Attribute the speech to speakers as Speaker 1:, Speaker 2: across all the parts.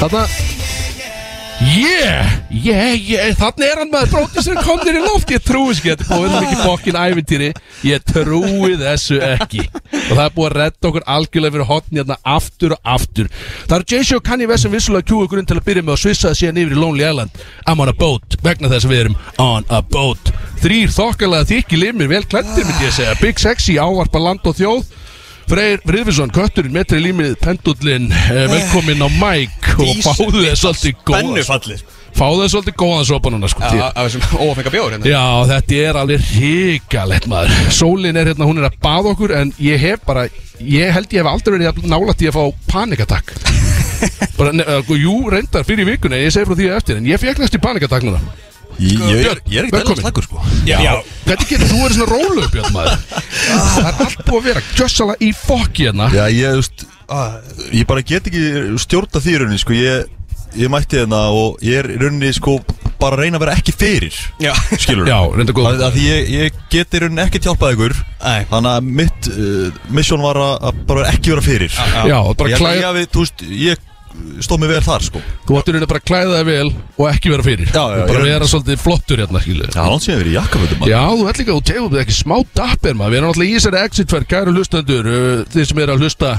Speaker 1: Þarna Yeah, yeah, yeah Þannig er hann maður Bróðisinn komnir í loft Ég trúi ekki Þetta er búið um mikið fokkin ævintýri Ég trúi þessu ekki Og það er búið að redda okkur algjörlega fyrir hotni Hérna aftur og aftur Það eru Jay-Z og Kanye West sem vissulega kjúi okkur inn til að byrja með og svissaði síðan yfir í Lonely Island I'm on a boat Vegna þess að við erum on a boat Þrýr þokkalega þykki limir Vel klættir myndi ég að segja Big Sexy ávarpa land og þjóð Freyr Friðvinsson, kötturinn, metri límið, pendullin, eh, velkomin á Mike og
Speaker 2: Dísu,
Speaker 1: fáðu þess svolítið góðan
Speaker 2: Bennufallir
Speaker 1: Fáðu þess svolítið góðan sopa núna sko til.
Speaker 2: Af þessum ófengar bjóður hérna
Speaker 1: Já, þetta er alveg hrigalegt maður Sólin er hérna, hún er að baða okkur en ég hef bara, ég held ég hef aldrei verið jafn nálægt í að fá panikatak Bara, ne, eh, sko, jú, reyndar fyrir vikuna, ég segi frá því á eftir en ég fekk næst í panikatak núna
Speaker 3: Ég, Sko, ég,
Speaker 1: Björn,
Speaker 3: er- ég er ekki
Speaker 1: velkomin.
Speaker 3: dæla slagur sko
Speaker 2: Já, já.
Speaker 1: Hvernig getur þú verið svona rólu upp hérna maður? Það er allt búið að vera kjössala í fokki hérna
Speaker 3: Ah. Já, ég, þú veist, ah, ég bara get ekki stjórna því í rauninni sko Ég, ég mætti hérna og ég er í rauninni sko bara að reyna að vera ekki fyrir
Speaker 2: Já.
Speaker 3: Skilur
Speaker 1: Já, reynda góð
Speaker 3: Að, að því ég, ég get í rauninni ekkert hjálpað ykkur
Speaker 2: Nei.
Speaker 3: Þannig að mitt uh, mission var að, að bara ekki vera fyrir Já,
Speaker 1: Já, bara
Speaker 3: Ég,
Speaker 1: klæða
Speaker 3: ég, við, þú veist, ég stóð mig vel þar sko Já,
Speaker 1: Þú áttur hérna bara að klæða þig vel og ekki vera fyrir
Speaker 3: Já, já,
Speaker 1: Og Bara
Speaker 3: ég-
Speaker 1: vera svolítið flottur hérna, skilu Já,
Speaker 3: hann sé að vera í jakkafötum maður.
Speaker 1: þú ert líka, þú tegum þetta ekki smá dapper maður Við erum alltaf í þessari exitferð, kæru hlustendur uh, Þið sem eru að hlusta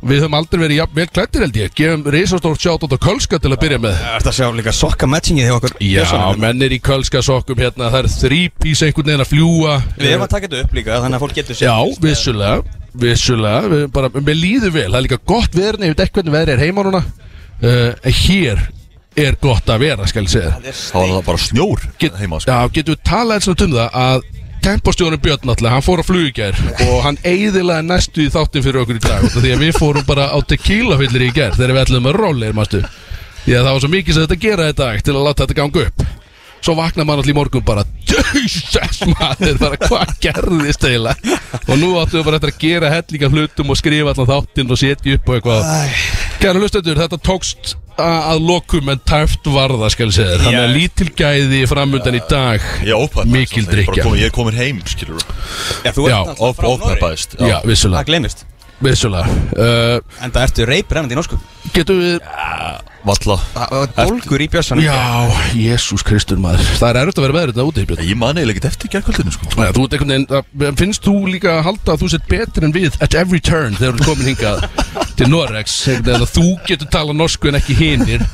Speaker 1: Við höfum aldrei verið jafn vel klættir held ég Gefum risastórt sjátt á Kölska til að byrja með
Speaker 2: Það ert að sjá líka sokka matchingið hjá okkur
Speaker 1: Já,
Speaker 2: Björnsson.
Speaker 1: menn er í Kölska sokkum hérna Það er þrýpís einhvern veginn að fljúa
Speaker 2: Við erum að taka þetta upp líka Þannig að fólk getur séð.
Speaker 1: Já, vissulega, vissulega við bara, Mér líður vel, það er líka gott veðurni Ég veit ekki hvernig veðri er heima núna uh, en Hér er gott að vera, skal ég segja
Speaker 2: Það er
Speaker 3: Þá var
Speaker 2: steik.
Speaker 3: það bara snjór
Speaker 1: Get,
Speaker 3: heima sko
Speaker 1: Já, getum við talað eins og um það að tempostjónum Björn náttúrulega, hann fór á flugjær og hann eiðilaði næstu í þáttin fyrir okkur í dag út af því að við fórum bara á tequila fyllir í gær þegar við ætlum að rollir, mástu því að það var svo mikið sem þetta gera þetta til að láta þetta ganga upp svo vaknaði maður allir í morgun bara Jesus maður, bara hvað gerðist eiginlega og nú áttum við bara eftir að gera hellinga hlutum og skrifa allan þáttinn og setja upp og eitthvað Kæra hlustendur, þetta tókst a- að lokum en tæft varða skal ég segja þér. Þannig að
Speaker 2: Yes.
Speaker 1: lítil gæði framundan í dag
Speaker 3: Ég ópæðast
Speaker 1: Mikil drykkja.
Speaker 3: Ég er komin heim, skilur
Speaker 2: Já, þú ert
Speaker 1: Já,
Speaker 2: náttúrulega frá Noregi.
Speaker 3: Ópæðast
Speaker 1: Já, vissulega,
Speaker 2: Það glemist
Speaker 1: vissulega. Uh,
Speaker 2: En það ertu reyprennandi í norsku
Speaker 1: Getum við
Speaker 3: Valla
Speaker 2: Það var bólgur í bjössanum
Speaker 1: Já, Jésús Kristur maður Það er erfitt að vera með þetta úti Björn.
Speaker 3: Ég man eiginlega ekkert eftir gerkvöldinu sko
Speaker 1: Já, Þú ert einhvern veginn, það- finnst þú líka að halda að þú sett betur en við at every turn þegar þú ert komin hingað til Norex einhvern veginn að þú getur tala norsku en ekki hinir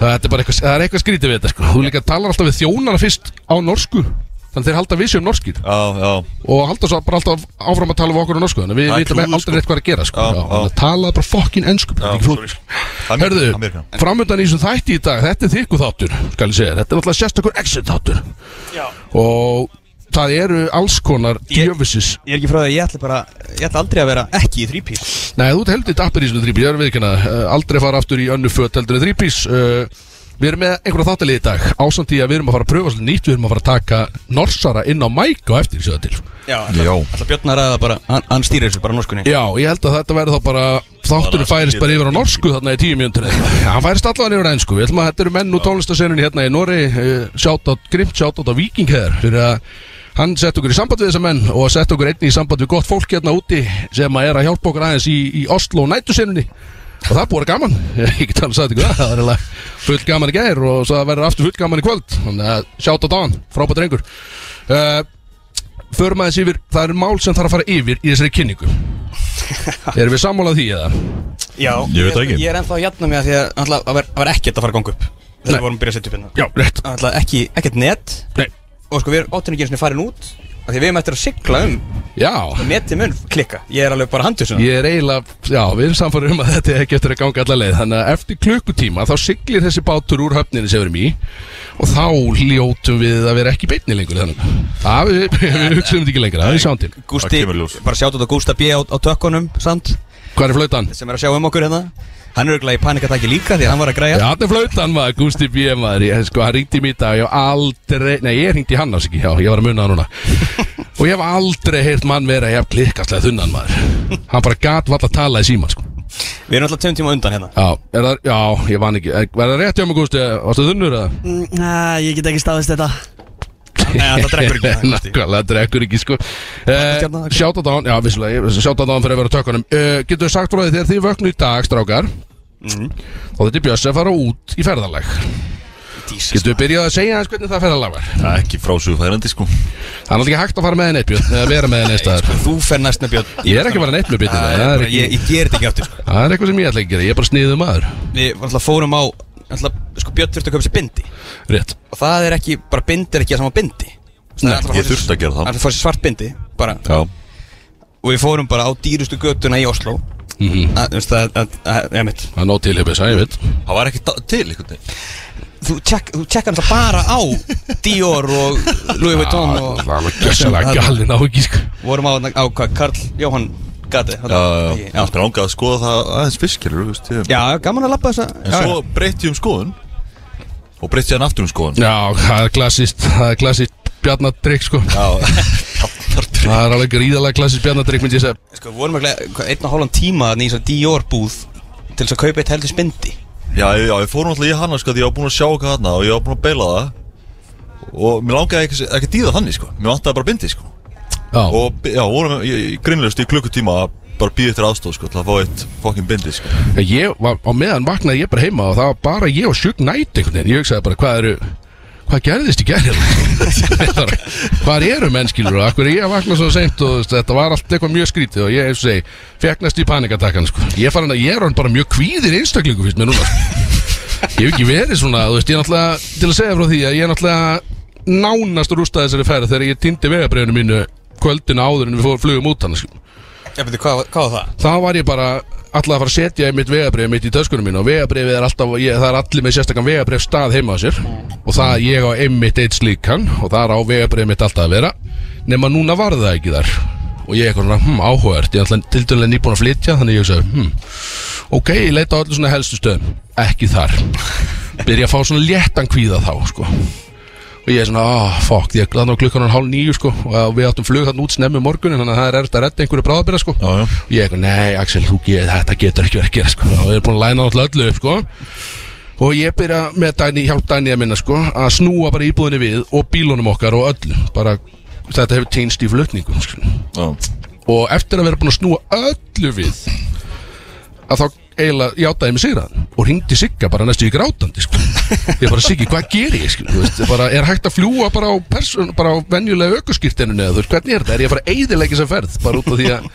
Speaker 1: Það er bara eitthvað, það er eitthvað skrítið við þetta sko. Þú líka talar alltaf við þjónana fyrst á norsku Þannig að þeir halda að við séum norskir
Speaker 3: Já, já
Speaker 1: og halda svo bara alltaf áfram að tala við okkur á norsku þannig að við
Speaker 3: Það er
Speaker 1: vitum
Speaker 3: klúður,
Speaker 1: aldrei
Speaker 3: sko.
Speaker 1: rétt hvað er að gera sko.
Speaker 3: Já,
Speaker 1: já,
Speaker 3: já.
Speaker 1: já. talaði bara fokkin ennsku
Speaker 3: Já, sorry. Það er
Speaker 1: Herðu,
Speaker 3: mér- það er mér, já.
Speaker 1: framöndan í þessum þætti í dag þetta er þykku þáttur, skal ég segja þér. þetta er náttúrulega sérstakur exit þáttur og það eru alls konar
Speaker 2: Ég-
Speaker 1: djöfusis
Speaker 2: Ég er ekki frá því að ég ætli bara Ég ætla aldrei að vera ekki í þrípís
Speaker 1: Nei, þú ert heldur dappir í svona þrípís, ég er viðkynna Eh, Aldrei fara aftur í önnu fött heldur en þrípís uh, Við erum með einhverja þáttalið í dag Ásamt í að við erum að fara að pröfa svolítið nýtt Við erum að fara að taka norsara inn á mæk og eftir sjöða til
Speaker 2: Já,
Speaker 3: Já.
Speaker 2: ætla Björn að ræða bara Hann, hann stýrir þessu bara norskunni
Speaker 1: Já, ég held að þetta verði þá bara Þátturinn
Speaker 3: Bara
Speaker 1: færist
Speaker 3: skil-
Speaker 1: bara yfir á norsku þarna í tíu mjöndur Hann færist allan yfir á ennsku Við ætlum að þetta eru menn úr tónlistasenunni hérna í Norri Sjáttátt, grimt sjáttátt á Viking heðar Fyrir að hann sett okkur í samband við þessa menn Og sett okkur einni í samband við gott fólk hérna úti Sem að er að hjálpa okkur aðeins í, í Oslo nætusenunni Og það búið að vera gaman Ég get alveg sagt ykkur það Það er alveg full gaman í gær Og svo verður aftur full gaman í kvöld Þannig að sjátt á dagan, frábært drengur uh, Förum aðeins yfir Það er mál sem þarf að fara yfir í þessari kynningu Erum við sammálað því eða?
Speaker 2: Já
Speaker 3: Ég veit það ekki.
Speaker 2: Ég er ennþá að jætna mig að því að ætla, að vera, að vera ekkert að fara að ganga upp Þegar
Speaker 1: Nei.
Speaker 2: við vorum að byrja að setja upp hérna
Speaker 1: Já, rétt
Speaker 2: Það ætla ekki, ekkert net
Speaker 1: Nei.
Speaker 2: Og sko við erum áttunni ekki einu sinni farin út af Því að við erum eftir að sigla um
Speaker 1: Já,
Speaker 2: Neti mun klikka Ég er alveg bara handið svona
Speaker 1: ég er eiginlega, já, við erum samfarið um að þetta er ekki eftir að ganga alla leið Þannig að eftir klukkutíma þá siglir þessi bátur úr höfninni sem við erum í Og þá hljótum við að vera ekki í beinni lengur þannig Það við, við hugsaum þetta ekki lengra, það er sjáum til
Speaker 2: Gústi,
Speaker 3: kemur í ljós.
Speaker 2: bara sjátt út á Gústa B á, á tökkunum samt
Speaker 1: Hvað er flautan?
Speaker 2: sem er að sjá um okkur hérna Hann er auðvitað í panikataki líka því að hann var að
Speaker 1: Já,
Speaker 2: græja
Speaker 1: hann er flautan maður, Gusti B. maður ég, Sko, hann ringdi í mig í dag, ég hef aldrei Nei, ég ringdi í hann ás ekki, já, ég var að muna það núna Og ég hef aldrei heyrt mann vera Ég hef klikkastlega þunnan maður Hann bara gat valla að tala í síman, sko
Speaker 2: Við erum alltaf tveim tíma undan hérna
Speaker 1: Já, er það, já, ég vann ekki Er er það rétt hjá mig, Gusti, varstu þunnur eða?
Speaker 4: Næ, Mm, ég get ekki staðist þetta
Speaker 2: Nei, það drekkur ekki það, Gústi.
Speaker 1: Nákvæmlega, drekkur ekki sko
Speaker 2: hérna, ok.
Speaker 1: Eh, Sjáta dán, já vissulega Sjáta dán fyrir að vera á tökunum uh, Getur þú sagt frá því þegar þið vöknu í dag, strákar
Speaker 2: Mhm.
Speaker 1: og þetta er Björns að fara út í ferðalag Getur við byrjað að segja hans hvernig það ferðalag var?
Speaker 3: Það er ekki frásugfærandi sko
Speaker 1: Það er náttúrulega ekki hægt að fara með henni eitt björn eða vera með henni eitt staðar
Speaker 2: Þú fer næst með Björn
Speaker 1: sko. Ég er ekki að fara neitt með björn
Speaker 2: Ég,
Speaker 1: það er
Speaker 2: bara-
Speaker 1: ekki-
Speaker 2: ég, ég ger þetta ekki aftur sko.
Speaker 1: það er eitthvað sem ég ætla ekki að gera, ég er bara sniðum maður
Speaker 2: Við alltaf fórum á alltaf, sko, Björn þurfti að köpa sér bindi
Speaker 1: Rétt
Speaker 2: Og það er ekki, bara bindi er ekki að sama bindi Nei,
Speaker 3: ég þurfti að gera það.
Speaker 2: Það fór sér svart bindi bara,
Speaker 3: Já
Speaker 2: Og við fórum bara á dýrustu götuna í Oslo Að- Þú veist það, það- það- ég mitt
Speaker 1: Það er nóg til hefðis, Mhm, að ég veit
Speaker 3: Það var ekki da- til einhvern veginn
Speaker 2: Þú tjekk- þú tjekkar alltaf bara á Dior og Louis Vuitton
Speaker 1: Ah,
Speaker 2: og
Speaker 1: Það var gjössalega galin á ekki sko.
Speaker 2: Vorum á, á hvað, Karl Jóhann Gati
Speaker 3: Já, já, já Mér ángaði að skoða það aðeins fiskir veist, ég,
Speaker 2: Já, gaman að labba þessa
Speaker 3: En svo breytti ég um skoðun Og breytti ég hann aftur um skoðun
Speaker 1: Já, það er klassist, það er klassist bjarnadrykk sko
Speaker 3: Já
Speaker 1: Það er alveg gríðalega klassist bjarnadrykk myndi ég segja
Speaker 2: Sko, við vorum ekki hvað, einn og hálfan tíma þannig í þessar Dior búð til þess að kaupa eitt heldur spindi
Speaker 3: Já, já, ég fór náttúrulega í hana sko Því ég var búin að sjá hvað hana og ég var búin að beila það Og mér langaði ekki, ekki dýða þannig sko Mér vantaði bara bindi sko
Speaker 1: Já,
Speaker 3: Og já, vorum grinnlegust í klukkutíma að Bara býði eftir aðstóð sko Til að fá eitt fokkin bindi sko
Speaker 1: ég var, á meðan vaknaði ég bara heima og það var bara ég og sjúk nætt einhvern veginn Ég hugsaði bara, hvað eru, hvað gerðist í gerðil? hvað eru mennskilur og akkur er ég að vakna svo seint og þú veist, þetta var allt eitthvað mjög skrítið og ég, eins og segi, feknast í panikatakkan sko Ég er farin að, ég er hann bara mjög kvíðir einstaklingu fyrst mér núna sko Ég hef ekki verið svona, þú veist, ég er náttúrulega til að segja frá því að ég er náttúrulega nánast rústaði þessari ferð þegar ég týndi vegabrefinu mínu kvöldin áður en við fór- flugum út hann sko.
Speaker 2: Já, betur, hvað, hvað var það?
Speaker 1: þá var ég bara alltaf að fara að setja mitt vegabref mitt í töskunum mín og vegabrefið er alltaf ég, það er allir með sérstakann vegabref stað heima á sér og það ég á einmitt eitt slíkan og það er á vegabrefið mitt alltaf að vera nema núna var það ekki þar og ég er eitthvað svona, hm, áhugavert ég er alltaf til dælega nýbúin að flytja þannig ég sagði, hm, ok, ég leita á öllu svona helstu stöðum ekki þar byrja að fá svona léttan kvíða þá sko og ég er svona, ah, fuck, ég glæði á klukkan hann hálf níu sko og við áttum flug hann út snemmi morgunin þannig að það er erft að redda einhverju bráðabyrða sko
Speaker 3: Já, já.
Speaker 1: og ég eitthvað, nei Axel, þú get, þetta getur ekki verið að gera sko og ég er búin að læna alltaf öllu upp sko og ég byrja með Dæni, hjálp Dæni að minna sko að snúa bara íbúðinni við og bílunum okkar og öllu bara, þetta hefur týnst í flutningum sko
Speaker 3: Já,
Speaker 1: og eftir að vera búin að snúa öllu við að þá eiginlega játaði mig sigraðan og hringdi Sigga bara næstu í grátandi sko. ég bara Siggi, hvað ger ég sko? Þú veist, bara, er hægt að fljúa bara á, person, bara á venjulega aukuskirtinu neða, þú veist, hvernig er þetta, er ég að fara eiðilegis að ferð bara út af því að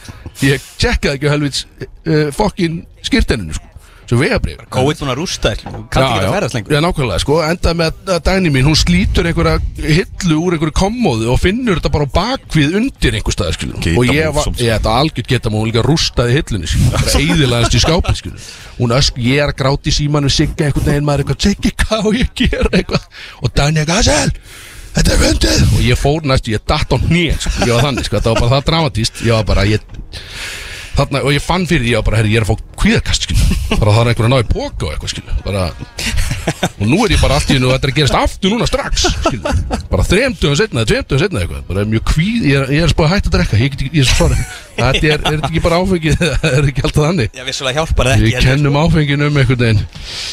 Speaker 1: ég tjekkaði ekki á helvits uh, fokkin skirtininu sko. sem vegabrif
Speaker 2: COVID búin að rústa þér, kannski ekki að ferðast lengur
Speaker 1: Já, nákvæmlega, sko, endaði með að dæni mín, hún slítur einhverja hillu úr einhverju kommóðu og finnur þetta bara á bakvið undir einhver staði, skiljum.
Speaker 3: Getamóð,
Speaker 1: Og ég var,
Speaker 3: samt.
Speaker 1: ég þetta algjörð geta múið líka rústaði hillunni, skiljum, bara eðilaðast í skápið, skiljum. Hún ösk, ég er að gráti símanum, sigga einhvern veginn, maður eitthvað, siggi, hvað á ég að gera eitthvað? Og dæni eitthvað, Asel, þetta er vöndið! Og ég fór næstu, ég datt á hnið, sko, ég var þannig, sko, þetta var bara það dramatíst, ég var bara, ég, þarna, og ég fann fyrir því að bara, herri, ég er að fá kvíðakast, skilu, bara það er einhver að ná í póka og eitthvað, skilu, bara og nú er ég bara allt í hennu, þetta er að gerast aftur núna strax, skilu, bara þremtugum setna eða tveimtugum setna eitthvað, bara mjög kvíð ég er, ég er spáð að hætta að drekka, ég get ekki, ég er svara þetta er, er þetta ekki bara áfengið, það er ekki alltaf þannig
Speaker 2: Já, vissulega hjálpar það
Speaker 1: við
Speaker 2: ekki
Speaker 1: kennum áfenginu um einhvern veginn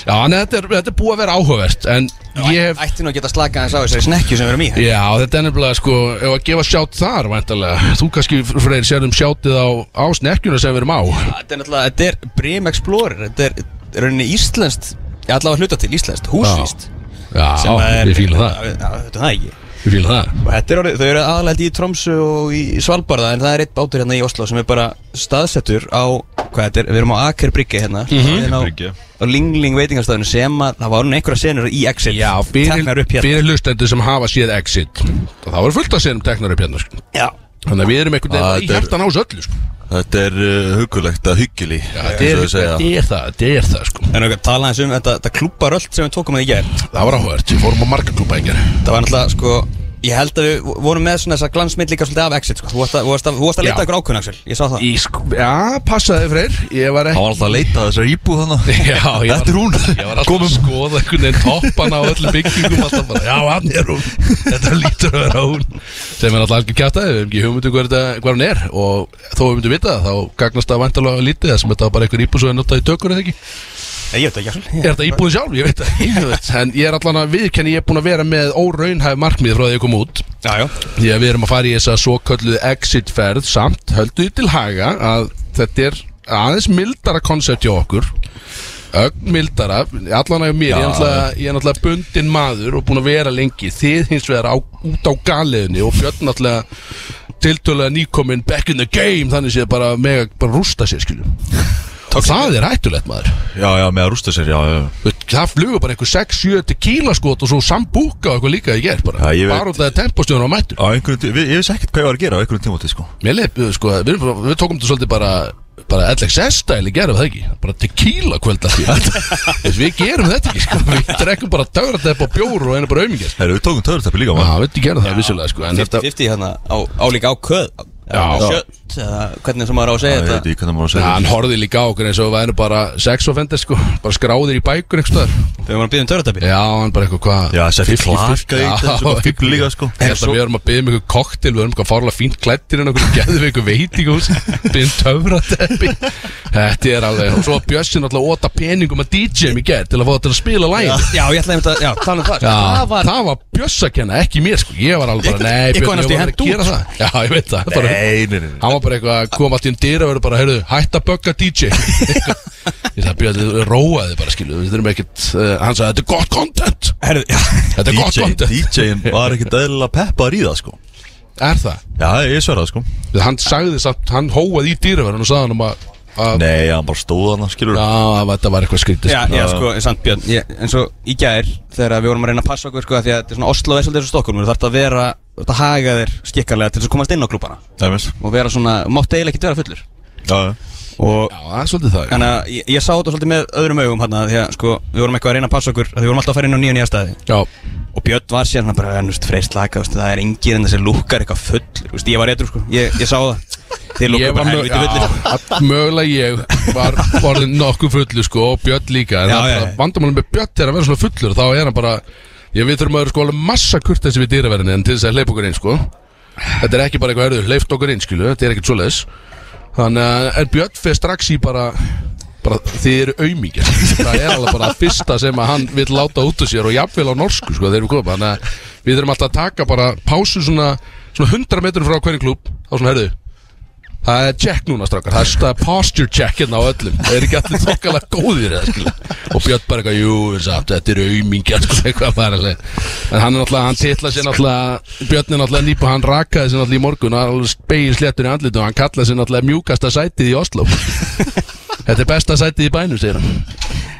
Speaker 1: já, en þetta er, þetta er búið að vera áhugavert en ég hef
Speaker 2: Ég ætti nú að geta slakað hans á þessari snekkju sem við erum í
Speaker 1: Já, þetta er nefnilega sko, ef að gefa sjátt þar væntalega, þú kannski freyr sérðum sjáttið á, á snekkjuna sem við erum á
Speaker 2: Þetta er náttúrulega, þetta er Brim Explorer Þetta er í rauninni íslenskt, ég allavega hluta til íslenskt, húsvíst
Speaker 1: Já, við fýlum það,
Speaker 2: Já, þetta er það ekki
Speaker 1: við fýlum það
Speaker 2: Og þetta er orðið, þau eru aðalega í Tromsu og í Svalbarða En það er eitt bátur hérna í Oslo sem er bara staðsettur á Hvað þetta er, við erum á Akerbryggja hérna
Speaker 1: Mhm.
Speaker 2: mm
Speaker 3: Akerbryggja.
Speaker 2: Á Lingling veitingastæðinu sem að það var hún einhverja senur í Exit
Speaker 1: Já,
Speaker 2: Teknar
Speaker 1: fyrir,
Speaker 2: upp hérna
Speaker 1: fyrir hlustendur sem hafa séð Exit og það var fullt að séðum teknar upp hérna sko.
Speaker 2: Já
Speaker 1: Þannig að við erum einhvern
Speaker 3: Ah,
Speaker 1: veginn í
Speaker 3: þetta er-
Speaker 1: hjartan ás öllu sko.
Speaker 3: Þetta er uh, hugulegt að hugili
Speaker 1: Já, þetta er, þetta er það, þetta er það sko.
Speaker 2: En okkar tala eins um þetta, þetta klúparöld sem við tókum að í gær
Speaker 1: Það var áhugavert, við fórum á markaklúpa engjar
Speaker 2: Það var náttúrulega sko Ég held að við vorum með svona þessa glansmynd líka svolítið af Exit sko. Þú varst að, þú varst að, þú varst að
Speaker 1: Já.
Speaker 2: leita ykkur ákveðin Axel, ég sá það
Speaker 1: Í sko, já, passaði freyr, ég var
Speaker 3: Hann
Speaker 1: ekki
Speaker 3: var alltaf að leita að þessar íbúð
Speaker 1: Já,
Speaker 3: þannig
Speaker 1: ég var-
Speaker 3: Þetta er hún
Speaker 1: Ég var alltaf að skoða einhvern veginn toppan á öllum byggingum alltaf bara, já, hann er hún þetta lítur að vera hún sem er alltaf algjör kjátaði, við hefum ekki hugmyndum hver, þetta- hver hann er og þó við myndum vita það, þá gagnast það vantalega lítið þessum þetta var bara einhver íbúð sem er notað í tökur eða ekki
Speaker 2: Nei, ég veit ekki Axel
Speaker 1: er þetta íbúðin sjálf, ég veit það ekki þú veist. en ég er allan að viðkenni, ég er búin að vera með óraunhæf markmið frá því ég kom út
Speaker 2: Já, já
Speaker 1: því að við erum að fara í þessa svo kölluð exit ferð samt höldu til haga að þetta er aðeins mildara koncept hjá okkur ögn mildara allan að mér, ég er náttúrulega- ég er náttúrulega bundin maður og búin að vera lengi þið hins vegar á, út á galiðinni og Björn náttúrulega tiltölulega nýkominn back in the game þannig séð bara mega bara rústa sér skiljum og það er hættulegt maður
Speaker 3: Já, já, með að rústa sér, já, já
Speaker 1: Þú veist, það flugur bara eitthvað 6-7 tequila skot og svo sambúka og eitthvað líka í gerð bara,
Speaker 3: Já, ég veit.
Speaker 1: bara út af tempostjónu á mættur
Speaker 3: Á einhverjum, tí- við- ég vissi ekkert hvað ég var að gera á einhverjum tímóti, sko
Speaker 1: Mér leif, við, sko, við, við tókum þetta svolítið bara bara LXS stæli gerum það ekki bara tequila kvöld að því við gerum þetta ekki sko. við drekkum bara tögratepp og bjór og einu bara aumingar
Speaker 3: Herru, við tókum töðurtappi líka,
Speaker 1: Já,
Speaker 3: maður
Speaker 1: við gerum það vissulega sko, en þetta
Speaker 2: 50-50 hérna á, á líka á köð á,
Speaker 1: Já.
Speaker 2: á Sjött, eða hvernig sem maður á að segja
Speaker 3: Ég veit
Speaker 2: þetta
Speaker 3: ekki hvernig maður á að
Speaker 1: ja,
Speaker 3: segja
Speaker 1: hann
Speaker 3: þetta.
Speaker 1: horfði líka á okkur eins og við erum bara sex offender sko, bara skráðir í bækur einhvers staðar.
Speaker 2: Þegar maður býðum törðartabbi
Speaker 1: já, hann bara eitthvað hvað
Speaker 3: Já, setti
Speaker 1: 50,
Speaker 3: klaka
Speaker 1: 50,
Speaker 3: í þetta,
Speaker 1: já,
Speaker 3: sem bara fífl líka, sko.
Speaker 1: Ég held að við erum að byggja um ykkur koktel við erum eitthvað farlega fínt klættir en okkur geðum ykkur veitingús byggjum töfrateppi þetta er alveg og svo að Bjössin alltaf óta peningum að DJ-um í gerð til að fá það til að spila lægin
Speaker 2: Já, ég ætlaði einmitt að, já, tala um það
Speaker 1: Já,
Speaker 2: Það var,
Speaker 1: það var Bjöss að kenna, ekki mér sko Ég var alveg bara,
Speaker 2: Ég-
Speaker 1: nei,
Speaker 2: ég
Speaker 1: Björn,
Speaker 2: kom næstum í
Speaker 1: var
Speaker 2: hent
Speaker 1: að gera
Speaker 2: út.
Speaker 1: það Já, ég veit það bara,
Speaker 3: sko." Nei, nei, nei, nei
Speaker 1: Hann var bara eitthvað að koma allt í um dyr og verður bara, heyrðu, hætt að bögga DJ Ég sagði, Björn, þú róaði bara, skilu Við þurfum ekkert, uh, hann sagði, þetta er gott content
Speaker 2: herru, já
Speaker 1: Þetta er gott
Speaker 3: DJ,
Speaker 1: content
Speaker 3: DJ-in var ekkert eðlilega peppar í það, sko
Speaker 1: Er það?
Speaker 3: Já, ég sverða það, sko
Speaker 1: Hann sagði samt, hann hóaði í dýraverðan og sagði hann um að að-
Speaker 3: Nei, hann bara stóð hann, skilur
Speaker 1: Já, að þetta var eitthvað skrítið
Speaker 2: Já,
Speaker 1: sko.
Speaker 2: já, sko, samt Björn ég, En svo í gær, þegar við vorum að reyna að passa okkur, sko af Því að þetta er svona Oslo er svolítið eins og Stokkólmur Þú þarf að vera, þú þarf að haga þér skikkarlega til þess að komast inn á klúbana
Speaker 3: Nei, minnst
Speaker 2: Og vera svona, mátt eiginlega ekki vera fullur
Speaker 3: Já, já
Speaker 2: Og
Speaker 1: Já, það er svolítið það já.
Speaker 2: Þannig að ég, ég sá þetta svolítið með öðrum augum hérna því að sko við vorum eitthvað að reyna að passa okkur af því við vorum alltaf að fara inn á nýja nýja staði
Speaker 1: Já,
Speaker 2: og Björn var síðan bara ennust freyr slaka veist, það er engir en þessi lúkar eitthvað full veist, ég var eitthvað sko ég, ég sá það þeir
Speaker 1: ég
Speaker 2: lúkar
Speaker 1: var
Speaker 2: bara sko.
Speaker 1: mög,
Speaker 2: helviti fullir
Speaker 1: já, all- mögulega ég var orðin nokkuð fullu sko og Björn líka en
Speaker 2: Já,
Speaker 1: það er
Speaker 2: já, já.
Speaker 1: bara vandamálum með Björn er að vera svona fullur þá er hann bara ég, við þurfum að vera sko alveg massa kurtessi við dýraverðinni en til þess að hleypa okkur inn sko þetta er ekki bara eitthvað erður hleyft okkur inn skilu þetta er ekkert svoleiðis þannig að en Björn fer strax í bara bara þið eru auðmíkjar það er alveg bara fyrsta sem að hann vil láta út úr sér og jafnvel á norsku sko þegar við komum þannig að við þurfum alltaf að taka bara pásu svona, svona 100 metrum frá hverjum klúb þá svona herðu Það er check núna strákar, það er stað posture check hérna á öllum Það er ekki allir þokkala góðir eða skilja Og Björn bara eitthvað, jú, við samt, þetta eru aumingjar sko, eitthvað bara að segja En hann er náttúrulega, hann titla sér náttúrulega Björn er náttúrulega nýpa, hann rakaði sér náttúrulega í morgun og hann er alveg spegir sléttur í andlitu og hann kallaði sér náttúrulega mjúkasta sætið í Oslo Þetta er besta sætið í bænum, segir hann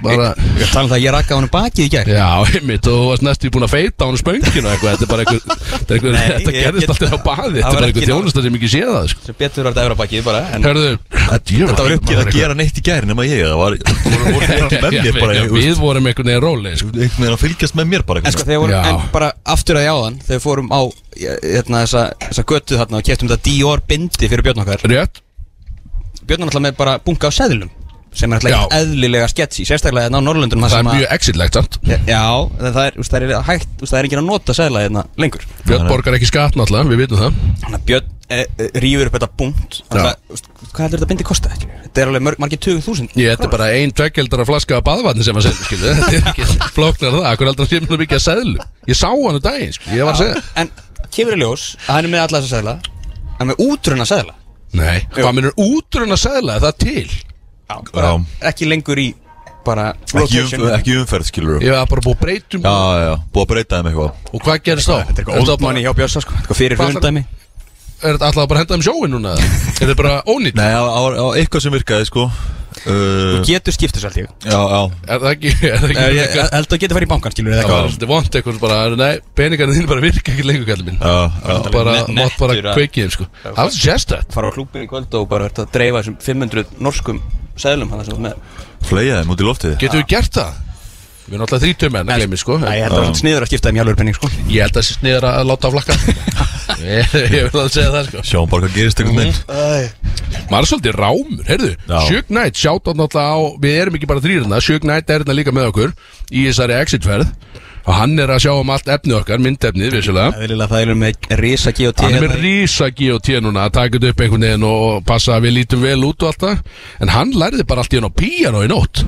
Speaker 1: Bara,
Speaker 2: ég tala um það að ég rakka honum bakið í gær
Speaker 1: já, einmitt, og þú varst næstu búin að feita á hann spönginu eitthvað Þetta er bara einhver, þetta, er einhver,
Speaker 2: Nei,
Speaker 1: þetta
Speaker 2: ég
Speaker 1: gerðist
Speaker 2: get-
Speaker 1: alltaf á baði Þetta
Speaker 2: Það
Speaker 1: er
Speaker 2: var
Speaker 1: bara
Speaker 2: ekki
Speaker 1: einhver
Speaker 2: nóg.
Speaker 1: þjónusta sem ekki séð það, sko
Speaker 2: sem betur var þetta efra bakið bara en
Speaker 1: Hörðu,
Speaker 3: Þetta var ekki að gera neitt í gær nema ég Það var, voru voru þeirra með mér bara Mm. ég-
Speaker 1: Við vorum einhvern veginn róli sko.
Speaker 3: einhvern veginn að fylgjast með mér bara
Speaker 2: En sko þegar vorum,
Speaker 1: Já.
Speaker 2: en bara aftur að jáðan Þegar við fórum á, ég- hérna, þessa, þessa götu þarna Og keftum þetta Dior bindi fyrir Björn okkar
Speaker 1: Rétt
Speaker 2: Björn er alltaf með bara bunga á seðlum Sem er
Speaker 1: Já.
Speaker 2: alltaf eðlilega sketsi Sérstaklega hérna á Norrlundunum
Speaker 1: Það er
Speaker 2: sem að-
Speaker 1: mjög exitlegt samt
Speaker 2: Já, en það er, úst, það er hægt, úst, það er enginn að nota seðla hérna lengur
Speaker 1: Björn borgar ekki skatt náttúrulega, við vitum það
Speaker 2: Þannig að Björn e, e, rýfur upp þetta búnt Þannig að, úst, hvað heldur þetta bindi kosta ekki? Þetta er alveg mörg, margir 20.000
Speaker 1: Ég, þetta er bara ein tveggjeldara flaska af baðvatni sem að segja, skilu Þetta er ekki flóknar það, akkur aldrei sé mjög mikið að seðlu Ég sá hann um daginn, sko, ég var að segja
Speaker 2: En kemur í ljós að hann er með alla þessa seðla Hann er með útrunna seðla
Speaker 1: Nei, hvað minnur útrun að seðla, er það til?
Speaker 2: bara,
Speaker 3: Já.
Speaker 2: Ekki lengur í bara
Speaker 3: ekki,
Speaker 2: rotation
Speaker 3: umf ekki umferð skilur
Speaker 1: Ég var bara búið að breytum
Speaker 3: Já, já, já, búið að breyta þeim eitthvað
Speaker 1: Og hvað gerist þá?
Speaker 2: Þetta er eitthvað old money hjá Björsa sko Eitthvað fyrir
Speaker 1: Hvað þarf-
Speaker 2: hrundæmi
Speaker 1: Er þetta alltaf bara að henda um sjóin núna? eða? er þetta bara ónýtt?
Speaker 3: Nei, á, á, á eitthvað sem virkaði sko uh,
Speaker 2: Getur skiptis allt ég
Speaker 3: Já, já
Speaker 1: Er það ekki, er það ekki
Speaker 2: Ég
Speaker 1: eitthvað-
Speaker 2: held að geta farið í bankan skilur
Speaker 1: Það var
Speaker 2: eitthvað
Speaker 1: svolítið vond eitthvað bara, nei, peningarnir þín bara virka ekki lengur kallið minn
Speaker 3: Já, já,
Speaker 1: Það bara,
Speaker 2: Ne-
Speaker 1: mátt bara
Speaker 2: nettur að-
Speaker 1: kveikið þeim sko Það var sérstætt
Speaker 2: Fara á klúbin í kvöld og bara ert að dreifa þessum 500 norskum seðlum hann sem þú ert með
Speaker 3: fleja þeim út í loftið
Speaker 1: Getum við gert það? Við erum alltaf þrítum menn að gleymi sko
Speaker 2: Æ, ég held að það er sniður að skipta þeim í alveg penning sko
Speaker 1: Ég held að þessi sniður að láta á flakka Ég ég vil að segja það sko
Speaker 3: Sjáum bara hvað gerist einhvern veginn
Speaker 1: Maður er svolítið rámur, heyrðu
Speaker 3: Já.
Speaker 1: Sjögg nætt, sjátt á náttúrulega á Við erum ekki bara þrýrna, Sjögg nætt er hérna líka með okkur Í þessari exitferð Og hann er að sjá um allt efnið okkar, myndefnið vissulega
Speaker 2: Eðlilega það er með risa GOT
Speaker 1: Hann er
Speaker 2: hérna
Speaker 1: með
Speaker 2: í-
Speaker 1: rísa GOT núna að taka þetta upp einhvern veginn og og passa að við lítum vel út og allt það En hann lærði bara allt í hann á píano í nótt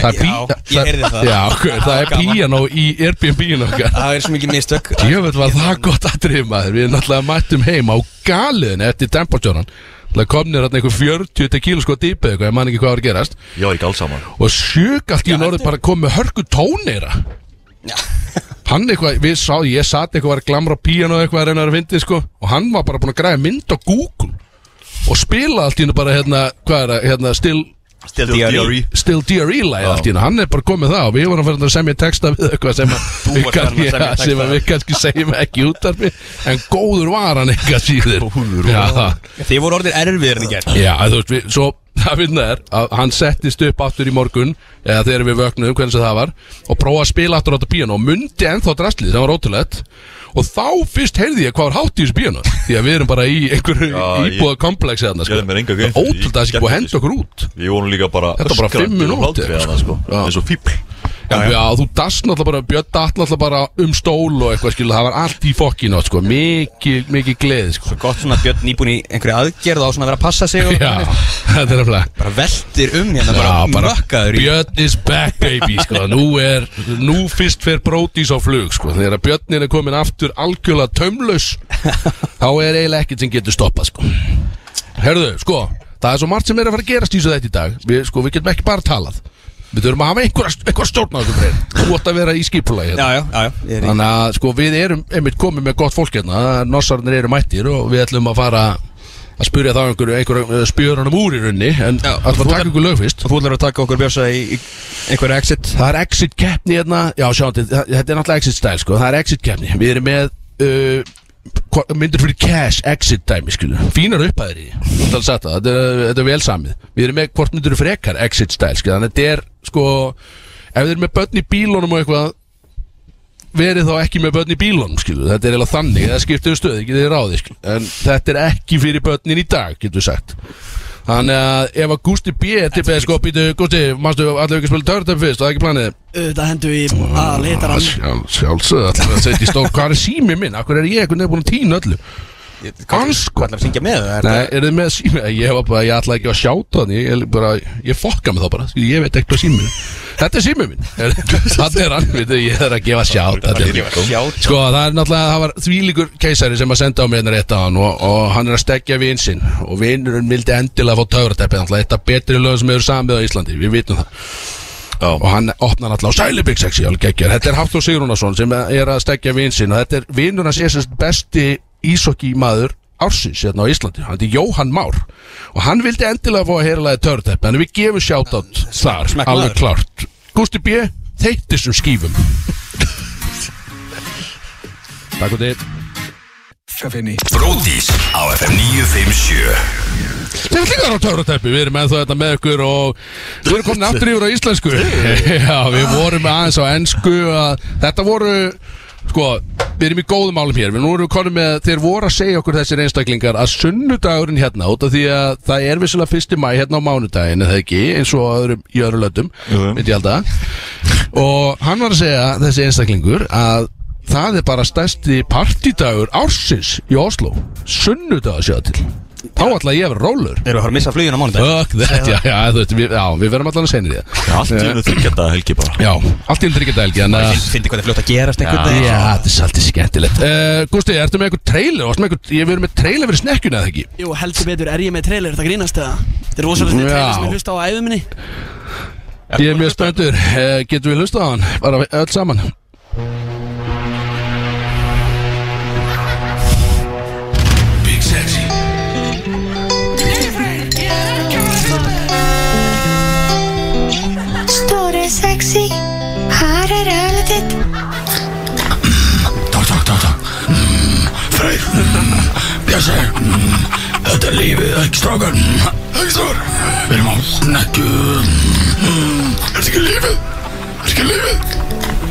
Speaker 1: Það er
Speaker 2: Já,
Speaker 1: pí...
Speaker 2: ég heyrði það.
Speaker 1: Já, ok, það er
Speaker 2: Gaman.
Speaker 1: píano í Airbnb-inu okkar
Speaker 2: Það er svo mikið mistök
Speaker 1: Jöfnveld var það gott aðrið maður Við erum náttúrulega mættum heim á galiðinu eftir tempotjónan Það komnir hann einhver 40 tequila sko dýpi eitthvað, ég man ekki hvað var að gerast
Speaker 3: Ég var Mhm. ekki alls saman
Speaker 1: og sjök allt í norður bara kom með hörku tónera hann eitthvað, við sá, ég sat eitthvað var að glamra á píano eitthvað að reyna að fyndi sko og hann var bara búin að græða mynd á Google og spila allt í hennu bara hérna, hvað er það, hérna, still
Speaker 3: Still DRE
Speaker 1: Still DRE lagið
Speaker 3: Já.
Speaker 1: allt í hennu, hann er bara komið það og við vorum að fara að semja texta við eitthvað sem, að við
Speaker 2: varst farin að
Speaker 1: kannski-
Speaker 2: semja
Speaker 1: ja, sem að við kannski segjum ekki útarfi en góður var hann eitthvað síður
Speaker 3: Góður
Speaker 1: var
Speaker 3: var
Speaker 1: hann
Speaker 2: Þið voru orðin erfiðir en ég gerð
Speaker 1: Já, þú veist, við, svo það finna er að hann settist upp aftur í morgun eða þegar við vöknum, hvernig sem það var og prófaði að spila aftur á þetta píano og mundi ennþá drastlið, það var ótrúlegt og þá fyrst heyrði ég hvað var hátt í þessu píano því að við erum bara í einhverju
Speaker 3: Já, ég-
Speaker 1: íbúða kompleksi þarna, sko
Speaker 3: gerði mér enga grein fyrir því.
Speaker 1: Ótrúlegt að það sé búið að henda okkur út
Speaker 3: Við vorum líka bara
Speaker 1: Þetta var bara
Speaker 3: öskrandi
Speaker 1: fimm
Speaker 3: og
Speaker 1: mínútur,
Speaker 3: hlátri
Speaker 1: sko.
Speaker 3: þarna, sko.
Speaker 1: Já.
Speaker 3: Eins og fíbl
Speaker 1: Já, já, þú dast náttúrulega bara, Björn datt náttúrulega bara um stól og eitthvað, skilu, það var allt í fokkinu, sko, mikið, mikið gleði, sko
Speaker 2: Gott svona Björn nýbúin í einhverju aðgerð og á svona að vera að passa sig og
Speaker 1: Já, þetta er nefnilega
Speaker 2: bara veltir um hérna
Speaker 1: Já,
Speaker 2: bara mökkaður í
Speaker 1: Björn is back baby sko. nú, er, nú fyrst fer brótis á flug sko. Þegar að Björnin er komin aftur algjörlega taumlaus Þá er eiginlega ekkert sem getur stoppað sko. Herðu, sko Það er svo margt sem er að fara að gerast í þessu þetta í dag Við, sko, við getum ekki bara talað Við þurfum að hafa einhverja, einhverja stjórn á þessu breyn Þú átt að vera í skipulagi
Speaker 2: Já,
Speaker 1: hérna.
Speaker 2: já, já, já ég er í-
Speaker 1: Þannig að sko, við erum einmitt komið með gott fólk hérna Nossarnir eru mættir og við ætlum að fara að spyrja þá einhverju, einhverju spjörunum úr í runni En
Speaker 2: Já,
Speaker 1: ætlum að
Speaker 2: þú
Speaker 1: taka
Speaker 2: ert-
Speaker 1: ykkur lög fyrst
Speaker 2: Og þú ætlar að taka okkur Björsa í, í einhverju exit
Speaker 1: Það er exit keppni hérna Já sjáandi, þa- þetta er náttúrulega exit style sko Það er exit keppni Við erum með uh, hva- myndir fyrir cash exit dæmi skilu Fínar upphæðir í því. Ég ætla að segja það, Þetta er, þetta er vel samið Við erum með hvort myndir frekar exit style skilu Þannig að þetta er sko Ef þið eru með börn í bílunum og eitthvað verið þá ekki með börn í bílunum skilu Þetta er eiginlega þannig, það skiptir um stöð ekki þið ráði skilu En þetta er ekki fyrir börnin í dag, getur við sagt Þannig að ef að Gusti B er til beð sko, býtu, Gusti, manstu, allir ekki að spila törnum fyrst, það er ekki planið
Speaker 4: Þetta hendur við í að leta hann
Speaker 1: Sjálf- Sjálfsögðu alltaf að setja í stór Hvað er sími minn? Akkur er ég einhvern veginn búin að týna öllu? Ansko
Speaker 2: ætlar að syngja með það
Speaker 1: Nei, er þið með sími? Ég var bara, ég ætla ekki að sjáta hann Ég, ég, bara, ég fokka mig þá bara Skilji, Ég veit ekkert hvað sími minn er. Þetta er sími minn Þetta er hann, veit þið, ég er að gefa sjáta
Speaker 2: Sjá
Speaker 1: Sko, það er náttúrulega, það var þvílíkur keisari sem að senda á mig hérna rétt á hann og, og hann er að stekja vin sinn og vinurinn vildi endilega fá töfrateppi náttúrulega eitt af betri lög sem hefur samið á Íslandi, við vitum það
Speaker 3: Já.
Speaker 1: og hann opnar náttúrulega á Sælibig sexi alveg geggjör, þetta er Hafþór Sigrúnason sem er að stekja vin sinn og þetta er vinurinn hans er sérst besti ísokki maður ársins hérna á Íslandi, hann er Jóhann Már og hann vildi endilega fá að heyra lagið töfrateppi, en við gefum sjátátt þar,
Speaker 2: Smekk maður.
Speaker 1: alveg klart Gústi B, þeittisum skífum Takk og þið
Speaker 5: Bróðís á FM 957
Speaker 1: Þeir eru líka á töfratæpi, við erum ennþá þetta með ykkur og við erum komin aftur yfir á íslensku Já, við vorum aðeins á ennsku að, Þetta voru, sko, við erum í góðum álum hér Við nú erum við komin með, þeir voru að segja okkur þessir einstaklingar að sunnudagurinn hérna út af því að það er vissulega fyrsti mæ hérna á mánudaginn eða ekki, eins og á öðrum, í öðrum löndum
Speaker 3: Jú.
Speaker 1: myndi ég halda og hann var að segja, þessi einstaklingur að það er bara stærsti partídagur ársins í Oslo sunnudagur sjá til þá ætla ég að vera rólur
Speaker 2: Erum við að fara að missa flugin á mánudag?
Speaker 1: Fuck that, já, já, þú veist, við, já, við verðum allan að segja því
Speaker 3: Allt í hennu þryggjanda helgi bara
Speaker 1: Já, allt í þryggja dælgi, en að
Speaker 2: Fyndi hvað það er fljótt að gerast einhvern
Speaker 1: Já,
Speaker 2: veginn
Speaker 1: þetta er svolítið skemmtilegt uh, Gústi, ertu með einhver trailer? Varstu með einhver, ég verið með trailer fyrir snekkjuna, eða ekki?
Speaker 4: Jú, heldur betur, er ég með trailer, þetta grínast eða? Þetta er rosalega
Speaker 1: Já.
Speaker 4: snið trailer sem ég hlusta á á æðu minni
Speaker 1: Ég er mjög spenntur, uh, getum við hlustað á hann? Bara öll saman
Speaker 5: Big Sexy
Speaker 6: Stóri sexy, hær er öllu þitt
Speaker 5: Takk, takk, takk, takk Mm, Freyr Mm, Bjössi Mm, Þetta er lífið, ekki strákar Mm, Ekki strákar Við erum á snekju Mm, Er þetta ekki lífið? Er þetta ekki lífið?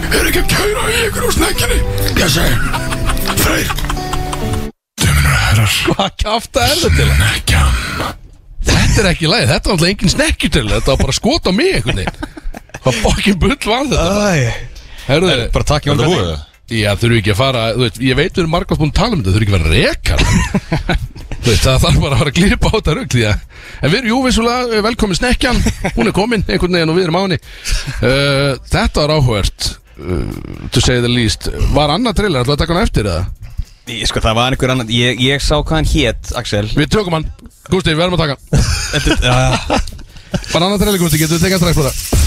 Speaker 5: Er ekki að kæra í ykkur á snekjunni? Bjössi Freyr Döminur og herrar
Speaker 1: Hvað kjáfta er þetta til?
Speaker 5: Nekkjan
Speaker 1: Þetta er ekki læg, þetta var alltaf engin snekkju til Þetta var bara skot á mig einhvern veginn Hvað bókin bull var þetta?
Speaker 2: Æ
Speaker 1: Herðu,
Speaker 2: Bara takk Jón
Speaker 3: Þetta
Speaker 2: Bjarni.
Speaker 3: voru það
Speaker 1: Já, þurfum við ekki að fara þú veit, Ég veit við erum margast búin að tala um þetta, þurfum við ekki að vera rekar Þú veit, það þarf bara að fara að klippa á þetta rugg því að En við erum jú vissulega, eh, velkomin snekkjan Hún er komin einhvern veginn og við erum á henni uh, Eh, Þetta var áhugavert uh, To say the least Var annað trailer, ætlaðu að taka hann eftir eða?
Speaker 2: Ég, sko, það var einhver annan Ég, ég sá hvað hann hét, Axel
Speaker 1: Við tökum hann Gústi, við verðum að taka hann. Var annan treyli, Gústi, getur við tekið hann strax bara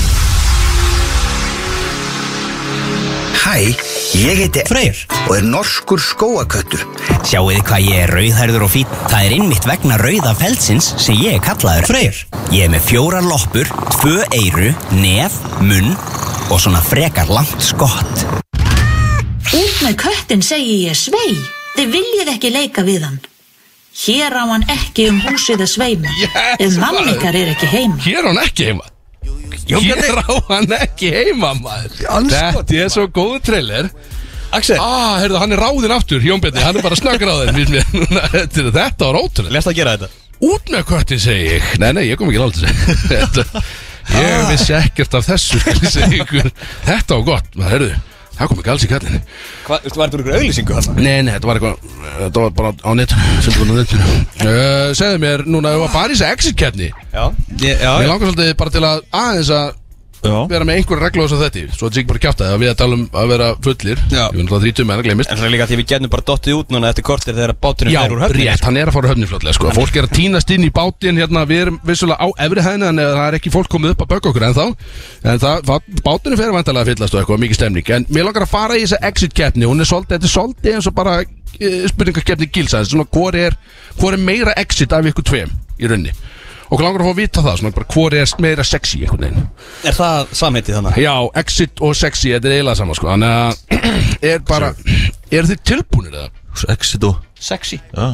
Speaker 7: Hæ, ég heiti Freyr og er norskur skóaköttur. Sjáuði hvað ég er rauðhærður og fýtt. Það er innmitt vegna rauða felsins sem ég er kallaður Freyr. Ég er með fjórar loppur, tvö eyru, nef, munn og svona frekar langt skott.
Speaker 8: Út með köttin segi ég svei. Þið viljið ekki leika við hann. Hér á hann ekki um húsið að sveima.
Speaker 1: Yes,
Speaker 8: ef
Speaker 1: maður.
Speaker 8: mamnikar er ekki heima.
Speaker 1: Hér á hann ekki heima Hér á hann ekki heima maður Þetta er svo góð trailer
Speaker 2: Axel,
Speaker 1: Ah, heyrðu, hann er ráðinn aftur, Jón Bjarni Hann er bara snöggráðinn finnst mér. Núna, Þetta er- þetta var ótrúlega
Speaker 2: lest að gera þetta
Speaker 1: Út með köttin, segi ég Nei, nei, ég kom ekki láta þessu Ég vissi ekkert af þessu skal ég segja ykkur. Þetta var gott, maður, heyrðu Það kom ekki alls í kallinu
Speaker 2: Hvað, var þetta einhver auðlýsingu þarna?
Speaker 1: Nei, nei, þetta var eitthvað Þetta var bara á netinu Sem búin á netinu uh, Segðu mér, núna, ef við varum að fara í þessi exit-kefni
Speaker 2: Já, ég, já,
Speaker 1: Mér
Speaker 2: já.
Speaker 1: langar svolítið bara til að aðeins að
Speaker 3: Já
Speaker 1: vera með einhverja reglu á þess að þetta Svo þetta sé ekki bara kjáta að við að tala um að vera fullir
Speaker 2: Já.
Speaker 1: Ég vil náttúrulega þrítum með hann að glemist
Speaker 2: En það er líka því við getum bara dottið út núna eftir kortir þegar báturinn
Speaker 1: Já,
Speaker 2: fer úr höfninni
Speaker 1: rétt, hann er að fara höfni fljótlega sko. Fólk er að týnast inn í bátinn hérna, Við erum vissulega á efri hæðina En það er ekki fólk komið upp að bögga okkur ennþá En það, það bátinu fer vantarlega að fyllast og eitthvað Mikið stemning, en mér langar að fara í þessa exit-keppni Hún er svolítið, þetta er svolítið eins og bara e, Spurningakeppni gilsa Svona hvor er, hvor er meira exit af ykkur tveim Í raunni Okkur langar að fá að vita það, svona bara hvor er meira sexy einhvern veginn
Speaker 2: Er það samheitið þannig?
Speaker 1: Já, exit og sexy, þetta er eiginlega sama sko Þannig að er bara Er þið tilbúinir eða?
Speaker 3: Exit og
Speaker 2: Sexy
Speaker 3: Já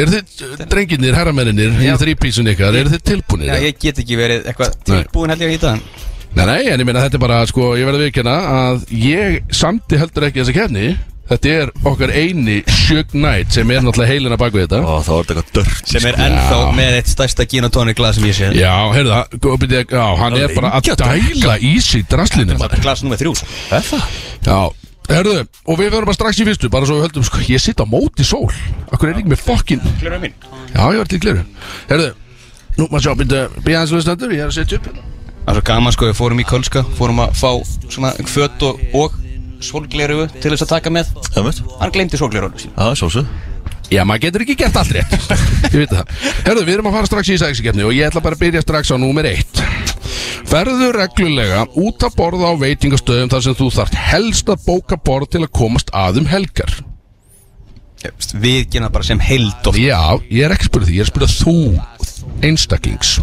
Speaker 1: Er þið uh, drenginir, herramenninir Í þrýpísun ykkar, er þið tilbúinir
Speaker 2: Já,
Speaker 1: eða?
Speaker 2: ég get ekki verið eitthvað
Speaker 1: Nei.
Speaker 2: tilbúin held ég að hýta hann
Speaker 1: Nei, nei, en ég meina þetta er bara sko Ég verði viðkjöna að ég samti heldur ekki þessa kefni Þetta er okkar eini Shug Knight sem er náttúrulega heilina bak við þetta
Speaker 3: Ó, það var þetta eitthvað dörrt
Speaker 2: Sem er ennþá með eitt stærsta gin og tónik glas sem ég sé
Speaker 1: Já, heyrðu það, gó- byrju, já, hann er bara að dæla í sig draslinu
Speaker 2: Bara Glas nummer þrjú sko.
Speaker 3: Er það?
Speaker 1: Já, herðu, og við verðum bara strax í fyrstu Bara svo við höldum, sko, ég sitt á móti sól Akkur er ekki með fokkin
Speaker 2: Glerum mín
Speaker 1: Já, ég var til gleru Herðu, nú maður sjá, byrja, byrja hans við stendur, ég er að setja upp hérna.
Speaker 2: Það er svo gaman sko, við fórum í Kölska, fórum að fá svona fött og, og sólgleru til þess að taka með.
Speaker 3: Það veit
Speaker 2: Hann glemdi sólgleru sín.
Speaker 3: Já, sjálfsög
Speaker 1: Já, maður getur ekki gert allt rétt Ég veit það Herðu, við erum að fara strax í sæksikefni og ég ætla bara að byrja strax á númer eitt Ferðu reglulega út að borða á veitingastöðum þar sem þú þart helst að bóka borð til að komast að um helgar
Speaker 2: Við genna bara sem heild og
Speaker 1: Já, ég er ekki að spyrja því, ég er að spyrja þú einstakings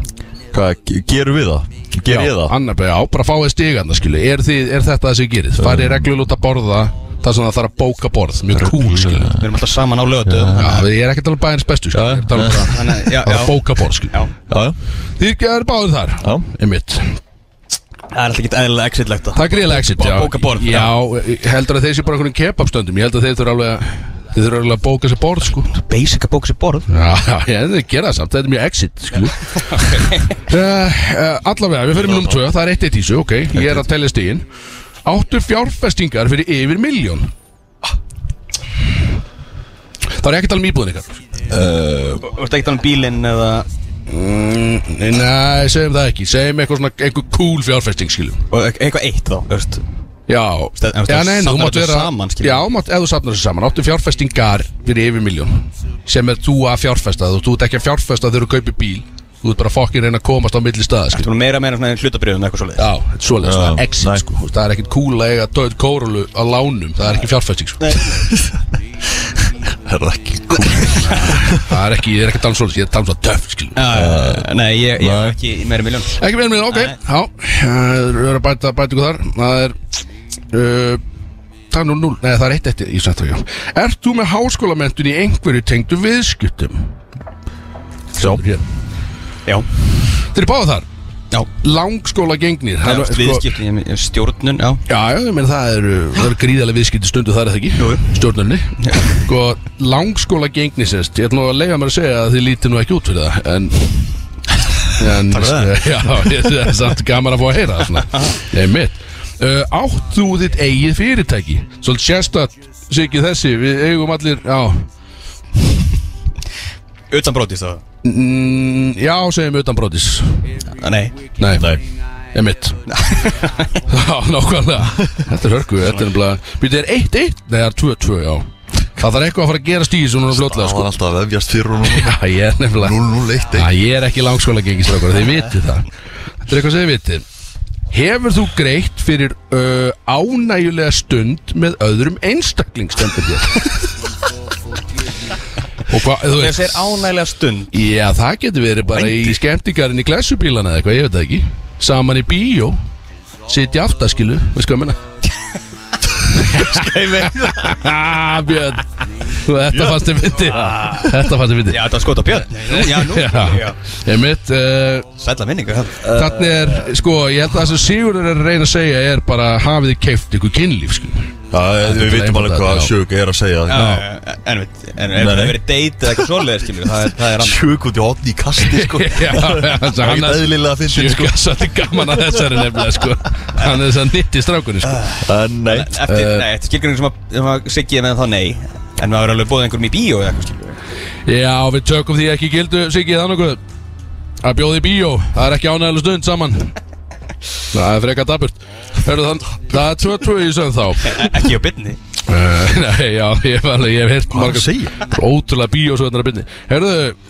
Speaker 3: Hvað, ge- gerum við það? Ger ég það?
Speaker 1: Annar, já, bara fáið stigana, skilu er, þið, er þetta þessi gerið? Farið reglulega út að borða þar sem það þarf að bóka borð Mjög cool, skilu
Speaker 2: við erum alltaf saman á lögatu.
Speaker 1: Já, ég er ekki að tala um bæðins bestu sko. Ég er að tala um bara-
Speaker 2: Þannig, að- já,
Speaker 1: bara
Speaker 2: já.
Speaker 1: bókaborð sko.
Speaker 2: Já.
Speaker 3: Já, já
Speaker 1: Þið eru báðir þar
Speaker 3: Já.
Speaker 1: Einmitt.
Speaker 2: Það er alltaf ekki eðlilega exitlegt að.
Speaker 1: Það er greiðlega exit já.
Speaker 2: Bókaborð,
Speaker 1: Já, ég heldur að þeir séu bara einhverjum kebabstöndum Ég heldur að þeir þurfa alveg að Þeir þurfa alveg að bóka sér borð sko
Speaker 2: Basic að bóka sér borð.
Speaker 1: Já, já, ég þeir gera það samt, þetta er mjög exit sko uh, uh, Allavega, við fyrir mjög um tvö, það er eitt eitt í þessu, ok Ég er að telja stigin Áttu fjárfestingar fyrir yfir miljón Það er ekki að tala um íbúðin ykkar
Speaker 2: Þú veist ekki tala um bílinn eða... Mm,
Speaker 1: Nei, Nei, segjum það ekki Segjum eitthvað svona, eitthvað cool fjárfesting skilum
Speaker 2: og e- Eitthvað eitt þá, veist.
Speaker 1: Já,
Speaker 2: Ste- en þú
Speaker 1: já, nei, nei, þú
Speaker 2: safnar
Speaker 1: mátt
Speaker 2: þessu
Speaker 1: vera
Speaker 2: saman, skilur.
Speaker 1: Já, þú mátt, ef þú safnar þessu saman Áttu fjárfestingar fyrir yfir miljón Sem er þú að fjárfesta Þú þú ert ekki að fjárfesta þegar þú kaupir bíl Þú ert bara fokkin reyna að komast á milli staða skilur.
Speaker 2: Þú erum meira meira svona hlutabriðum eitthvað svoleiðis.
Speaker 1: Já, þetta er svoleiðis,
Speaker 3: Já,
Speaker 1: það er exit
Speaker 3: nei.
Speaker 1: sko Þú veist, Það er ekkit cool að eiga döð kórulu á lánum Það er ekki fjárfesting sko
Speaker 3: Það er ekki
Speaker 1: Það er ekki, ég er ekki að tala um svoleiðis Ég er að tala um svo töff, skilur
Speaker 2: Já, já, já. Nei, ég, ég er
Speaker 3: Nei.
Speaker 2: ekki í meira miljón.
Speaker 1: Ekki meira meira, ok
Speaker 2: Nei.
Speaker 1: Já, það er að bæta, bæta ykkur þar Það er uh, Það er nú núl, nei það er eitt eftir í sættu já Ert þú með háskólamentun í einhverju tengdu viðskiptum? Já Þeir
Speaker 2: Já.
Speaker 1: eru báða þar sko-
Speaker 2: Já.
Speaker 1: Langskóla gengnir
Speaker 2: Það er viðskipti, ég- ég- stjórnun, já.
Speaker 1: Já, já, ég meina það eru, það eru gríðarlega viðskipti stundu þar er það ekki
Speaker 2: Jú, jú.
Speaker 1: Stjórnunni
Speaker 2: Já.
Speaker 1: Sko, langskóla gengni sérst Ég ætla nú að leiða mér að segja að þið lítið nú ekki út fyrir það En En
Speaker 3: Takk fyrir það.
Speaker 1: Já, ég- það er samt gaman að fá að heyra það svona Ég mitt uh, Átt þú þitt eigið fyrirtæki? Svolítið sérstætt Siggi þessi, við eigum allir Já,
Speaker 2: Utan brótis þá.
Speaker 1: mm, já segjum utan brotis
Speaker 2: Nei.
Speaker 1: Nei, Nei. Ég mitt Já, nákvæmlega Þetta er hörku, þetta er nefnilega Býtið er 1-1? Nei, það er 2-2, já Það þarf eitthvað að fara að gera stíð sem hún er fljótlega
Speaker 3: Það
Speaker 1: sko.
Speaker 3: var alltaf að vefjast fyrir hún
Speaker 1: Já, ég er nefnilega
Speaker 3: 0-0-1
Speaker 1: Já, ég er ekki langskóla gengistrákur, þið vitið það Þetta er eitthvað sem þið vitið Hefur þú greitt fyrir uh, ánægjulega stund með öðrum einstaklingsstendur hér? Og hvað, þú
Speaker 2: Þegar
Speaker 1: veist
Speaker 2: þeir ánægilega stund
Speaker 1: Já, það getur verið bara í skemmtingarinn í klessubílana eða eitthvað, ég veit það ekki Saman í bíó Sitja aftaskilu, veist hvað ég menna Skæmi Björn þú- Þetta fannst ég myndi Þetta fannst ég myndi
Speaker 2: Já, þetta var skot á Björn Já, nú
Speaker 1: Já, ég mitt uh,
Speaker 2: Sætla minningu það.
Speaker 1: Þannig er, sko, ég held að það sem Sigurður er að reyna að segja er bara hafið þið keift ykkur kynlíf, sko
Speaker 3: Já, við vitum alveg hvað
Speaker 1: Já.
Speaker 3: sjög er að segja
Speaker 2: Já, Eh, En við En ef
Speaker 3: Nei,
Speaker 2: það
Speaker 3: nei.
Speaker 2: verið date eða eitthvað svoleiðið skilur Það er- það er annað
Speaker 3: Sjög út í hotni í kasti sko
Speaker 1: Já,
Speaker 3: Það er ekki eðlilega að
Speaker 1: Ég
Speaker 3: finna
Speaker 1: sko,
Speaker 3: sko
Speaker 1: það er gaman að þessari nefnilega, sko Hann er þess að nitti strákunni, sko
Speaker 3: En nei
Speaker 2: Eftir, nei, eftir skilgrinning sem að, sem að siggiði með þá nei En maður er alveg bóðið einhverjum í bíó eða eitthvað skilur
Speaker 1: Já, við tökum því ekki gildu, Siggi, það nokkuð Að bjóði bíó, það er ekki ánægileg stund saman Það er freka daburt Hörðu þann, það er 2-2 í sögum þá
Speaker 2: E- Ekki á byrni
Speaker 1: Eh, Nei, já, ég, var alveg, ég hef heyrt
Speaker 3: Hvað er að
Speaker 1: margar
Speaker 3: segja?
Speaker 1: Ótrúlega bíósöðnar að byrni Herðu,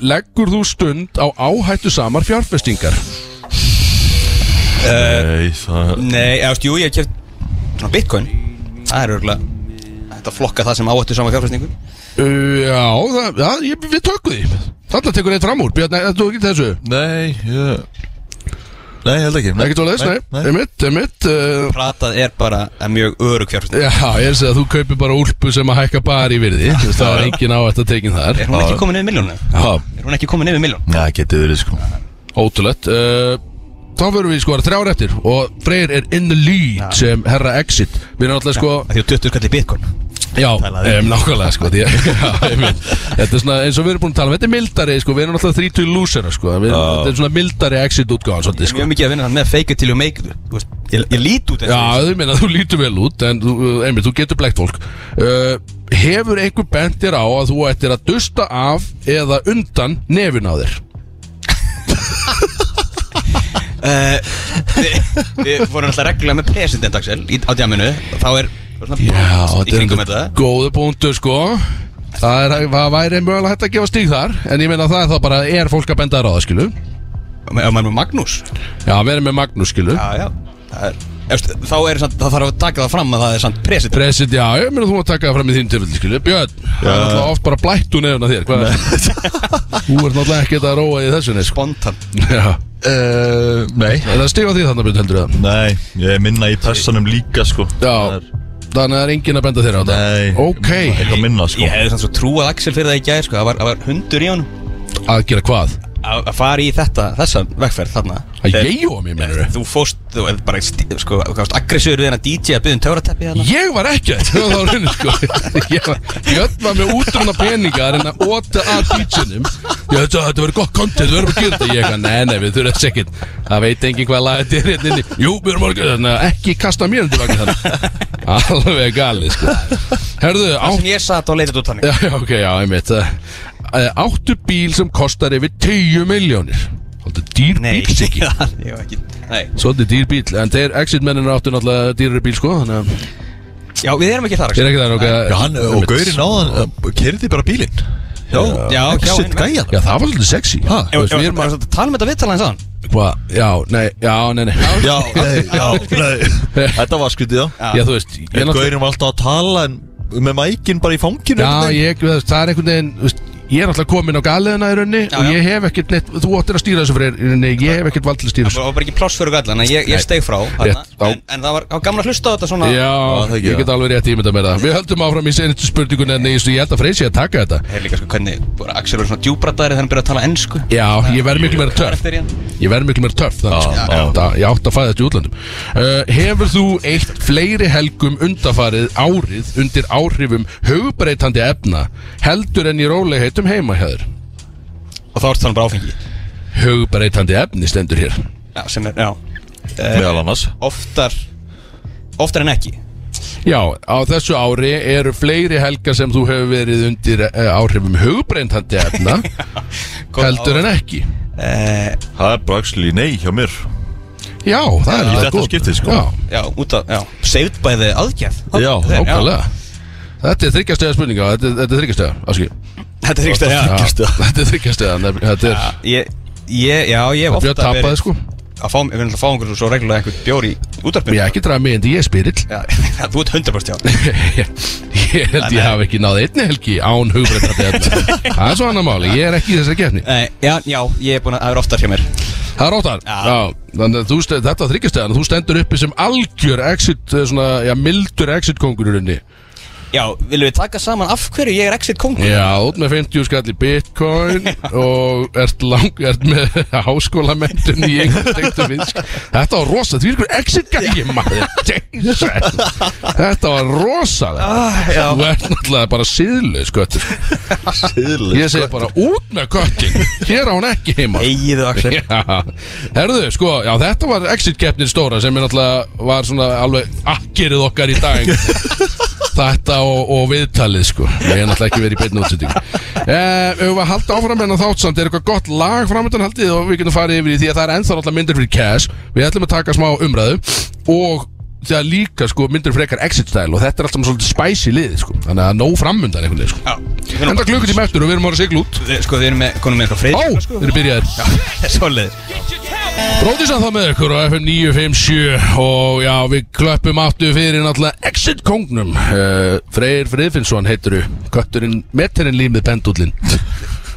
Speaker 1: leggur þú stund á áhættu samar fjárfestingar?
Speaker 3: Nei, það
Speaker 2: Nei, eða stjú, ég hef keft Svona bitcoin Það er örgulega Þetta flokka það sem áættu saman fjárfæsningu
Speaker 1: Uh, já, það, já ég, við tökum því Þarna tekur eitt fram úr, Björn, nei, þú ekki þessu
Speaker 3: Nei, ég Nei, ég held ekki
Speaker 1: Ekki tólaðis, nei, nei.
Speaker 3: nei.
Speaker 1: einmitt, einmitt uh,
Speaker 2: Pratað er bara er mjög örug fjárfæsningu
Speaker 1: Já, ég er að segja að þú kaupir bara úlpu sem að hækka bara í virði Þú veist, Það er engin áhætt að tekin þar
Speaker 2: Er hún ekki komin yfir miljónu?
Speaker 1: Já,
Speaker 2: Er hún ekki komin yfir miljón?
Speaker 3: Já, getið verið sko
Speaker 1: Ótrúlegt uh, Þá verðum við sko að þrjár eftir Og Freyr er in the lead sem herra exit Við erum alltaf sko
Speaker 2: Því að 20 kallir bitcoin
Speaker 1: Já, um, nákvæmlega sko því, já, einmitt. Þetta er svona eins og við erum búin að tala um Þetta er mildari sko, við erum alltaf 30 lúsera sko við, Þetta er svona mildari exit útgáðan svolítið sko
Speaker 2: Mjög mikið að vinna það með fake it till you make it Þú veist, Ég, ég lít út eins og
Speaker 1: Já, þú meina, þú lítur vel út En þú, einmitt, þú getur blekt fólk uh, Hefur einhver bent þér á að þú ættir að dusta af Eða undan nefin á þér
Speaker 2: Við við vorum alltaf reglulega með president Axel í, á djaminu Þá er svona
Speaker 1: Já,
Speaker 2: í kringum þetta
Speaker 1: góðu punktu sko Það, er, það væri mögulega hægt að gefa stík þar En ég meina það er þá bara Er fólk að benda þér á það skilu
Speaker 2: Og ma- og maður er með Magnús
Speaker 1: Já, við erum með Magnús skilu
Speaker 2: Já, já Það er, eftir, þá er samt, það þarf að taka það fram að það er samt president
Speaker 1: Presid, já, ég meina þú að taka það fram í þín tilfelli skilu Björn, það er náttúrulega oft bara blættu nefna þér Hvað er það? Þú ert náttúrulega ekkert að róa í þessu sko. nesk
Speaker 2: Spontan
Speaker 1: Já,
Speaker 3: uh, Nei
Speaker 1: er það stíg á því þannig að byrja heldur það
Speaker 3: Nei, ég er minna í personum líka sko Það
Speaker 1: Já,
Speaker 3: er-
Speaker 1: þannig að það er enginn að benda þér á það
Speaker 3: Nei
Speaker 1: Ok,
Speaker 3: Eitthvað minna sko
Speaker 2: Ég hefði samt svo trúað Axel fyrir það í gæð sko. það, var- það var hundur í honum
Speaker 1: að gera hvað?
Speaker 2: Að að fara í þetta, þessa vegferð þarna
Speaker 1: Að
Speaker 2: Þegar-
Speaker 1: ég og mér mennur
Speaker 2: Þú fóst, þú er bara stí- sko, aggressíður við hennar DJ að byggja um töfrateppi þarna
Speaker 1: Ég var ekki að það var raunin sko Ég var, Björn var með útrunna peninga að reyna að óta að DJ-num Ég veit að þetta verður gott content, við verðum að gera þetta Ég eitthvað, nei, nei, við þurfum þess ekkert Það veit engin hvað laga þetta er hérna inni Jú, við erum orðið, þannig að ekki kasta mér undir vagn þannig Alveg gali sko Herðu, á,
Speaker 2: Það sem ég satt og leitið út þannig
Speaker 1: já, já, ok, já, ég veit Áttu bíl sem kostar yfir 10 miljónir Þetta dýr
Speaker 2: Nei,
Speaker 1: bíl
Speaker 2: ekki það Ég var ekki Nei
Speaker 1: Svolítið dýr bíl, en þeir exit mennina áttu náttúrulega dýrari bíl sko Þannig að
Speaker 2: Já, við erum ekki þar
Speaker 1: ég er ekki það ok
Speaker 3: Já, hann og Gaurin áðan Kerði eh, bara bílinn Já,
Speaker 2: já,
Speaker 3: ekki
Speaker 2: já,
Speaker 3: sitt
Speaker 2: einmitt.
Speaker 3: gæja
Speaker 1: Já, það var svolítið sexy
Speaker 3: Ha?
Speaker 1: Þú veist,
Speaker 2: Við
Speaker 1: við
Speaker 2: erum
Speaker 1: erum að
Speaker 2: að tala um þetta viðtala eins aðan
Speaker 1: Hvað? Já, nei, já, nei, nei
Speaker 3: Já, nei, já, nei Þetta var skrítið, já
Speaker 1: Já, þú veist ég
Speaker 3: En
Speaker 1: náttúrulega-
Speaker 3: Gaurin var alltaf að tala en með mækin bara í fanginu
Speaker 1: Já, ég, þú veist, það er einhvern veginn þú veist, Ég er alltaf komin á galiðina í raunni Og
Speaker 2: já.
Speaker 1: ég hef ekkert neitt Þú áttir að stýra þessu fyrir í rauninni Ég hef ekkert vald til að stýra
Speaker 2: Það
Speaker 1: þessu
Speaker 2: var bara ekki pláss fyrir gallan en ég, ég
Speaker 1: Nei.
Speaker 2: steig frá
Speaker 1: Rétt, já.
Speaker 2: hana, en, en það var, það var gamla að hlusta á þetta svona
Speaker 1: Já,
Speaker 3: það ekki,
Speaker 1: ég
Speaker 3: já.
Speaker 1: get alveg rétt ímynda með það Við höldum áfram í senustu spurningun En ég ég held að freysi að taka þetta
Speaker 2: Ég er líka sko hvernig bara Axel verður svona djúbratari þegar hann byrjar að tala ennsku
Speaker 1: Já, ég verð miklu meira
Speaker 2: Hvað er
Speaker 1: töff
Speaker 2: eftir í hann?
Speaker 1: Ég verð miklu meira töff þannig sko. Það- Ég átt að fæða þetta í útlandum uh, Hefur þú eitt fleiri helgum undafarið árið undir áhrifum hugbreytandi efna heldur en í rólegheitum heimahæður
Speaker 2: Og þá ertu þannig bara áfengi
Speaker 1: hugbreytandi efni stendur hér
Speaker 2: Já, sem er, já
Speaker 3: Meðal annars
Speaker 2: Oftar Oftar en ekki
Speaker 1: Já, á þessu ári eru fleiri helgar sem þú hefur verið undir eh, áhrifum hugbreytandi efna heldur en ekki
Speaker 2: Eh,
Speaker 3: Það er bara axli nei hjá mér
Speaker 1: Já, það er
Speaker 3: Í
Speaker 1: alveg
Speaker 3: þetta
Speaker 1: gott.
Speaker 3: skiptið, sko.
Speaker 1: Já,
Speaker 2: Já, út af, já Saved by the aðgjaf
Speaker 3: Já,
Speaker 1: ákvæðlega Þetta er þryggjastega spurninga Þetta, þetta er þryggjastega, afskil
Speaker 2: Þetta er ykkur
Speaker 1: Já,
Speaker 2: stæð
Speaker 1: Þetta er þryggjastega Þetta er
Speaker 2: Ég, ég, já, ég hef
Speaker 1: Björn
Speaker 2: ofta
Speaker 1: tapaði sko
Speaker 2: að fá, við erum að fá einhverjum svo reglulega einhvern bjór í útarpinu
Speaker 1: Ég er ekki draga mig en ég er spyrill
Speaker 2: Já, þú ert hundarbröst, já
Speaker 1: Ég held ég
Speaker 2: Nei.
Speaker 1: hafi ekki náð einni helgi án hugbreyta Það er svo annar máli, ég er ekki í þessari gefni
Speaker 2: Nei, Eh, já, já, ég er búin að, það er oftar hjá mér
Speaker 1: Það er óttar
Speaker 2: Já.
Speaker 1: Þannig að þú stendur, þetta var þryggjastega Þú stendur uppi sem algjör exit eh, svona, Já, mildur exit kongururinni
Speaker 2: Já, viljum við taka saman af hverju ég er exit kongur?
Speaker 1: Já, út með 50 skall í bitcoin og ert lang, ert með háskólamentun í einhvern tengdu fisk Þetta var rosa, því ykkur exit gæði maður Jesus. Þetta var rosa
Speaker 2: Ah, já.
Speaker 1: Þú ert náttúrulega bara síðlu sköttur
Speaker 3: Siðlega
Speaker 1: Ég segi bara út með köttin Hér á hún ekki heima
Speaker 2: Egiðu axlir
Speaker 1: Já, herðu, sko, já, þetta var exit-keppnin stóra sem er náttúrulega var svona alveg akkerið okkar í dag Þetta og, og viðtalið, sko Ég er náttúrulega ekki verið í beinni útsendingu eh, Ef við að halda áfram en að þátt samt er eitthvað gott lag framöndan haldið og við getum farið yfir í því að það er ennþá náttúrulega myndir fyrir cash Við ætlum að taka smá umræðu og það er líka, sko, myndir frekar exit-style og þetta er alltaf svolítið spicy liðið, sko Þannig að nóg framundan einhvern veginn, sko
Speaker 2: Já, við erum
Speaker 1: Enda klukkutíma eftir og við erum að vera sigl út
Speaker 2: Við- Sko, við erum sko. með, konum með
Speaker 1: Ó,
Speaker 2: eitthvað freyð
Speaker 1: þeir eru byrjaðir
Speaker 2: Svoleiðir
Speaker 1: Bróðisann þá með ykkur á FM 957 og já, við klöppum áttu fyrir náttúrulega Exit Kongnum uh, Freyr Friðfinnsson heitir þú Kötturinn, metterinn límið pendullin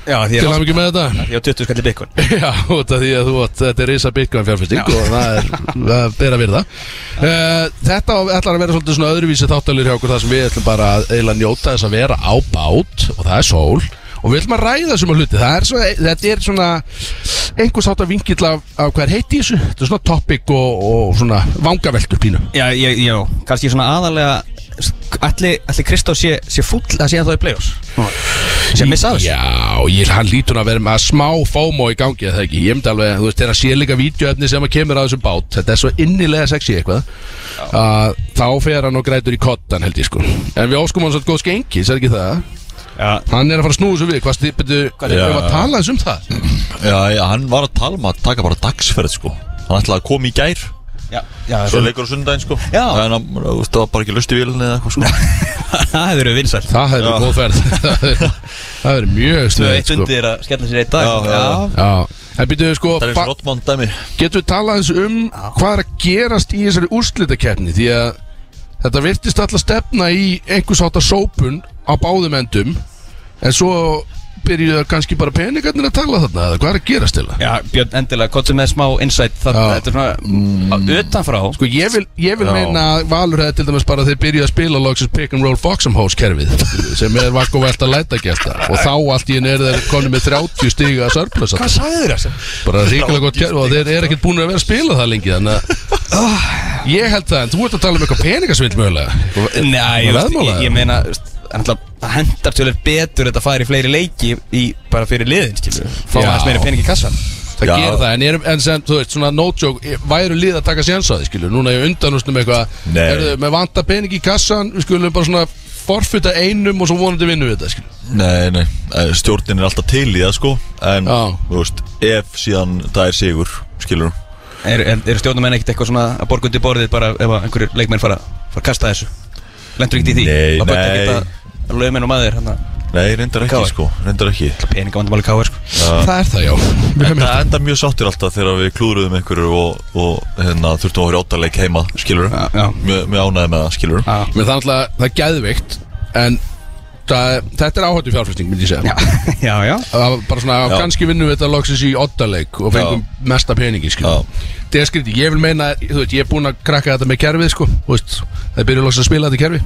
Speaker 2: Já, því
Speaker 1: Til
Speaker 2: ég
Speaker 1: að mikið með þetta
Speaker 2: er á 20 skalli byggun
Speaker 1: Já, út af því að þú átt, þetta er risa bitcoin fjárfesting og það er, það er að verða uh, Þetta ætlar að vera svolítið svona öðruvísi þáttalur hjá okkur þar sem við ætlum bara að eiginlega njóta þess að vera á bát og það er sól og við ætlum að ræða sem hluti það er svona, þetta er svona einhvers átt að vingill af, af hvað er heiti í þessu þetta er svona topic og, og svona vangaveltur pínu
Speaker 2: Já, já, já, kannski svona aðalega Ætli, ætli Kristóf sé, sé fúll að sé að það er play-offs Sem missa af þessu
Speaker 1: Já, ég, hann lítur að vera með að smá fómo í gangi eða ekki, ég myndi alveg, þú veist, þegar sé líka vídeoefni sem að kemur að þessum bát, þetta er svo innilega sexy eitthvað að þá fer hann og grætur í kottan held ég sko en við óskum hann svolítið góð skengi, sér ekki það
Speaker 2: Já,
Speaker 1: hann er að fara að snúa þessu við, hvað stið, betur
Speaker 2: Hvað er-
Speaker 1: við að tala þessum það
Speaker 3: Já, já, hann var að tala um að taka bara dagsferð sko Hann ætlaði að koma í gær
Speaker 2: já, já
Speaker 3: Svo leikur á sundaginn sko
Speaker 2: Já.
Speaker 3: En hann, þú veist, það var bara ekki lust í vilni eða eitthvað sko
Speaker 2: Það hefur verið vinsæl
Speaker 1: það hefur
Speaker 3: Já.
Speaker 1: verið góð ferð það hefur- það hefur verið mjög
Speaker 2: Tvö
Speaker 1: snöð
Speaker 2: eitt
Speaker 1: sko.
Speaker 2: undir að skella sér eitt dag
Speaker 3: Já, já, já.
Speaker 1: Já, en býtum við sko
Speaker 3: Það er
Speaker 1: fa-
Speaker 3: eins Rottmann dæmi
Speaker 1: Getum við talað eins um hvað er að gerast í þessari úrslitakeppni því að þetta virtist alltaf stefna í einhvers átta sópun á báðum endum en svo byrjuðu kannski bara peningarnir að tala þarna eða hvað er að gerast til það?
Speaker 2: Já, Björn, endilega, kottum með smá insight þarna,
Speaker 1: Já.
Speaker 2: þetta er svona mm. utanfrá
Speaker 1: Sko ég vil, ég vil
Speaker 3: Já.
Speaker 1: meina að Valur hefði til dæmis bara þeir byrjuðu að spila loksins pick and roll Foxham House kerfið sem er vakku velt að læta gæsta og þá allt í henni er þeir konið með 30 stiga að surplus þarna.
Speaker 2: sagði þér þessu?
Speaker 1: bara ríkilega gott kerfi og þeir eru ekkert búin að vera að spila það lengi þannig að ég held það en þú ert að tala um eitthvað peningasvill mögulega
Speaker 2: Nei,
Speaker 1: Var
Speaker 2: þú veist,
Speaker 1: veðmálað,
Speaker 2: ég, ég
Speaker 1: eða?
Speaker 2: meina, þú veist, en alltaf, það hendar tjóðlega betur þetta fari í fleiri leiki í, bara fyrir liðin, skilur við. Fá
Speaker 1: Já.
Speaker 2: aðeins meira pening í kassan
Speaker 1: það
Speaker 3: Já.
Speaker 1: gera það en, er, en sem þú veist svona no joke væru lið að taka séns á því skilur núna ég undanustum um eitthvað
Speaker 3: Nei.
Speaker 1: eru með vanta pening í kassan við skulum bara svona forfutta einum og svo vonandi vinnum við þetta skilur
Speaker 3: Nei, nei, eh, stjórnin er alltaf til í það sko En,
Speaker 1: Já.
Speaker 3: þú veist, ef síðan það er sigur, skilur hún
Speaker 2: Eru er, er stjórnumenn ekkert eitthvað svona að borga undir borðið bara ef að einhverjir leikmenn fara, fara að kasta þessu? Lendur ekkert í því?
Speaker 3: Nei,
Speaker 2: Það bötta
Speaker 3: nei.
Speaker 2: ekkert að lögmenn og maður, hann að
Speaker 3: Nei, reyndar ekki
Speaker 2: Káir.
Speaker 3: sko, reyndar ekki
Speaker 2: peningavandamáli káir, sko.
Speaker 1: það er það já Við höfum
Speaker 3: Þetta
Speaker 1: þetta.
Speaker 3: endar mjög sáttir alltaf þegar við klúðruðum einhverju og, og hérna, þurftum að horfa áttaleg heima, skilur
Speaker 2: Já, já.
Speaker 3: Mjög mjög ánægði með það, skilur
Speaker 2: Já.
Speaker 1: Mér það er alltaf það er gæðveikt en það, þetta er áhættu fjárfæsting myndi ég segja
Speaker 2: Já, já, já.
Speaker 1: Það var bara svona,
Speaker 3: Já.
Speaker 1: kannski vinnum við þetta loksins í oddaleik og fengum mesta peningi, skilur Það er skrítið, ég vil meina, þú veit, ég er búinn að krakka þetta með kerfið, sko, þú veist Það byrjuðu loksins að spila þetta kerfi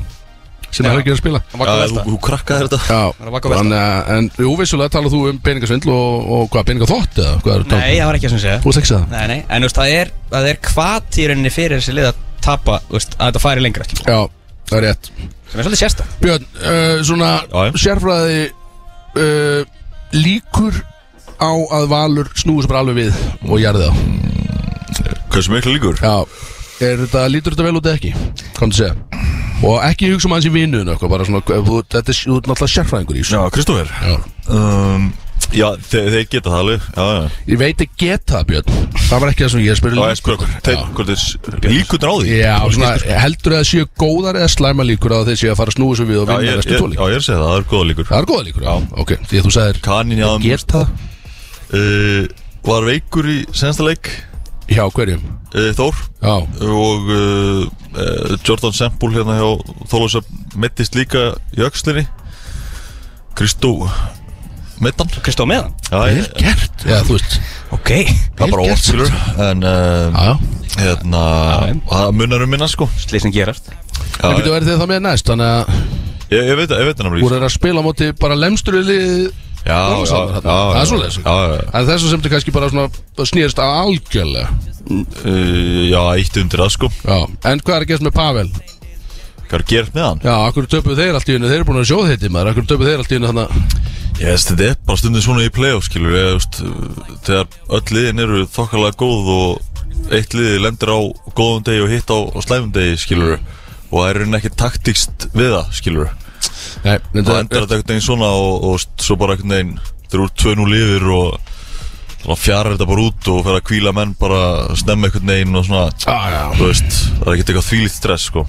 Speaker 1: sem
Speaker 2: Já.
Speaker 1: það er ekki að spila
Speaker 2: Það var
Speaker 3: Já,
Speaker 2: góð
Speaker 3: þú,
Speaker 2: velta.
Speaker 3: þú krakkaði þetta
Speaker 1: Já,
Speaker 2: var að vaka og velta.
Speaker 1: þannig að, en jú, vissulega talar þú um peningasvindl og, og hvað, peningaþvott eða hvað er um?
Speaker 2: Nei, það var ekki að sem segja.
Speaker 1: Þú veist ekki það?
Speaker 2: Nei, nei, en þú veist, það er, það er hvað í rauninni fyrir þessi lið að tapa, þú veist, að þetta fari lengra, skilur.
Speaker 1: Já, það er rétt
Speaker 2: sem er svolítið sérsta
Speaker 1: Björn, uh, svona
Speaker 3: Já, já.
Speaker 1: sérfræði uh, líkur á að Valur snúi sem bara alveg við og jarði þá
Speaker 3: Hversu miklu líkur?
Speaker 1: Já, er þetta, lítur þetta vel út eða ekki? Komdu að segja Og ekki hugsa um eh, hans í vinnuðinu eitthvað Bara svona, þú- þetta er þú ert náttúrulega sérfræðingur í þessu
Speaker 3: Já, Kristófer
Speaker 1: Já.
Speaker 3: um, Já, þeir, þeir geta það alveg Já, já
Speaker 1: Ég veit að geta það Björn Það var ekki það sem ég spyrir
Speaker 3: Já, ég spyrir okkur Þeir, hvort þeir líkundur á því
Speaker 1: Já, svona, heldur það að séu góðar eða slæma líkur á að þeir séu að fara að snúa svo við og
Speaker 3: Já,
Speaker 1: vinna
Speaker 3: ég,
Speaker 1: næstu
Speaker 3: ég,
Speaker 1: tvo
Speaker 3: já,
Speaker 1: líkur
Speaker 3: ég er að segja það, það er góða líkur
Speaker 1: Það er góða líkur, já, ok Því að þú sagðir
Speaker 3: Kanin í aðum
Speaker 1: Geta það?
Speaker 3: uh, Var veikur í sensta leik
Speaker 1: Já, hverjum?
Speaker 3: uh, Þór
Speaker 1: Já,
Speaker 3: Og uh, uh, Jordan Sempul hérna hjá Þólusa Mettist líka í öxlinni Kristó Mettan
Speaker 2: Kristó meðan
Speaker 3: Já,
Speaker 1: vel
Speaker 3: ég,
Speaker 1: gert Já, þú veist
Speaker 2: Ok
Speaker 3: það er bara
Speaker 1: vel gert.
Speaker 3: orðskilur En uh,
Speaker 1: Já,
Speaker 3: hérna Það munar um minna sko
Speaker 2: Sliðsinn gerast
Speaker 3: Já,
Speaker 1: það getur verið þegar það með næst Þannig að
Speaker 3: Ég, ég veit það, ég veit
Speaker 1: voru
Speaker 3: það náttúrulega
Speaker 1: þeir að spila á móti bara lemstur í liðið
Speaker 3: Já, já,
Speaker 1: Ólafssonar
Speaker 3: já,
Speaker 1: þarna. Það er svoleiðis.
Speaker 3: Já, já, já
Speaker 1: En þessum sem þetta kannski bara svona snýrst að algjörlega
Speaker 3: Uh, Já, eitt undir það sko
Speaker 1: Já, en hvað er að gerast með Pavel?
Speaker 3: Hvað er að gera með hann?
Speaker 1: Já, akkur töpuð þeir allt í hennu, þeir eru búin að sjóð heiti maður Akkur töpuð þeir allt í hennu þannig
Speaker 3: Ég veist, þetta er bara stundin svona í playoff, skilur ég, veist, uh, Þegar öll liðin eru þokkalega góð og eitt liði lendir á góðum degi og hitt á, á slæfum degi, skilur Og það er raunin ekki taktíkst við það, skilur
Speaker 1: Nei,
Speaker 3: Það
Speaker 1: þetta
Speaker 3: endur þetta einhvern veginn svona og, og st- svo bara einhvern veginn Þeir eru tvö nú lifir og svona fjarar þetta bara út og fer að kvíla menn bara snemma einhvern veginn og svona
Speaker 1: Já, já,
Speaker 3: Þú veist, það er ekki eitthvað þvílíkt stress, sko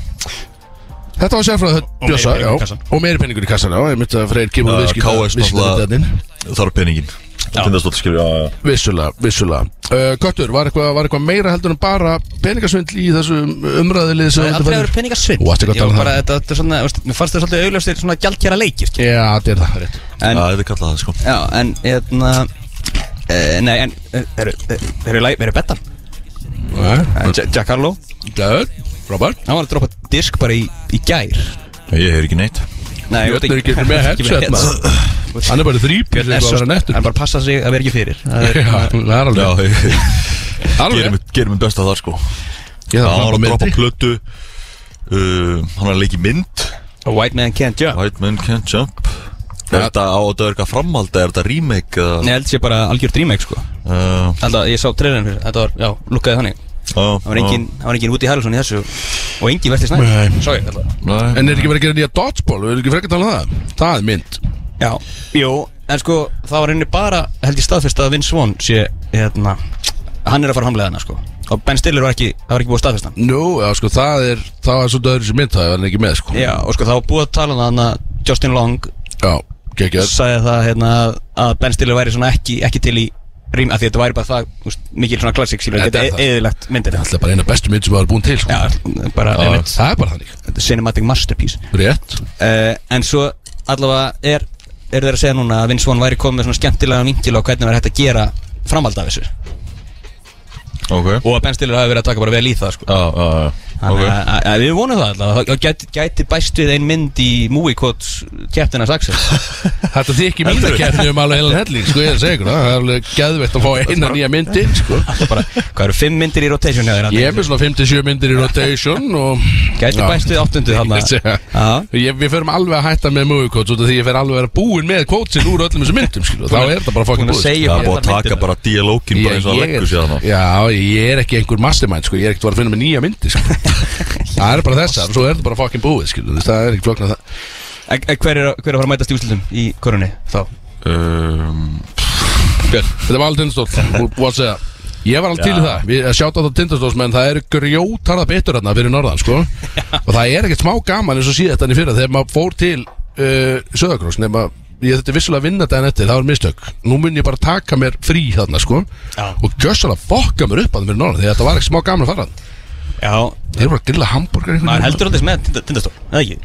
Speaker 1: Þetta var sérfræðið Bjössa
Speaker 2: peningur í
Speaker 1: já,
Speaker 2: kassann.
Speaker 1: og meiri penningur í kassan já, ég myndi að Freyr kemur
Speaker 3: Já,
Speaker 1: viðskipta
Speaker 3: KS náttúrulega-
Speaker 1: viðskiptadeildin.
Speaker 3: Það er peningin Tindastótt, skilur, já, já
Speaker 1: Vissulega, vissulega uh, Köttur, var eitthvað, var eitthvað meira heldur en bara peningasvindl í þessu umræðilið sem
Speaker 2: Það er
Speaker 1: þetta
Speaker 2: aldrei að
Speaker 1: verður?
Speaker 2: vera peningasvinn
Speaker 1: Þú varst ekki að tala um
Speaker 2: bara, þetta, þetta er svona, veist, mér fannst þetta svolítið augljóstir svona gjaldkjara leikir skilur.
Speaker 1: Já, þetta er það rétt
Speaker 2: En,
Speaker 3: Já, þetta er kallað það, sko
Speaker 2: já, en, hérna eh, Nei, en, þeir eru, þeir eru bettan
Speaker 1: Já,
Speaker 2: Eh, Ja- Jack Harlow,
Speaker 1: Gæður, Robert
Speaker 2: hann var að droppa disk bara í, í gær
Speaker 3: Ég heyr ekki neitt
Speaker 2: Nei,
Speaker 1: Björn er ekki með headset maður. Hann er bara þrýpil
Speaker 2: Björn er
Speaker 1: Það
Speaker 2: svo,
Speaker 1: er nettur
Speaker 2: hann bara passa sig að vera ekki fyrir Það er-
Speaker 1: Já, það er
Speaker 3: Já,
Speaker 1: alveg
Speaker 3: ég,
Speaker 1: Alveg.
Speaker 3: gerum, mitt- gerum minn besta þar sko
Speaker 1: Ég þarf
Speaker 3: Já,
Speaker 1: að
Speaker 3: hann var
Speaker 1: fara
Speaker 3: að
Speaker 1: með
Speaker 3: droppa
Speaker 1: því.
Speaker 3: plötu uh, Hann var að leika í mynd
Speaker 2: A White man can't jump
Speaker 3: White Man Can't Jump
Speaker 1: Ja.
Speaker 3: Er þetta á þetta er eitthvað framhald Er þetta remake
Speaker 2: Nei,
Speaker 3: eða
Speaker 2: held sér bara algjör dreamhack sko
Speaker 3: uh,
Speaker 2: Alltaf, ég sá trailerinn fyrir, þetta var, já, lukkaði þannig Það var engin, það var engin Woody Harrelson í þessu Og engin Vesti Snæð
Speaker 1: Nei.
Speaker 2: Svo ég, alltaf
Speaker 3: Nei,
Speaker 1: En er ekki verið að gera nýja dodgeball Við erum ekki frekar að tala um það Það er mynd
Speaker 2: Já, jú, en sko, það var henni bara Held ég staðfest að Vince Vaughn sé, hérna Hann er að fara hamlega hana sko Og Ben Stiller var ekki, það var ekki búið að staðfesta hann
Speaker 1: Nú, já, sko, það er Það var svolítið öðru sem mynd Það er hann ekki með, sko
Speaker 2: Já, og sko, það var búið að tala um það hann að Justin Long
Speaker 1: Já, geggjör
Speaker 2: sagði það hérna að- að Ben Stiller væri svona ekki, ekki til í rým af því að þetta væri bara það úst, mikil svona klassik sílur
Speaker 1: Þetta
Speaker 2: þetta
Speaker 1: er
Speaker 2: er
Speaker 1: það.
Speaker 2: eðilegt myndina
Speaker 1: Það er bara eina bestu mynd sem það er búin til, sko
Speaker 2: já, bara
Speaker 1: Já,
Speaker 2: einmitt,
Speaker 1: Það er bara þannig
Speaker 2: þetta er cinematic masterpiece
Speaker 1: Rétt
Speaker 2: uh, en svo allavega er er þeir að segja núna að Vince Vaughn væri komið með svona skemmtilega vinkil á hvernig væri hægt að gera framhald af þessu
Speaker 3: ok Já,
Speaker 2: og að Ben Stiller hafi verið að taka bara vel í það sko.
Speaker 3: já, já
Speaker 2: Þannig
Speaker 3: Ok.
Speaker 2: að- að- að við vonum það allavega það gæti, gæti bæst við ein mynd í movie quote kjæftina saxi
Speaker 1: Þetta þykir mín að kemni um alveg heilan helling Sko ég er að segja ykkur það Það er alveg geðveitt að fá eina nýja myndi sko.
Speaker 2: bara, hvað eru fimm myndir í rotation hjá þér Andri?
Speaker 1: Ég er með svona 57 myndir í rotation og...
Speaker 2: Gæti
Speaker 1: Já.
Speaker 2: bæst við áttundu
Speaker 1: Ég
Speaker 2: þarna.
Speaker 1: er að segja.
Speaker 2: Já.
Speaker 1: Ég- Við förum alveg að hætta með movie quotes út af Því ég fer alveg að vera búinn með quotesin úr öllum þessum myndum skilu. Þá er þetta bara
Speaker 2: Búin
Speaker 1: fokkin
Speaker 2: að segja
Speaker 3: Það er
Speaker 2: mér
Speaker 3: búið að
Speaker 2: allar
Speaker 3: taka
Speaker 2: myndirnar.
Speaker 3: bara dialógin bara eins og hann leggur sér þannig
Speaker 1: Já, ég er ekki einhver mastermind sko. Ég er ekkert að fara að finna með nýja myndi sko. Það er bara þessa Svo er þetta bara fokkin búið skilu. Þú veist, Það er ekki flokna það
Speaker 2: En, en hver, er, að- hver er að fara að mætast í úslutum í korunni þá?
Speaker 3: um,
Speaker 1: Björn, þetta var alveg tindastól What's that? Ég var alveg til í það, við eh, sjátt á það tindastóls menn það eru grjótarða betur hérna fyrir norðan sko. og það er ekkert smá gaman eins og síðast þannig fyrir þegar maður fór til uh, Söðakross nema ég þetta vissulega að vinna daginn eftir, það var mistök nú mun ég bara taka mér frí þarna sko,
Speaker 2: Já.
Speaker 1: og gjössalega fokka mér upp að það fyrir norðan því að þetta var ekkert smá gaman að fara þarna.
Speaker 2: Já,
Speaker 1: þeir eru bara að grilla hambúrgar einhvern
Speaker 2: maður
Speaker 1: veginn.
Speaker 2: heldur alltaf með tinda- tindastól, eða ekki?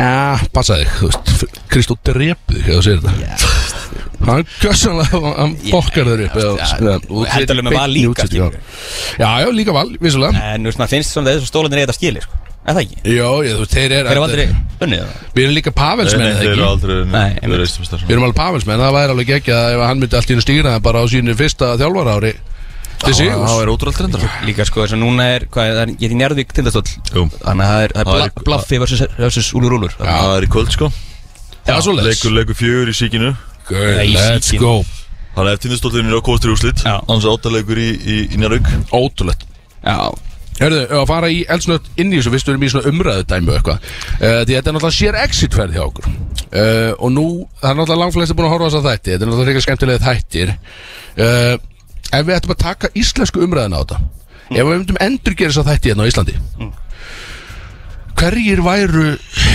Speaker 1: Já, passa þig, þú veist Kristó drepið, hvað þú segir þetta Hann gjössanlega, hann fokkar þeir upp eða-
Speaker 2: já,
Speaker 1: eða-
Speaker 2: og
Speaker 1: og
Speaker 2: heldur
Speaker 1: setur
Speaker 2: alveg með
Speaker 1: beint
Speaker 2: Val
Speaker 1: í
Speaker 2: líka,
Speaker 1: útsendingu, já. Já, já, líka val, vissulega
Speaker 2: En þú veist, maður finnst svona þessu stólanir eða skili, sko Eða ekki?
Speaker 1: Já, ég, þú veist, þeir
Speaker 2: Hver
Speaker 1: eru
Speaker 2: er aldrei unnið það?
Speaker 1: Við erum líka
Speaker 3: Nei,
Speaker 1: Pavelsmenn,
Speaker 3: nei,
Speaker 1: eða
Speaker 3: þeir eru
Speaker 1: ekki?
Speaker 3: aldrei
Speaker 2: Nei,
Speaker 3: Þeir eru
Speaker 2: einmitt.
Speaker 3: eistum
Speaker 1: Við erum alveg Pavelsmenn, það væri alveg ekki að ef hann myndi allt í hennu stýra það bara á sínu fyrsta þjálfara ári til sigurs
Speaker 3: Það er ótrúlega trendar
Speaker 2: Líka sko, þess að núna er, hvað er, það er- ég er í njárðvík tindastól
Speaker 3: Jú.
Speaker 2: Þannig að það er, það er
Speaker 3: Það
Speaker 2: bla,
Speaker 3: er-
Speaker 2: blaffi versus, versus úlur úlur
Speaker 3: Það er í kvöld sko
Speaker 1: Já, svo les
Speaker 3: Leikur, leikur fjögur í síkinu
Speaker 2: Nei,
Speaker 1: Let's
Speaker 2: síkin.
Speaker 1: go
Speaker 3: Þannig að tindastóllin er á kostur úrslit
Speaker 2: Já.
Speaker 3: Annars áttaleikur í, í, í Njárvík
Speaker 1: Ótrúlegt
Speaker 2: Já,
Speaker 1: Hörðu, að fara eh, í eldsnött inn í þessu, fyrst við erum í svona umræðu dæmi og eitthvað uh, Því þetta er náttúrulega sér exitferð hjá okkur uh, og nú, það er náttúrulega langflestir búin að horfa á þess að þætti, þetta er náttúrulega reyka skemmtilega þættir uh, ef við ættum að taka íslensku umræðina á þetta ef við myndum endurgera þess að þætti hérna á Íslandi hverjir væru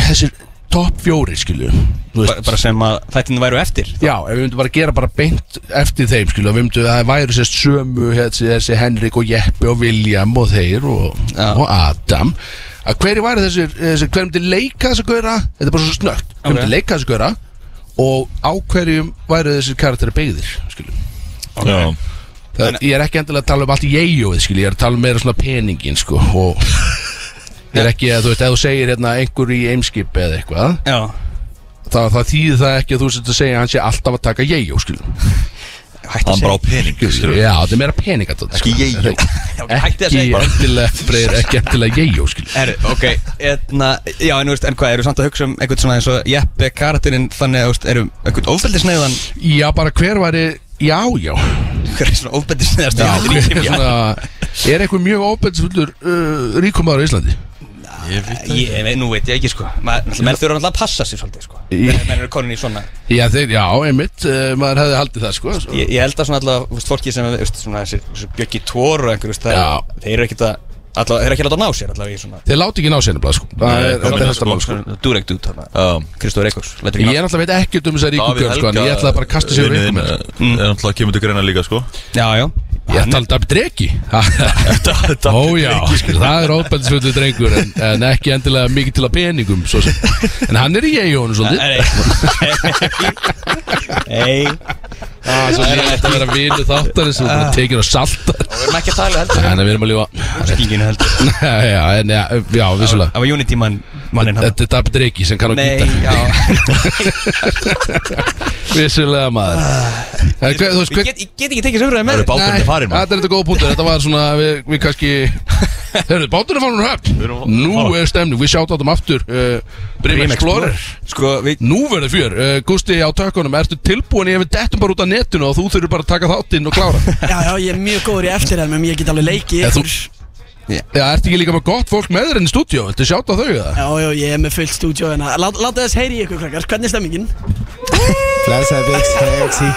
Speaker 1: þessir topp fjóri skilju
Speaker 2: bara, bara sem að þættin væru eftir
Speaker 1: Já, ef við myndum bara gera bara beint eftir þeim skilju, við myndum að það væri sérst sömu þessi, þessi Henrik og Jeppi og William og þeir og,
Speaker 2: Já.
Speaker 1: og Adam að hverju væri þessir, þessir hver myndi leika þess að gauðra, þetta er bara svo snögt hver
Speaker 2: Ok.
Speaker 1: myndi leika þess að gauðra og á hverjum væri þessir karakteri beigðir skilju
Speaker 3: Já,
Speaker 1: Það, ég er ekki endilega að tala um allt í jeijóið skil, ég er að tala um meira svona peningin sko og ég er ekki að þú veist, ef þú segir hérna einhver í eimskip eða eitthvað,
Speaker 2: Já
Speaker 1: það, það þýðir það ekki að þú sért að segja að hann sé alltaf að taka jeijó skil,
Speaker 2: Hætti að
Speaker 3: hann bara á
Speaker 2: segja
Speaker 3: pening skilur
Speaker 1: já, það er meira peningat
Speaker 3: Ekki jeió.
Speaker 2: Hætti
Speaker 1: ekki
Speaker 2: að segja bara
Speaker 1: endilega breyr, ekki endilega jeijó skil,
Speaker 2: Herru, ok, etna, já, en, þú veist, en hvað, eru samt að hugsa um einhvern svona eins og Jeppe karakterinn þannig, að, þú veist, eru einhvern ofbeldisneiðan
Speaker 1: já bara hver væri já, já,
Speaker 2: hver er svona ofbeldisneiðast
Speaker 1: já hver, svona, er einhver mjög óbensfullur uh, ríkumæður í Íslandi
Speaker 2: Ég veit, nú veit ég ekki, sko Ma, náttúrulega, Menn þurfa náttúrulega að passa sér svolítið, sko
Speaker 1: Í-
Speaker 2: Menn menn eru konin í svona
Speaker 1: já, þeir, já, einmitt, uh, maður hefði haldið það sko,
Speaker 2: Ég, ég held að svona allavega, þú veist, fólki sem, þú veist, svona þessi, þessi bjöggi tór og einhver, þú veist, það
Speaker 1: Já.
Speaker 2: er- þeir eru ekkert að Allavega, þeir eru ekki að láta ná sér, allavega, í svona
Speaker 1: þeir láti ekki ná sér nefnilega sko, það er, það er þetta mál sko
Speaker 2: Durek dút, þarna
Speaker 3: Já.
Speaker 2: Kristóður Eikos, lætur
Speaker 1: Ég
Speaker 2: ekki ná
Speaker 1: er náttúrulega veit ekkert um þessar ríkum
Speaker 3: Davíð
Speaker 1: kjör sko, en ég ætlaði bara að kasta sér úr
Speaker 3: vinur
Speaker 1: ríkum
Speaker 3: þinn,
Speaker 1: kjör
Speaker 3: eh, er náttúrulega kemur til greina líka sko
Speaker 2: Já, já
Speaker 1: Mm. Ég ætlaði að David Dreki Ó já, sko, það er óbæltisfullu drengur en, en ekki endilega mikið til að peningum svo sem. En hann er í ég honum svolítið
Speaker 2: Nei
Speaker 1: Ah, Svo sem þetta vera vinu þáttar sem það tekir að salta
Speaker 2: Við erum ekki að tala heldur
Speaker 1: Þannig um að við erum að lífa
Speaker 2: Skinginu heldur
Speaker 1: Já, en já, já, vissulega
Speaker 2: Það var Unity mann, mannin hann
Speaker 1: Þetta er David Dreki sem kann að
Speaker 2: Nei,
Speaker 1: gíta
Speaker 2: já
Speaker 1: Vissulega maður En hver- Þú veist,
Speaker 2: Ég
Speaker 1: hver,
Speaker 2: get, ég get ekki tekið sömröðið með
Speaker 3: eru bátur
Speaker 1: Nei,
Speaker 3: báturinn er farinn, maður.
Speaker 1: Þetta er þetta góð punktur, þetta var svona við, við kannski Hörru, báturinn er farin úr höfn Nú er stemning, við sjátt átum aftur uh, Brim Explorer
Speaker 2: Sko, við
Speaker 1: Nú verður fjör, uh, Gusti á tökunum Ertu tilbúin ef við dettum bara út af netinu og þú þurfur bara að taka þáttinn og klára
Speaker 4: Já, já, ég er mjög góður í eftirhermum, ég get alveg leikið
Speaker 1: Eða þú-
Speaker 4: ykkur.
Speaker 1: Já, ertu ekki líka með gott fólk með þér enn í stúdíó Ertu sjátt á þau eða?
Speaker 4: Já, já, ég er með fullt stúdíó hérna Lá- Láta þess heyri í ykkur krakkar, hvernig er stemmingin?
Speaker 9: Blessaði Bix, hei Exi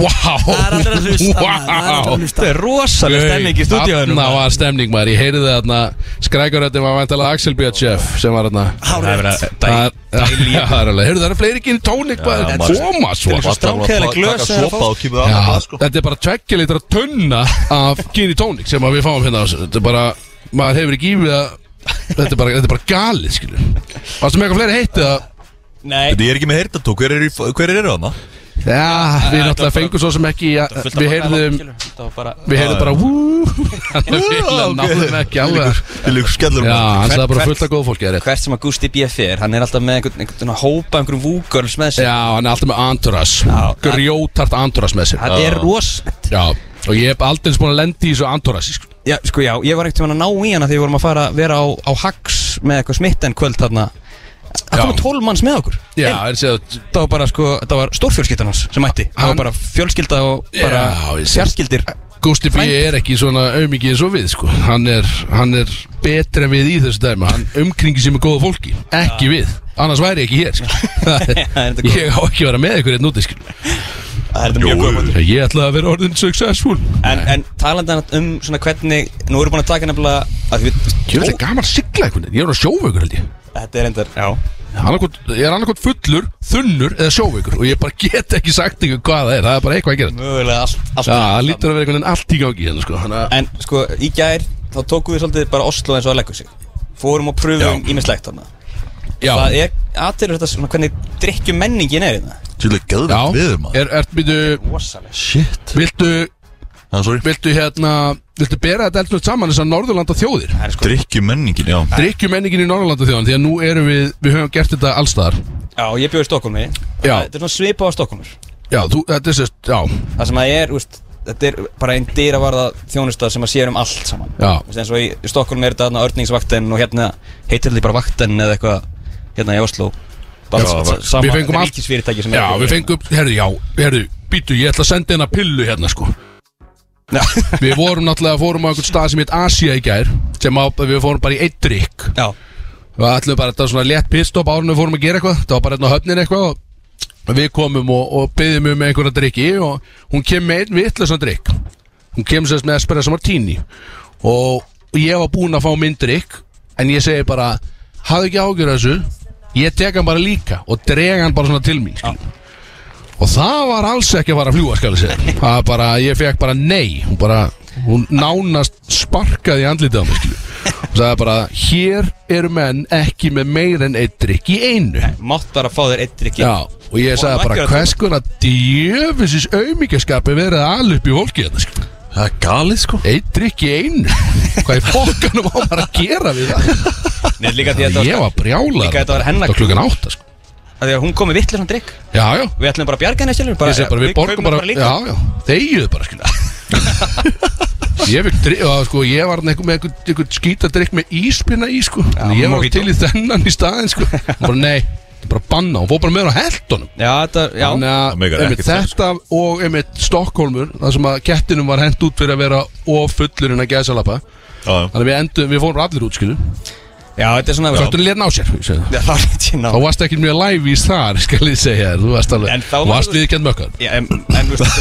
Speaker 1: Wow
Speaker 4: Það er allir að hlusta maður, það er allir að hlusta
Speaker 2: Það er rosalega stemning í stúdíóinu
Speaker 1: Þarna var stemning maður, ég heyrði þarna Skrækuröndin var vantilega Axel Björn Chef sem var þarna
Speaker 2: Það er
Speaker 4: Hárið
Speaker 2: verið að
Speaker 1: Það
Speaker 2: dæ- dæli
Speaker 1: Já, það er alveg, heyrðu það er fleiri gin tónik bara,
Speaker 3: maður-
Speaker 1: koma svo
Speaker 2: Þetta er svo strákæðileg glös
Speaker 3: Takka
Speaker 2: eða
Speaker 3: sopa
Speaker 2: fólk.
Speaker 3: og kemur það
Speaker 1: Já,
Speaker 3: annað sko
Speaker 1: þetta er bara tveggja litra tunna af gin í tónik sem að við fáum hérna á þessu. þetta er bara, maður hefur ekki ífið að þetta er bara, þetta er bara galið skilur varstu með eitthvað fleiri heitt eða
Speaker 2: Nei
Speaker 3: Þetta ég er ekki með heyrtató, hver er í- hver eru þarna?
Speaker 1: já, við náttúrulega fengum svo sem ekki að, við heyrðum,
Speaker 2: Það var bara
Speaker 1: við heyrðum bara "Wú", þannig að við
Speaker 3: Já, ok.
Speaker 1: náðum ekki alveg
Speaker 3: Til ykkur skellur
Speaker 1: já,
Speaker 3: maður.
Speaker 1: hans það er bara
Speaker 2: Hvert-
Speaker 1: fullt af góð fólki er rétt
Speaker 2: Hvert sem að Gusti BF er, hann er alltaf með einhvern, einhvern svona hópa einhverjum vúgörls með sér
Speaker 1: já, hann er alltaf með Andoras
Speaker 2: Já.
Speaker 1: grjótart Andoras með sér
Speaker 2: Það er rosalegt
Speaker 1: já, og ég hef aldrei búin að lendi í svo Andoras sko.
Speaker 2: Já, sko já, ég var ekkert tíma að ná í hana þegar við vorum að fara að vera á, á Hax með eitthvað smitten kvöld þarna Það
Speaker 1: Já.
Speaker 2: komu tólf manns með okkur
Speaker 1: já, er séð að
Speaker 2: Það var bara sko, það var stórfjölskyldan hans sem mætti Það
Speaker 1: Hann-
Speaker 2: var bara fjölskylda og bara
Speaker 1: Já, ég sé.
Speaker 2: fjarskyldir
Speaker 1: Gusti B er ekki svona auðmikið eins og við sko. hann, er, hann er betri en við í þessu dæma hann umkringi sem er góða fólki ekki við, annars væri ég ekki hér
Speaker 2: þetta
Speaker 1: sko.
Speaker 2: er góð.
Speaker 1: ég á ekki að vera með ykkur einn úti sko.
Speaker 2: Það er þetta mjög góð punktur.
Speaker 1: ég ætla að vera orðin successful
Speaker 2: En, en talandan um svona hvernig, nú erum við búin að taka nefnilega að við,
Speaker 1: ég er gaman að sigla einhvern veginn, ég er að sjófa ykkur held ég
Speaker 2: Þetta er endar, já
Speaker 1: Annarkvort, ég er annarkot fullur, þunnur eða sjóveikur og ég bara get ekki sagt ykkur hvað það er, það er bara eitthvað að gera
Speaker 2: Mögulega allt,
Speaker 1: Já,
Speaker 2: allt
Speaker 1: það lítur að vera einhvern veginn allt í gangi hérna sko Þannig að-
Speaker 2: En sko, í gær þá tókum við svolítið bara Oslo eins og að leggja sig Fórum og pröfum ímislegt þarna
Speaker 1: Já,
Speaker 2: Það er aðtilur þetta svona hvernig drikkjum menningin er hérna
Speaker 3: Sýrlega
Speaker 1: já,
Speaker 3: geðvægt við maður
Speaker 1: er, er, býtu,
Speaker 2: Rosalega
Speaker 3: Shit
Speaker 1: viltu
Speaker 3: Það er sorry
Speaker 1: Viltu hérna, viltu bera þetta eldnöld saman þessar Norðurlanda þjóðir?
Speaker 2: Það er sko,
Speaker 3: Drykju menningin, já
Speaker 1: Drykkju menningin í Norðurlanda þjóðan því að nú erum við, við höfum gert þetta allstaðar
Speaker 2: já, ég bjóði í Stokkólmi
Speaker 1: Já.
Speaker 2: Þetta er svona svipað á Stokkólmur
Speaker 1: Já, þú, þetta er sérst, já,
Speaker 2: Það sem að er, úst, þetta er bara einn dýravarða þjónusta sem að sér um allt saman
Speaker 1: Já.
Speaker 2: Þú veist, eins og í, í Stokkólmi er þetta þarna örningsvaktin og hérna heitir þetta bara vaktin eða eitthvað hérna í Oslo Bara
Speaker 1: Já,
Speaker 2: s- sama
Speaker 1: við fengum allt-
Speaker 2: ríkisfyrirtæki sem hérna.
Speaker 1: já, við fengum, herðu, já, herðu, býtu, ég ætla að senda hérna pillu hérna sko
Speaker 2: Já,
Speaker 1: Við vorum náttúrulega, fórum á einhvern stað sem heit Asia í gær sem á, við fórum bara í eitt drykk
Speaker 2: já,
Speaker 1: Við ætlum bara þetta var svona létt pitstop árunum við fórum að gera eitthvað Það var bara hérna á höfnin eitthvað og við komum og, og byggðum um einhverja drikki og hún kem með einn vitlausan drikk Hún kem sérst með espresso martini og ég var búinn að fá minn drikk en ég segi bara hafðu ekki ágjör þessu ég tek hann bara líka og dreg hann bara svona til mín skilur. og það var alls ekki að fara að fljúa skal ég segja það var bara, ég fekk bara nei hún bara, hún nánast sparkaði í andlitið á mig skilur. og sagði bara, hér eru menn ekki með meir en eitt drikk í einu
Speaker 2: Mátt bara fá þér eitt drikki
Speaker 1: Já, og ég sagði bara hvers konar djöfisins auðmyggjaskapi verið að upp í fólki þetta sko
Speaker 3: Það er galið sko
Speaker 1: Eitt drikk í einu Hvað í fokkanum á maður að gera við það
Speaker 2: Nei, líka því að þetta
Speaker 1: Ég var brjálaður.
Speaker 2: Líka þetta var hennar
Speaker 1: Það klukkan átta sko
Speaker 2: Af Því að hún kom með vittlega svona drikk
Speaker 1: Já, já
Speaker 2: Við ætlum bara eh, að bjarga henni skilur
Speaker 1: Ég segi bara við borgum bara,
Speaker 2: líka
Speaker 1: Já, já Þegiðu bara skilja Ég fikk drikk Já, sko Ég var neikur með einhvern- einhvern skýta drikk með íspinna í sko já, Ég var
Speaker 2: mojito.
Speaker 1: til í þennan í staðin sko Hún Bara nei þetta er Bara banna Og fór bara með á heldunum
Speaker 2: Já, þetta, já
Speaker 1: Þannig
Speaker 3: Það
Speaker 1: að
Speaker 3: meikar
Speaker 1: einmitt,
Speaker 3: ekkert sko. sens,
Speaker 1: þetta og einmitt Stokkólmur þar sem að kettinum var hent út fyrir að vera of fullur en að gæðsalapa
Speaker 3: Já, já.
Speaker 1: Þannig að við endum, við fórum allir út skilu
Speaker 2: Já, þetta er svona
Speaker 1: Köttunni lét ná sér ég segi það.
Speaker 2: Já, það var lítið ná
Speaker 1: Þá varst ekki mjög live ís þar skal ég segja þér. Þú varst
Speaker 2: En
Speaker 1: alveg,
Speaker 2: þá
Speaker 1: þú
Speaker 2: var-
Speaker 1: varst viðkjönd mökkar
Speaker 2: Já, en, en, þú veist,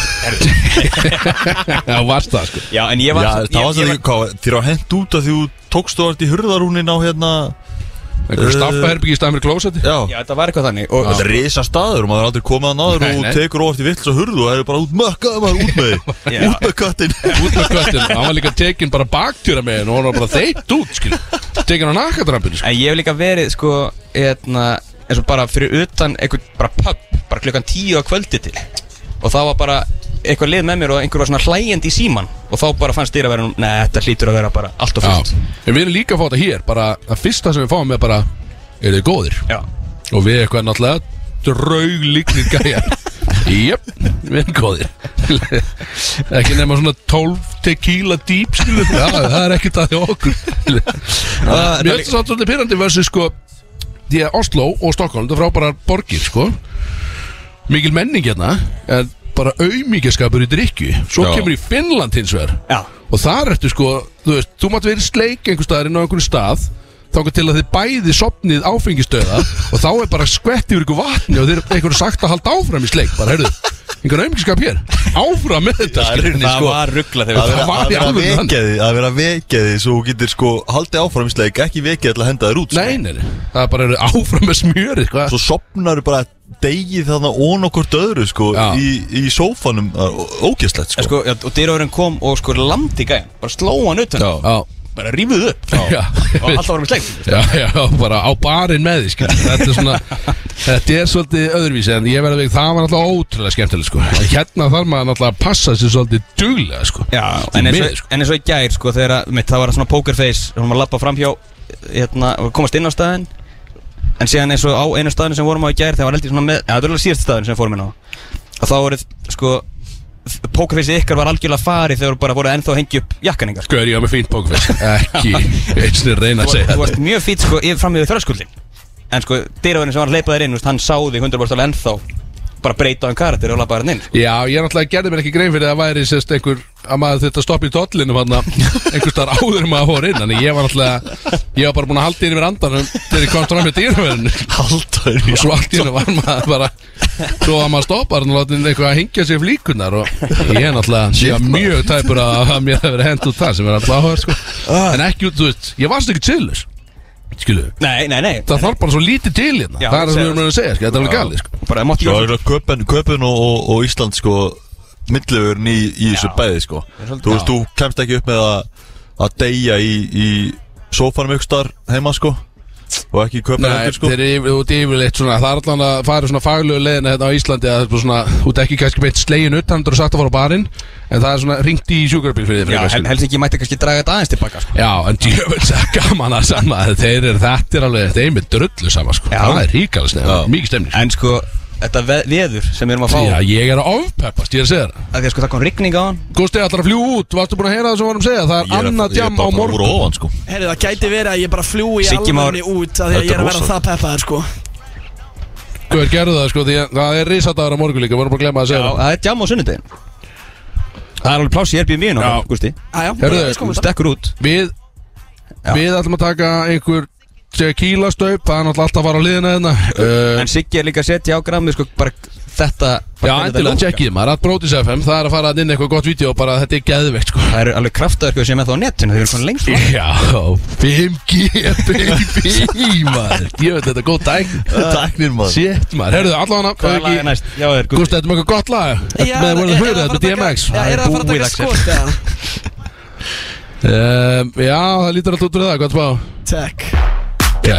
Speaker 2: þetta er-
Speaker 1: Já, varst það sko
Speaker 2: já, en ég
Speaker 3: Já,
Speaker 2: var
Speaker 3: það var það
Speaker 2: ég- ég
Speaker 3: ekki, þér var hent út að því þú tókst og allt í hurðarúnin á hérna
Speaker 1: Einhverjum
Speaker 3: Eh,
Speaker 1: staffaherbyggi í stafnir klósetti
Speaker 3: Já,
Speaker 2: Já, þetta var eitthvað þannig Og
Speaker 3: þetta er risa staður, maður er aldrei komið að náður
Speaker 1: Sko. Nei,
Speaker 3: og
Speaker 1: nei.
Speaker 3: tekur ofart í vill svo hurðu og það er bara út mökkaði maður út með þig
Speaker 2: Já.
Speaker 3: Út með köttin
Speaker 1: Út með köttin, hann var líka tekin bara baktýra með henn og hann var bara þeitt út skilu Tekin á nakadrampinu sko
Speaker 2: En ég hef líka verið, sko, hérna eins og bara fyrir utan einhvern bara pub bara klukkan tíu á kvöldi til og það var bara eitthvað lið með mér og einhver var svona hlægjandi í síman og þá bara fannst þér að vera Nei, þetta hlýtur að vera bara allt og
Speaker 1: Já,
Speaker 2: fullt
Speaker 1: en við erum líka að fá þetta hér Bara að fyrsta sem við fáum er bara Eru þið góðir?
Speaker 2: Já,
Speaker 1: Og við eitthvað náttúrulega drauglíknir gæjar Jöp, við erum góðir Ekki nema svona 12 tequila deep skilur Já, það er ekkert að því okkur Mér
Speaker 2: Ah, þetta er
Speaker 1: finnst
Speaker 2: líka-
Speaker 1: það svolítið pyrrandi versus sko Því að Oslo og Stockholm, það frábærar borgir sko Mikil menning hérna En bara auðmíkjaskapur í drikju Svo
Speaker 3: Já.
Speaker 1: kemur í Finnland hins vegar
Speaker 2: já
Speaker 1: Og þar ertu sko, þú veist, þú mátt verið sleik einhver staðar inn á einhvern stað Þangar til að þið bæði sopnið áfengistöða Og þá er bara skvett yfir ykkur vatni Og þeir einhverju sagt að halda áfram í sleik Bara, heyrðu, einhvern auðmikskap hér Áfram með þetta,
Speaker 3: Það er
Speaker 1: skilur.
Speaker 3: rauninni,
Speaker 2: Það
Speaker 3: sko,
Speaker 2: var ruggla þegar
Speaker 3: Að
Speaker 1: það
Speaker 3: vera-
Speaker 1: var
Speaker 3: að
Speaker 1: í
Speaker 3: vera
Speaker 1: alvöru þannig.
Speaker 3: vekeði, að vera vekeði svo þú getur sko haldið áfram í sleik, ekki vekeði til að henda þér út sko.
Speaker 1: Nei, nei, nei, það er bara heyrðu, áfram með sko. smjöri hvað?
Speaker 3: Svo sopnar bara degið þarna ón okkur döðru sko
Speaker 1: Já.
Speaker 3: í, í sófanum, ógæslegt
Speaker 2: En
Speaker 3: sko.
Speaker 2: sko, já, og dyrraverinn kom og sko landi gæðan bara sló hann utan
Speaker 3: Já.
Speaker 1: Já,
Speaker 2: bara rífuð upp
Speaker 1: Já.
Speaker 2: og alltaf varum við slengt
Speaker 1: já, já, bara á barinn með því skilur. Þetta er svona, þetta er svolítið öðruvísi En ég verið að veginn, það var náttúrulega ótrúlega skemmtileg sko. En Hérna þarf maður náttúrulega að passa sér svolítið duglega sko.
Speaker 2: Já,
Speaker 1: Því
Speaker 2: en eins,
Speaker 1: miður,
Speaker 2: og,
Speaker 1: sko.
Speaker 2: en eins og í gær sko þegar að, mitt, það var svona poker face hún var að lappa framhjá hérna, og komast inn á staðinn en síðan eins og á einu staðinu sem vorum á í gær það var heldur svona með, ja, það var alveg síðast staðinu sem við fórum inn á og þá voruð sko poker face ykkar var algjörlega farið þegar bara voruð ennþá að hengja upp jakkan yngar
Speaker 1: Gauður, ég var með fínt pókerfest Ekki einsni reyna að
Speaker 2: þú,
Speaker 1: segja
Speaker 2: þú
Speaker 1: þetta
Speaker 2: varst mjög fýtt sko yfir fram yfir þröskuldin en sko dyrraverinn sem var að leipa þér inn þú veist, hann sáði 100% alveg ennþá bara breyta á en karakter og lappa þér inn sko.
Speaker 1: Já, ég náttúrulega gerði mér ekki grein fyrir að það væri sérst einhver að maður þetta stoppa í tollinum hann einhver starf áður en maður fór inn Þannig ég var náttúrulega, ég var bara búin að halda inn yfir andanum þegar ég kom fram með dýrverðinu
Speaker 3: Halda þér í
Speaker 1: og svo allt í hennu var maður bara svo var maður stoppar og látið einhver að hingja sér flíkunar og ég er náttúrulega ég var mjög tæpur að að mér hefur verið hend út það sem er alltaf áhör sko. en ekki út, þú veist, ég varst ekki chillus skilu,
Speaker 2: nei, nei, nei
Speaker 1: það þarf bara svo lítið til hérna,
Speaker 2: Já,
Speaker 1: það er það sem við erum
Speaker 2: segðu.
Speaker 1: að segja sko. þetta er alveg galið, sko.
Speaker 2: bara það mátti
Speaker 3: Svo
Speaker 2: ekki
Speaker 3: er það köpen, köpen og, og, og Ísland sko millivörn í, í þessu bæði sko Þú veist, þú kemst ekki upp með að að deyja í, í sófanum ykkur star heima sko og ekki í köpen
Speaker 1: Nei,
Speaker 3: heldur sko
Speaker 1: þeir eru út yfirleitt svona, það er allan að fara svona faglegu leiðina hérna á Íslandi að það er svona, þú ert ekki kannski beitt slegin ut, hann er sagt að fara á barinn en það er svona ringt í sjúkrabíl fyrir þið
Speaker 2: Já,
Speaker 1: fyrir
Speaker 2: hel, helst ekki mætti kannski draga þetta aðeins tilbaka sko.
Speaker 1: Já, en djöfels að gaman að sama þeir eru, þetta er alveg, þetta er með drullu sama sko,
Speaker 2: Já.
Speaker 1: það er ríkala snið, mikið stemni
Speaker 2: En sko, þetta ve veður sem við erum að fá
Speaker 1: Já,
Speaker 2: að
Speaker 1: ég er að ofpeppast, ég er að segja það
Speaker 2: Því að sko það kom rigning á hann
Speaker 1: Gusti ætlar að fljú út, varstu búin að heyra það sem varum að segja Það
Speaker 3: Ég
Speaker 1: er
Speaker 3: er að-
Speaker 1: annað
Speaker 3: ég er
Speaker 1: djam á
Speaker 3: bara búin að
Speaker 1: morgun
Speaker 3: voru ofan sko
Speaker 4: Herri, það gæti verið að ég bara fljúi í
Speaker 2: Siggi Már-
Speaker 4: alvegni út af því
Speaker 3: Þetta
Speaker 4: að ég er
Speaker 3: er
Speaker 4: að vera
Speaker 3: rosalegt.
Speaker 4: það peppaður sko
Speaker 1: Hver gerðu það sko, því að það er risadagur á morgun líka, vorum bara að glemma að
Speaker 2: Já,
Speaker 1: segja það
Speaker 2: það er jam á sunnudegin Það er alveg pláss í Airbnb nú,
Speaker 1: Já.
Speaker 2: Gusti
Speaker 4: Æja,
Speaker 1: Herðu,
Speaker 4: við skoðum þetta
Speaker 2: Stekkur út
Speaker 1: Við,
Speaker 2: Já.
Speaker 1: við ætlum að taka einhver tequila-staup Það er náttúrulega alltaf að fara á liðina hérna uh,
Speaker 2: En Siggi er líka að setja á grammið sko bara þetta
Speaker 1: Já, endilega tjekkið maður, að Brótis FM Það er að fara inn eitthvað gott vídeo og bara þetta er geðveikt sko
Speaker 2: Það eru alveg kraftaverku sem er þá á netinu, þau eru svona lengst frá.
Speaker 1: Já, 5G baby maður Ég veit þetta er góð tæk
Speaker 3: Tæknir, maður.
Speaker 1: Shit maður, herruðu allavega
Speaker 2: Hvað er lagið næst? Já, er
Speaker 1: Gústi, þetta er mjög gott lag
Speaker 4: Já,
Speaker 1: Þetta með
Speaker 4: er-
Speaker 1: World
Speaker 4: er
Speaker 1: of Hurra, þetta
Speaker 4: það að fara að
Speaker 1: er DMX
Speaker 4: taka- Já, er það að fara að
Speaker 2: Búið,
Speaker 4: taka
Speaker 2: Axel.
Speaker 4: skot eða?
Speaker 1: Um, Já, það lítur alltaf út úr það, hvað spá?
Speaker 4: Takk
Speaker 1: Já,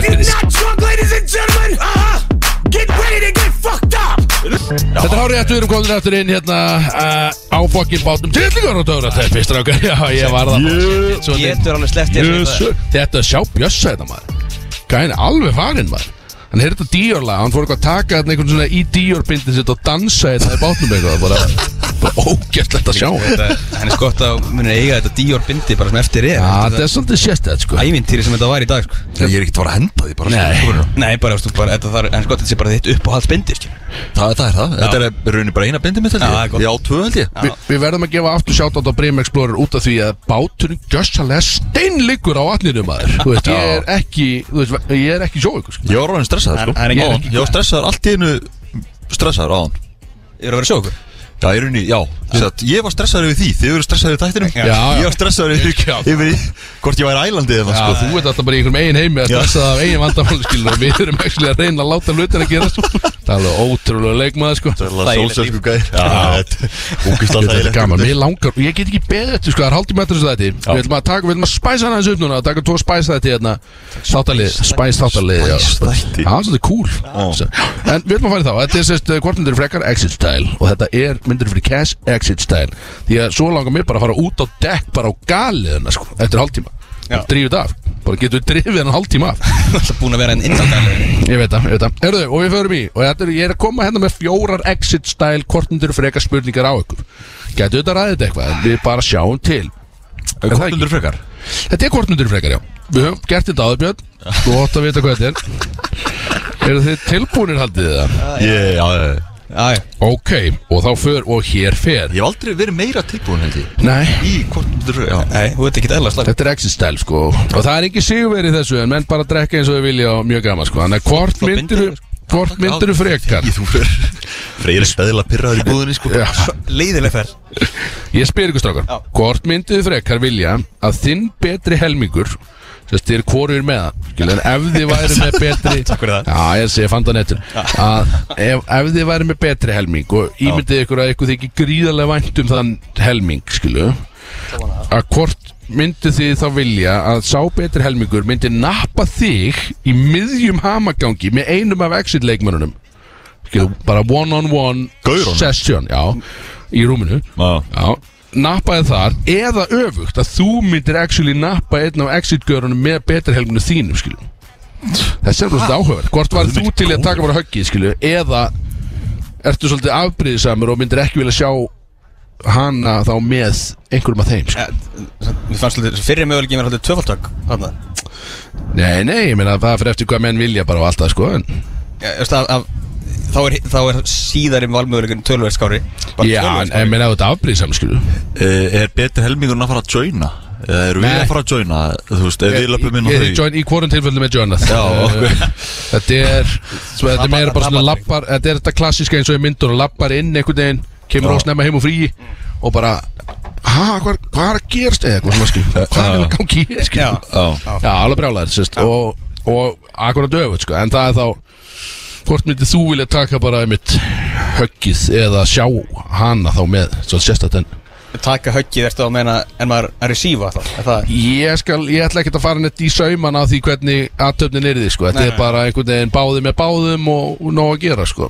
Speaker 1: Þetta er hárið eftir, við erum komin eftir inn hérna uh, á fokkin bátnum Tillingar og dögur að teppi, strákar Já, ég var það bara, shit, svo til.
Speaker 2: Getur alveg sleppt ég
Speaker 1: Yes, sir. Þetta er sjá bjössa þetta maður Gæn er alveg farinn maður Hann heyrði þetta Dior lag, hann fór eitthvað að taka þarna einhvern svona í Dior bindin sitt og dansa þetta í bátnum eitthvað bara, bara ógæstlegt að sjá Já,
Speaker 2: Hann er skott að munir eiga þetta Dior bindi bara sem eftir er
Speaker 1: þetta er svolítið sérstætt sko
Speaker 2: Ævintýri sem þetta var í dag sko
Speaker 3: Ég er ekkert að fara að henda því bara
Speaker 1: Nei.
Speaker 3: sko.
Speaker 2: Nei, bara, veist þú, bara, þetta þarf, en sko, þetta sé bara þitt uppáhaldsbindi, skilur.
Speaker 3: Það, það er það, þetta er raunin bara eina bindi mitt held
Speaker 2: Já, það er
Speaker 3: ég
Speaker 2: gott.
Speaker 3: Já, tvö held ég
Speaker 1: Vi, við verðum að gefa aftur sjátt á Brim Explorer út af því að báturinn gjössalega steinleikur á vatninu maður Þú veist, ég er ekki, þú veist, ég er ekki sjóið sko.
Speaker 3: Ég var ráðin stressaður sko
Speaker 2: Það er- það er
Speaker 3: Áðan.
Speaker 2: ekki-
Speaker 3: Ég var stressaður allt í einu stressaður á hann
Speaker 2: Ég er að vera að sjá okkur.
Speaker 3: Já, ég raunin, já Sett, Ég var stressaður yfir því, þið voru stressaður yfir tættinum
Speaker 1: Já, já.
Speaker 3: Ég var stressaður yfir,
Speaker 1: Já.
Speaker 3: yfir í- hvort ég væri ælandi eða
Speaker 1: Já,
Speaker 3: sko
Speaker 1: þú ert alltaf bara í einhverjum eigin heimi að
Speaker 3: Já.
Speaker 1: stressa það af eigin vandamáli skilur og við erum ekki að reyna að láta hlutin að gera sko. Það er alveg ótrúlega leikmaður sko.
Speaker 3: Það er
Speaker 2: Þægilegt
Speaker 3: sjálfsög sko gæðir Úkist alltaf
Speaker 1: Þetta er
Speaker 3: þægilegt.
Speaker 1: gaman, mér langar, ég get ekki beðið eftir sko, það er haldið með þessu þætti Við ætlum að taka, við ætlum að spæsa hann aðeins upp núna, taka tvo spæs þætti hérna Þáttalið, spæs þáttalið já.
Speaker 3: Spæs þætti.
Speaker 1: Já, þetta er cool En við ætlum að fara í þá, þetta er sérst uh, hvort myndir eru frekar exit style Og þetta er myndir fyrir cash exit style Því að svo langar mér bara að fara út á deck, bara á galiðina sko, eftir hálftíma
Speaker 2: Já.
Speaker 1: Drífið af, bara getur við drifið hann hálftíma af
Speaker 2: Það er alltaf búin að vera enn innangalur.
Speaker 1: Ég veit það, ég veit það Herðu, og við förum í Og þetta er, ég er að koma hérna með fjórar exit style Kortundur frekar spurningar á ykkur Gætu þetta ræðið eitthvað en Við bara sjáum til Er það ekki?
Speaker 3: Kortundur frekar
Speaker 1: Þetta er kortundur frekar, já Við höfum gert þetta áður, Björn Þú ótt að vita hvað þetta er Eru þið tilbúinir haldið þið það?
Speaker 3: Ég, já, já, já.
Speaker 2: Æ,
Speaker 1: Ok, og þá för og hér fer
Speaker 3: Ég hef aldrei verið meira tilbúin held ég
Speaker 1: Nei
Speaker 3: Í kortundur frekar Já,
Speaker 2: nei, þú veit ekki eðla slag.
Speaker 1: Þetta er exit style sko Og það er ekki sigurverið í þessu En menn bara drekka eins og við vilja og mjög gaman sko Þannig að hvort myndir
Speaker 3: sko.
Speaker 1: Hvort myndir frekar
Speaker 3: Ég, þú fyrir Freyri speðla pyrraður í búðinni sko
Speaker 1: Já.
Speaker 2: Leiðileg ferð.
Speaker 1: Ég spyr ykkur strákar Hvort myndið þið frekar vilja að þinn betri helmingur Þess þið er hvorur með það skilur, En ef þið væri með betri
Speaker 2: Takk fyrir það.
Speaker 1: Já, ég sé, ég fann það nettur að ef, ef þið væri með betri helming Og ímyndið ykkur að ykkur þykir gríðarlega vænt um þann helming Skilu Að hvort myndið þið þá vilja að sá betri helmingur myndi nappa þig í miðjum hamagangi með einum af exit leikmönunum Skilu, bara one on one
Speaker 3: Gaurunum?
Speaker 1: session Já, í rúminu
Speaker 3: Já
Speaker 1: Já, nappaði þar eða öfugt að þú myndir actually nappa einn af exit-görunum með betrahelminu þínum, skilju Þessi er svolítið áhugavert Hvort var þú til í að taka bara höggið, skilju eða ertu svolítið afbrýðisamur og myndir ekki vilja sjá hana þá með einhverjum af þeim, skilju
Speaker 2: Ja, Mér fannst svolítið, fyrri möguleikinn var svolítið tvöfaldtak þarna.
Speaker 1: Nei, nei, ég meina það fyrir eftir hvað menn vilja bara og allt það, sko en,
Speaker 2: Já, veist, af, af, þá, er, þá er síðari valmöguleikinn tölverð skári. Bara
Speaker 1: Já,
Speaker 2: töluvert
Speaker 1: en
Speaker 2: skárri.
Speaker 1: en meina þú þetta afbrýðisamur, skilju
Speaker 3: Eh, Er betri helmingurinn að fara að joina? Eða eru við
Speaker 1: Nei.
Speaker 3: að fara að joina? Þú veist, ef við löpum inn á
Speaker 1: Ég er í
Speaker 3: þau
Speaker 1: join- í hvorum tilfellum með Jonath
Speaker 3: Já, ok.
Speaker 1: Eh, Þetta er svo, Þetta er meira bara svona lappar Þetta er þetta klassiska eins og í myndur og lappar inn einhvern veginn kemur ósnemma heim og frí og bara Hæ, hvað, hvað er að gerast eða eitthvað svona skil Hvað er að gangi í skil
Speaker 2: Já.
Speaker 1: Já, alveg brjálæður sérst og, og akkurat öfut sko en það er þá hvort myndið þú vilja taka bara einmitt höggið eða sjá hana þá með svo sérstætt enn
Speaker 2: Taka höggið ertu að meina en maður að receiva þá. Er það?
Speaker 1: Ég, skal, ég ætla ekkert að fara neitt í sauman á því hvernig aðtöfnin er því sko. Þetta
Speaker 2: Nei,
Speaker 1: er
Speaker 2: nei.
Speaker 1: bara einhvern veginn báði með báðum og, og nóg að gera sko.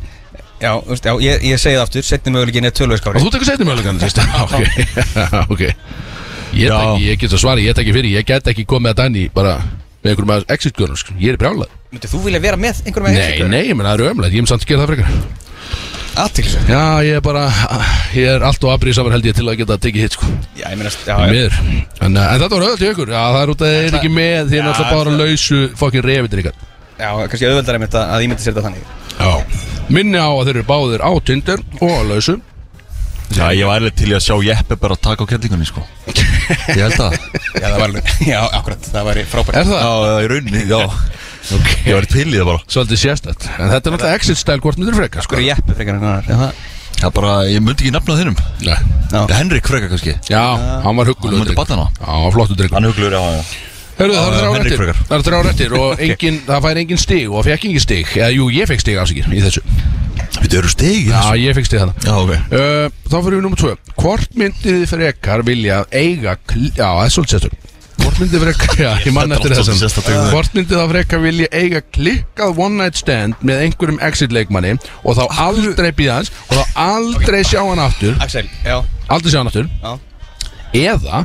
Speaker 2: Já, þú veist, já ég, ég segi það aftur, setni möguleikinn er tölverð
Speaker 1: Og
Speaker 2: skári.
Speaker 1: þú tekur setni mögulegan okay. okay. Ég,
Speaker 3: Já.
Speaker 1: tek, ég get að svara, ég tek ekki fyrir Ég get ekki komið að danni bara með einhverjum að exit-görnum sko. Ég er brjálað
Speaker 2: Myndið þú vilja vera með einhverjum með
Speaker 1: Nei, nei, ég menn það er ömlega, ég mun samt að gera það frekar
Speaker 2: Aðtilsum.
Speaker 1: Já, ég er bara, ég er allt og afbrýðsamar held ég til að geta að tekið hitt sko.
Speaker 2: Já, ég meina, já, já.
Speaker 1: Mér En, uh, en þetta var öll í ykkur, já, það er út að þið er ekki með Þið er
Speaker 2: Já,
Speaker 1: náttúrulega bara lausu fokkin refitir ykkar
Speaker 2: Já, kannski auðveldar einmitt að, að ég myndi sér þetta þannig
Speaker 1: Já. Minni á að þeir eru báðir á Tinder og á lausu
Speaker 3: Já, ég var eða til í að sjá Jeppe bara að taka á kellingunni, sko Ég held að
Speaker 2: Já, það var alveg, já, akkurat, það væri frábært
Speaker 1: Er það?
Speaker 3: Já, eða í rauninni, já
Speaker 1: Ég var til í það bara Svolítið sérstætt En þetta er náttúrulega exit style hvort myndir freka sko. Hvað
Speaker 2: er jeppi frekar en hvað er það?
Speaker 1: Já, bara, ég myndi ekki nafnað hinnum Nei
Speaker 3: Henrik Freka kannski
Speaker 1: Já, hann var huggulur
Speaker 3: Hann myndi batna hana
Speaker 1: Já, hann var flottur drikk
Speaker 3: Hann huggulur, já, já
Speaker 1: Hörru, það
Speaker 3: Já,
Speaker 1: eru þrjá
Speaker 3: Henrik
Speaker 1: réttir
Speaker 3: frekar.
Speaker 1: Það eru þrjá réttir Og engin, það fær engin stig Og fekk engin stig Eða, jú, ég fekk stig afsikir í þessu
Speaker 3: Við eru stig í
Speaker 1: Já, ég fekk stig þarna
Speaker 3: Já, ok
Speaker 1: uh, Þá fyrir við nummer 2 Hvort myndir þið frekar vilja eiga kl- Já, það er svolítið sérstök Hvort myndið frekar Já, ég mann
Speaker 3: Þetta
Speaker 1: eftir
Speaker 3: er allt svolítið
Speaker 1: þessum
Speaker 3: sérstakt, ekki?
Speaker 1: Hvort myndið það frekar vilja eiga klikkað one night stand Með einhverjum exit leikmanni Og þá aldrei býða hans Og þá aldrei sjá hann aftur
Speaker 2: Axel, já
Speaker 1: Aldrei sjá hann aftur
Speaker 2: Já
Speaker 1: Eða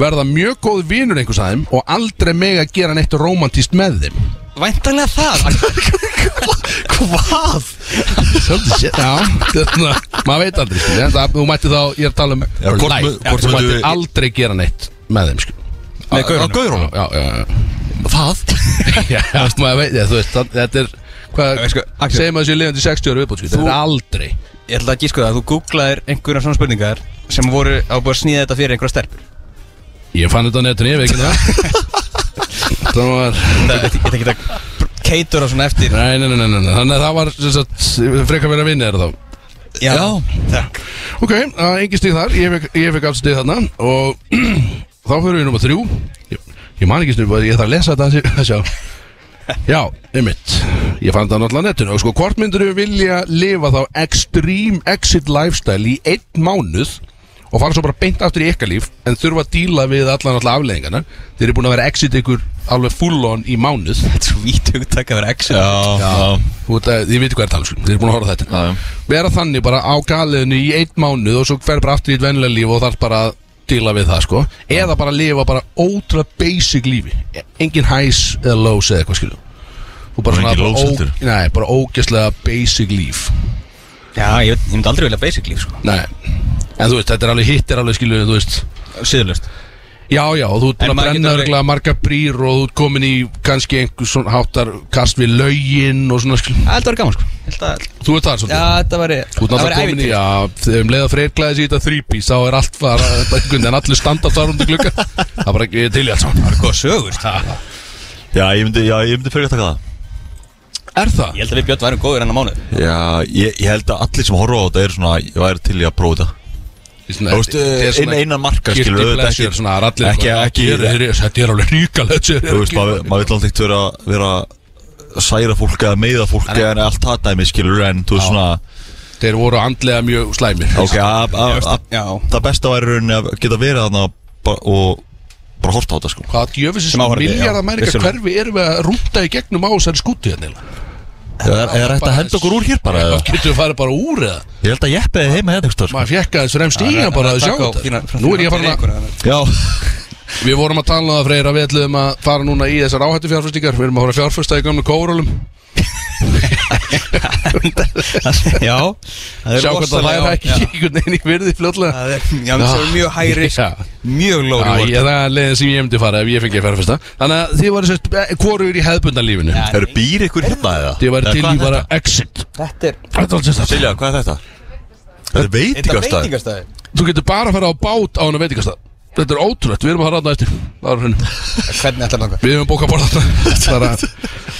Speaker 1: verða mjög góð vinur einhvers aðeim Og aldrei mega gera neitt romantíst með þeim
Speaker 2: Væntanlega það
Speaker 1: Hvað? Svolítið sér Já, þarna, maður veit aldrei skil, en það, Þú mætti þá, ég er að tala um
Speaker 3: Hérna. Já, hvort
Speaker 1: life.
Speaker 3: mu- hvort
Speaker 1: Þú
Speaker 3: myndu
Speaker 1: mætti
Speaker 3: við-
Speaker 1: aldrei gera neitt með þeim skil.
Speaker 2: Með gaurunum?
Speaker 1: Á gaurunum Já, já, já Það? Já, þú veist, maður veit, já, þú veist, það, þetta er Hvað,
Speaker 2: Ég sko, Axel.
Speaker 1: segjum að þessi lifandi í 60 ára viðbútt skil,
Speaker 2: Þú-
Speaker 1: Þetta er aldrei
Speaker 2: Ég ætla að gíska það að þú googlaðir einhverja svona spurningar sem voru á búið að snýða þetta fyrir einhverja stelpur
Speaker 1: Ég fann þetta á netinu, ég veit ekki það Það var
Speaker 2: Það er ekki að keitur á svona eftir
Speaker 1: Nei, nei, nei, nei, nei. þannig að það var sem sagt, frekar verið að vinna þér þá
Speaker 2: Já,
Speaker 1: Ok, það er engin stig þar, ég fekk, ég fekk allt stig þarna og þá fyrir við nummer þrjú Ég, ég man ekki snubu, ég þarf að lesa þetta að sjá Já, einmitt, ég fann þetta náttúrulega á netinu og sko, hvort myndur við vilja lifa þá extreme exit lifestyle í einn mánuð og fara svo bara beint aftur í ykkar líf en þurfa að díla við allan alltaf afleðingarna þeir eru búin að vera exit ykkur alveg full on í mánuð
Speaker 2: þetta er svo vít hugtak að vera Axel
Speaker 3: Já, já
Speaker 1: Þú veit að- Þið veitir hvað er tala, sko. þið er búin að horfa á þetta
Speaker 3: Já, já.
Speaker 1: Vera þannig bara á galiðinu í einn mánuð og svo fer bara aftur í eitt venlega líf og þarf bara að díla við það sko Eða bara lifa bara ótrúlega basic lífi Engin highs eða lows eða eitthvað skilju Þú bara
Speaker 3: Og engin lows
Speaker 1: bara, ó,
Speaker 3: heldur.
Speaker 1: nei, bara ógæslega basic líf
Speaker 2: Já, ég, veit- ég myndi aldrei vilja basic líf sko
Speaker 1: Nei, en þú veist, þetta er alveg hitt er alveg skilju, þú veist
Speaker 2: Síðurlust
Speaker 1: Já, já, þú ert búin
Speaker 2: En
Speaker 1: að
Speaker 2: maður
Speaker 1: brenna
Speaker 2: getur alveg-
Speaker 1: örgulega marga brýr og þú ert komin í kannski einhver svona háttar kast við lögin og svona skilju
Speaker 2: Það var gaman sko Ég held að-
Speaker 1: Þú ert það svolítið
Speaker 2: Já, þetta var
Speaker 1: Þú ert náttúrulega komin í að þegar um leið að freyrklaði sér í þetta þrýpís þá er allt fara, einhvern veginn allir standa þar um til glugga það er bara ekki til í allt saman
Speaker 2: Góða sögur sko.
Speaker 3: Já, ég myndi, já, ég myndi frekar taka það
Speaker 1: Er það?
Speaker 2: Ég held að við Björn værum góður enn á mánu
Speaker 3: Já, ég, ég held að allir sem horfa á þetta er svona Ég væri til í að prófa þetta Þú veist, einn einan marka skilur
Speaker 1: Kirti
Speaker 3: auðvitað
Speaker 1: blessur, svona það er allir
Speaker 3: Ekki,
Speaker 1: bara,
Speaker 3: ekki,
Speaker 1: "Hér er- hér er- Þetta er alveg ríkalegt
Speaker 3: Þú veist, maður
Speaker 1: Þú
Speaker 3: maður vill alltaf ekkert vera, vera að særa fólk eða meiða fólk eða allt það dæmi skilur en þú veist svona
Speaker 1: Þeir voru andlega mjög slæmir
Speaker 3: ok, að- að- að-
Speaker 2: Já
Speaker 3: það besta væri í rauninni að geta verið þarna ba- og bara horta á þetta sko
Speaker 1: Hvað djöfisins
Speaker 2: Sem áhorfandi, já,
Speaker 1: miljardar mæringar
Speaker 2: vissulega.
Speaker 1: hverfi erum við að rúnda í gegnum á þessari skúti hérna
Speaker 3: er, er þetta að henda okkur úr hér bara eða?
Speaker 1: Getur við farið bara úr eða
Speaker 3: ég held að jeppi þið heima hérna einhvers staðar,
Speaker 1: Maður fekk aðeins fremst í hann bara að sjá þetta Nú er ég farin að
Speaker 3: sko. já,
Speaker 1: Við vorum að tala um það Freyr að við ætlum að fara núna í þessar áhættu fjárfæstingar Við erum að fara að fjárfæsta í gamlu kórólum
Speaker 2: Já það er
Speaker 1: Sjá hvort það
Speaker 2: rosalega-
Speaker 1: læra ekki
Speaker 2: Já.
Speaker 1: einhvern veginn í virði fljótlega
Speaker 2: Það er já, það er mjög hæg risk
Speaker 1: Já.
Speaker 2: Mjög
Speaker 1: Já,
Speaker 2: low
Speaker 1: ég,
Speaker 2: reward
Speaker 1: það er leiðin sem ég myndi fara ef ég fengi að fjárfæsta Þannig að þið varu sérst eh, hvorugur í hefðbundan lífinu
Speaker 3: eru býr ykkur hérna eða?
Speaker 1: Þið varu
Speaker 3: Eða
Speaker 1: til
Speaker 3: hvað
Speaker 1: í
Speaker 3: er
Speaker 1: bara
Speaker 3: þetta?
Speaker 1: exit
Speaker 2: Þetta er
Speaker 1: Þetta er allt sérstakt.
Speaker 3: Silja, hvað er þetta? þetta er veitingastæð
Speaker 2: veitingastæði
Speaker 1: Þú getur bara að fara á bát á hana veitingastað Þetta er ótrúlegt, við erum að fara aðna eftir Það er á hreinu.
Speaker 2: Hvernig ætlar það
Speaker 1: Við höfum bókað borða þarna Það er að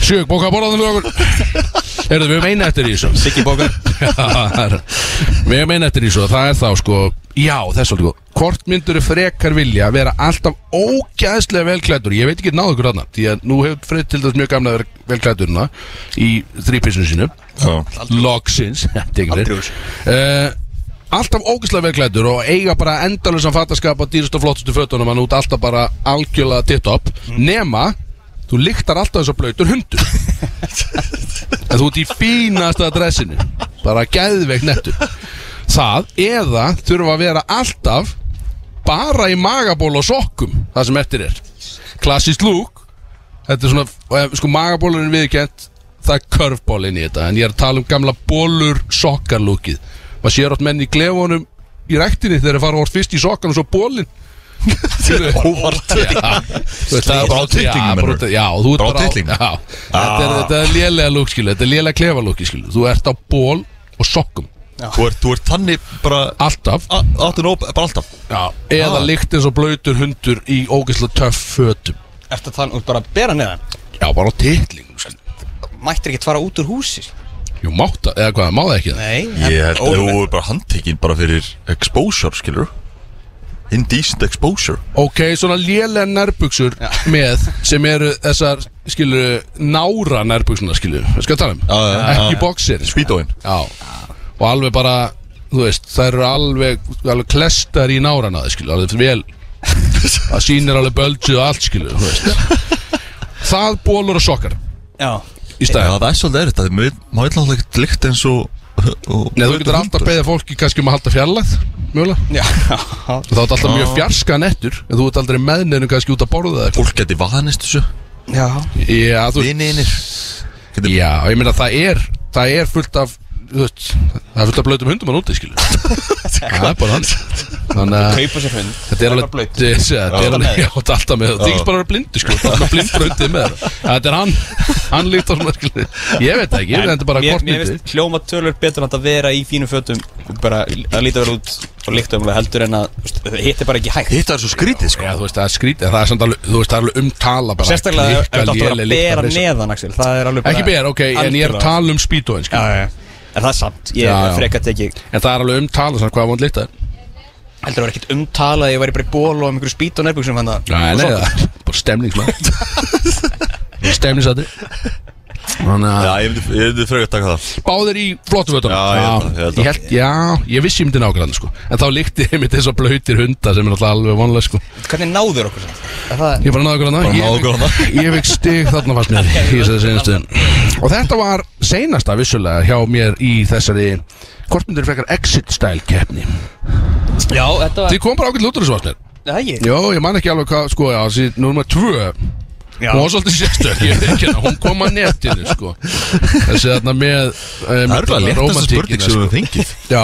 Speaker 1: Sjög, bókað borða þarna fyrir okkur Heyrðu, við höfum eina eftir í þessu
Speaker 2: Siggi bókar
Speaker 1: Já, það er- Við erum einn eftir í svo, það er þá sko Já, það er svolítið góð Hvort myndur frekar vilja að vera alltaf ógæðslega velklættur Ég veit ekki náðu ykkur þarna Því að nú hefur Freyr til dæs mjög gamla að vera velklættur núna Í þrýpissinu sínu Logsins
Speaker 2: Aldrei úr.
Speaker 1: uh, Alltaf ógæðslega velklættur Og eiga bara endalusan fattaskap Að dýrust og flottustu fötunum Hann út alltaf bara algjörlega titt-top Nema, þú lyktar alltaf þess að blöytur hundur En þú ert í fínasta dressinu Bara gæðveikt nettur Það eða þurfa að vera alltaf Bara í magaból og sokkum Það sem eftir er Klassist lúk Þetta er svona, og ef- sko magabólurinn viðkjönt Það er körfbólinn í þetta En ég er að tala um gamla bólur sokkarlúkið Maður sér átt menn í glefunum Í ræktinni þegar þeir fara orð fyrst í sokkan Og svo bólinn
Speaker 3: óvart
Speaker 1: Það
Speaker 3: er bara á titlingnum,
Speaker 1: Já,
Speaker 3: meinarðu?
Speaker 1: bara- já, þú ert
Speaker 3: Bara á
Speaker 1: bara á
Speaker 3: titlingnum? Ah.
Speaker 1: já, Þetta er, þetta er lélega lúk skilu Þetta er lélega klefa lúki skilu Þú ert á ból og sokkum
Speaker 3: þú ert- þú ert þannig bara
Speaker 1: Alltaf
Speaker 3: áttu nóg, bara alltaf
Speaker 1: já, Eða
Speaker 3: Ah.
Speaker 1: líkt eins og blöytur hundur í ógeðslega töff fötum
Speaker 2: Ertu að tala út bara að bera neðan
Speaker 1: Já, bara á titling
Speaker 2: Mættir ekki fara út úr húsi
Speaker 1: Jú, mátt að, eða hvað, má það ekki það?
Speaker 2: Nei,
Speaker 3: Ég held að þú er bara handtekinn bara fyrir exposure, skilur Indecent exposure
Speaker 1: Ok, svona lélega nærbuksur með sem eru þessar, skilur, nára nærbuksuna, skilur, skal tala um
Speaker 3: já, já, já.
Speaker 1: Ekki boxir
Speaker 3: Speedoinn
Speaker 1: Já, og alveg bara, þú veist, þær eru alveg, alveg klestar í náran að það, skilur, alveg vel Það sýnir alveg bölgið og allt, skilur, þú veist Það bólur og sokkar
Speaker 2: Já,
Speaker 1: í
Speaker 3: Já,
Speaker 1: stæðan
Speaker 3: það er svolítið erfitt að við- Má ég alltaf ekkert lykt eins og og-
Speaker 1: Nei, þú getur alltaf að beða fólki kannski um að halda fjarlæð, mjögulega
Speaker 2: já
Speaker 1: Þá er alltaf mjög fjarska nettur, en þú ert aldrei með neðinu kannski út að borða það
Speaker 3: Fólk geti vanist þessu
Speaker 2: Já,
Speaker 1: Já, þú
Speaker 3: Vinninir
Speaker 1: Já, ég meina það er það er fullt af þú veist, það er fullt af blöytum hundum að núti skilur það er bara hans þannig að
Speaker 2: kaupa sér hund
Speaker 1: þetta er
Speaker 2: það er
Speaker 1: alveg
Speaker 2: bara blautt.
Speaker 1: þetta er- þetta er
Speaker 2: Alltaf
Speaker 1: alveg
Speaker 2: með.
Speaker 1: já, þetta er alltaf með það er ekki bara að vera blindu sko það er alveg blindur hundið með það þetta er hann hann líkt á svona skilur ég veit það ekki ég veit þetta bara
Speaker 2: Mér-
Speaker 1: hvort
Speaker 2: Mér
Speaker 1: myndi
Speaker 2: finnst hljóma tölur betur en að vera í fínum fötum og bara að líta vel út og líkta um heldur en að þú veist, hitt er bara ekki hægt
Speaker 3: Hitt er svo skrítið, sko
Speaker 1: já, þú veist það er skrítið það er samt alveg þú veist það er alveg umtala bara
Speaker 2: Sérstaklega ef
Speaker 1: Klikka,
Speaker 2: þetta átt að vera
Speaker 1: léleg
Speaker 2: að
Speaker 1: lykt af
Speaker 2: bera
Speaker 1: risa.
Speaker 2: neðan Axel Það er alveg bara
Speaker 1: ekki ber ok en ég er að
Speaker 2: Algjörlega.
Speaker 1: tala um speedoinn skilur
Speaker 2: Já, já, já. En það er samt, ég
Speaker 1: Já, já.
Speaker 2: er frekar tekið
Speaker 1: en það er alveg umtala svona hvað vond lita er
Speaker 2: Heldur það var ekkert umtalað að ég væri bara í ból og um einhverju spýt og nærbuksum fann það
Speaker 1: Nei, nei, það er bara stemningsmæð Stemningsætti Þannig að
Speaker 3: Já, ég myndi, ég myndi frekar taka það
Speaker 1: báðir í flottum vötum
Speaker 3: Já, ég held það, ég held það.
Speaker 1: ég held, Já, ég vissi ég myndi nákvæmlega sko En þá líkti ég myndi þess að blöytir hunda sem er alltaf alveg vonlega sko
Speaker 2: Hvernig náður okkur samt? Er það
Speaker 1: Ég bara náðu okkur
Speaker 3: Bara náðu okkur
Speaker 1: hana
Speaker 3: þarna.
Speaker 1: Ég fekk stig þarna fast mér í þessari seinastu Og þetta var seinasta vissulega hjá mér í þessari Hvort myndir frekar exit style keppni
Speaker 2: Já, þetta var
Speaker 1: Þið kom bara ákveð lútur þessu vastnir
Speaker 2: Það er ekki
Speaker 1: Jó, ég man ekki alveg hvað, sko, já, þessi nummer tvö
Speaker 2: Já.
Speaker 1: Hún var svolítið sérstök, ég veit ekki hérna, hún kom að netinu, sko Þessi þarna með
Speaker 3: Það er glæð léttast spurning sem
Speaker 1: sko.
Speaker 3: við fengið
Speaker 1: Já,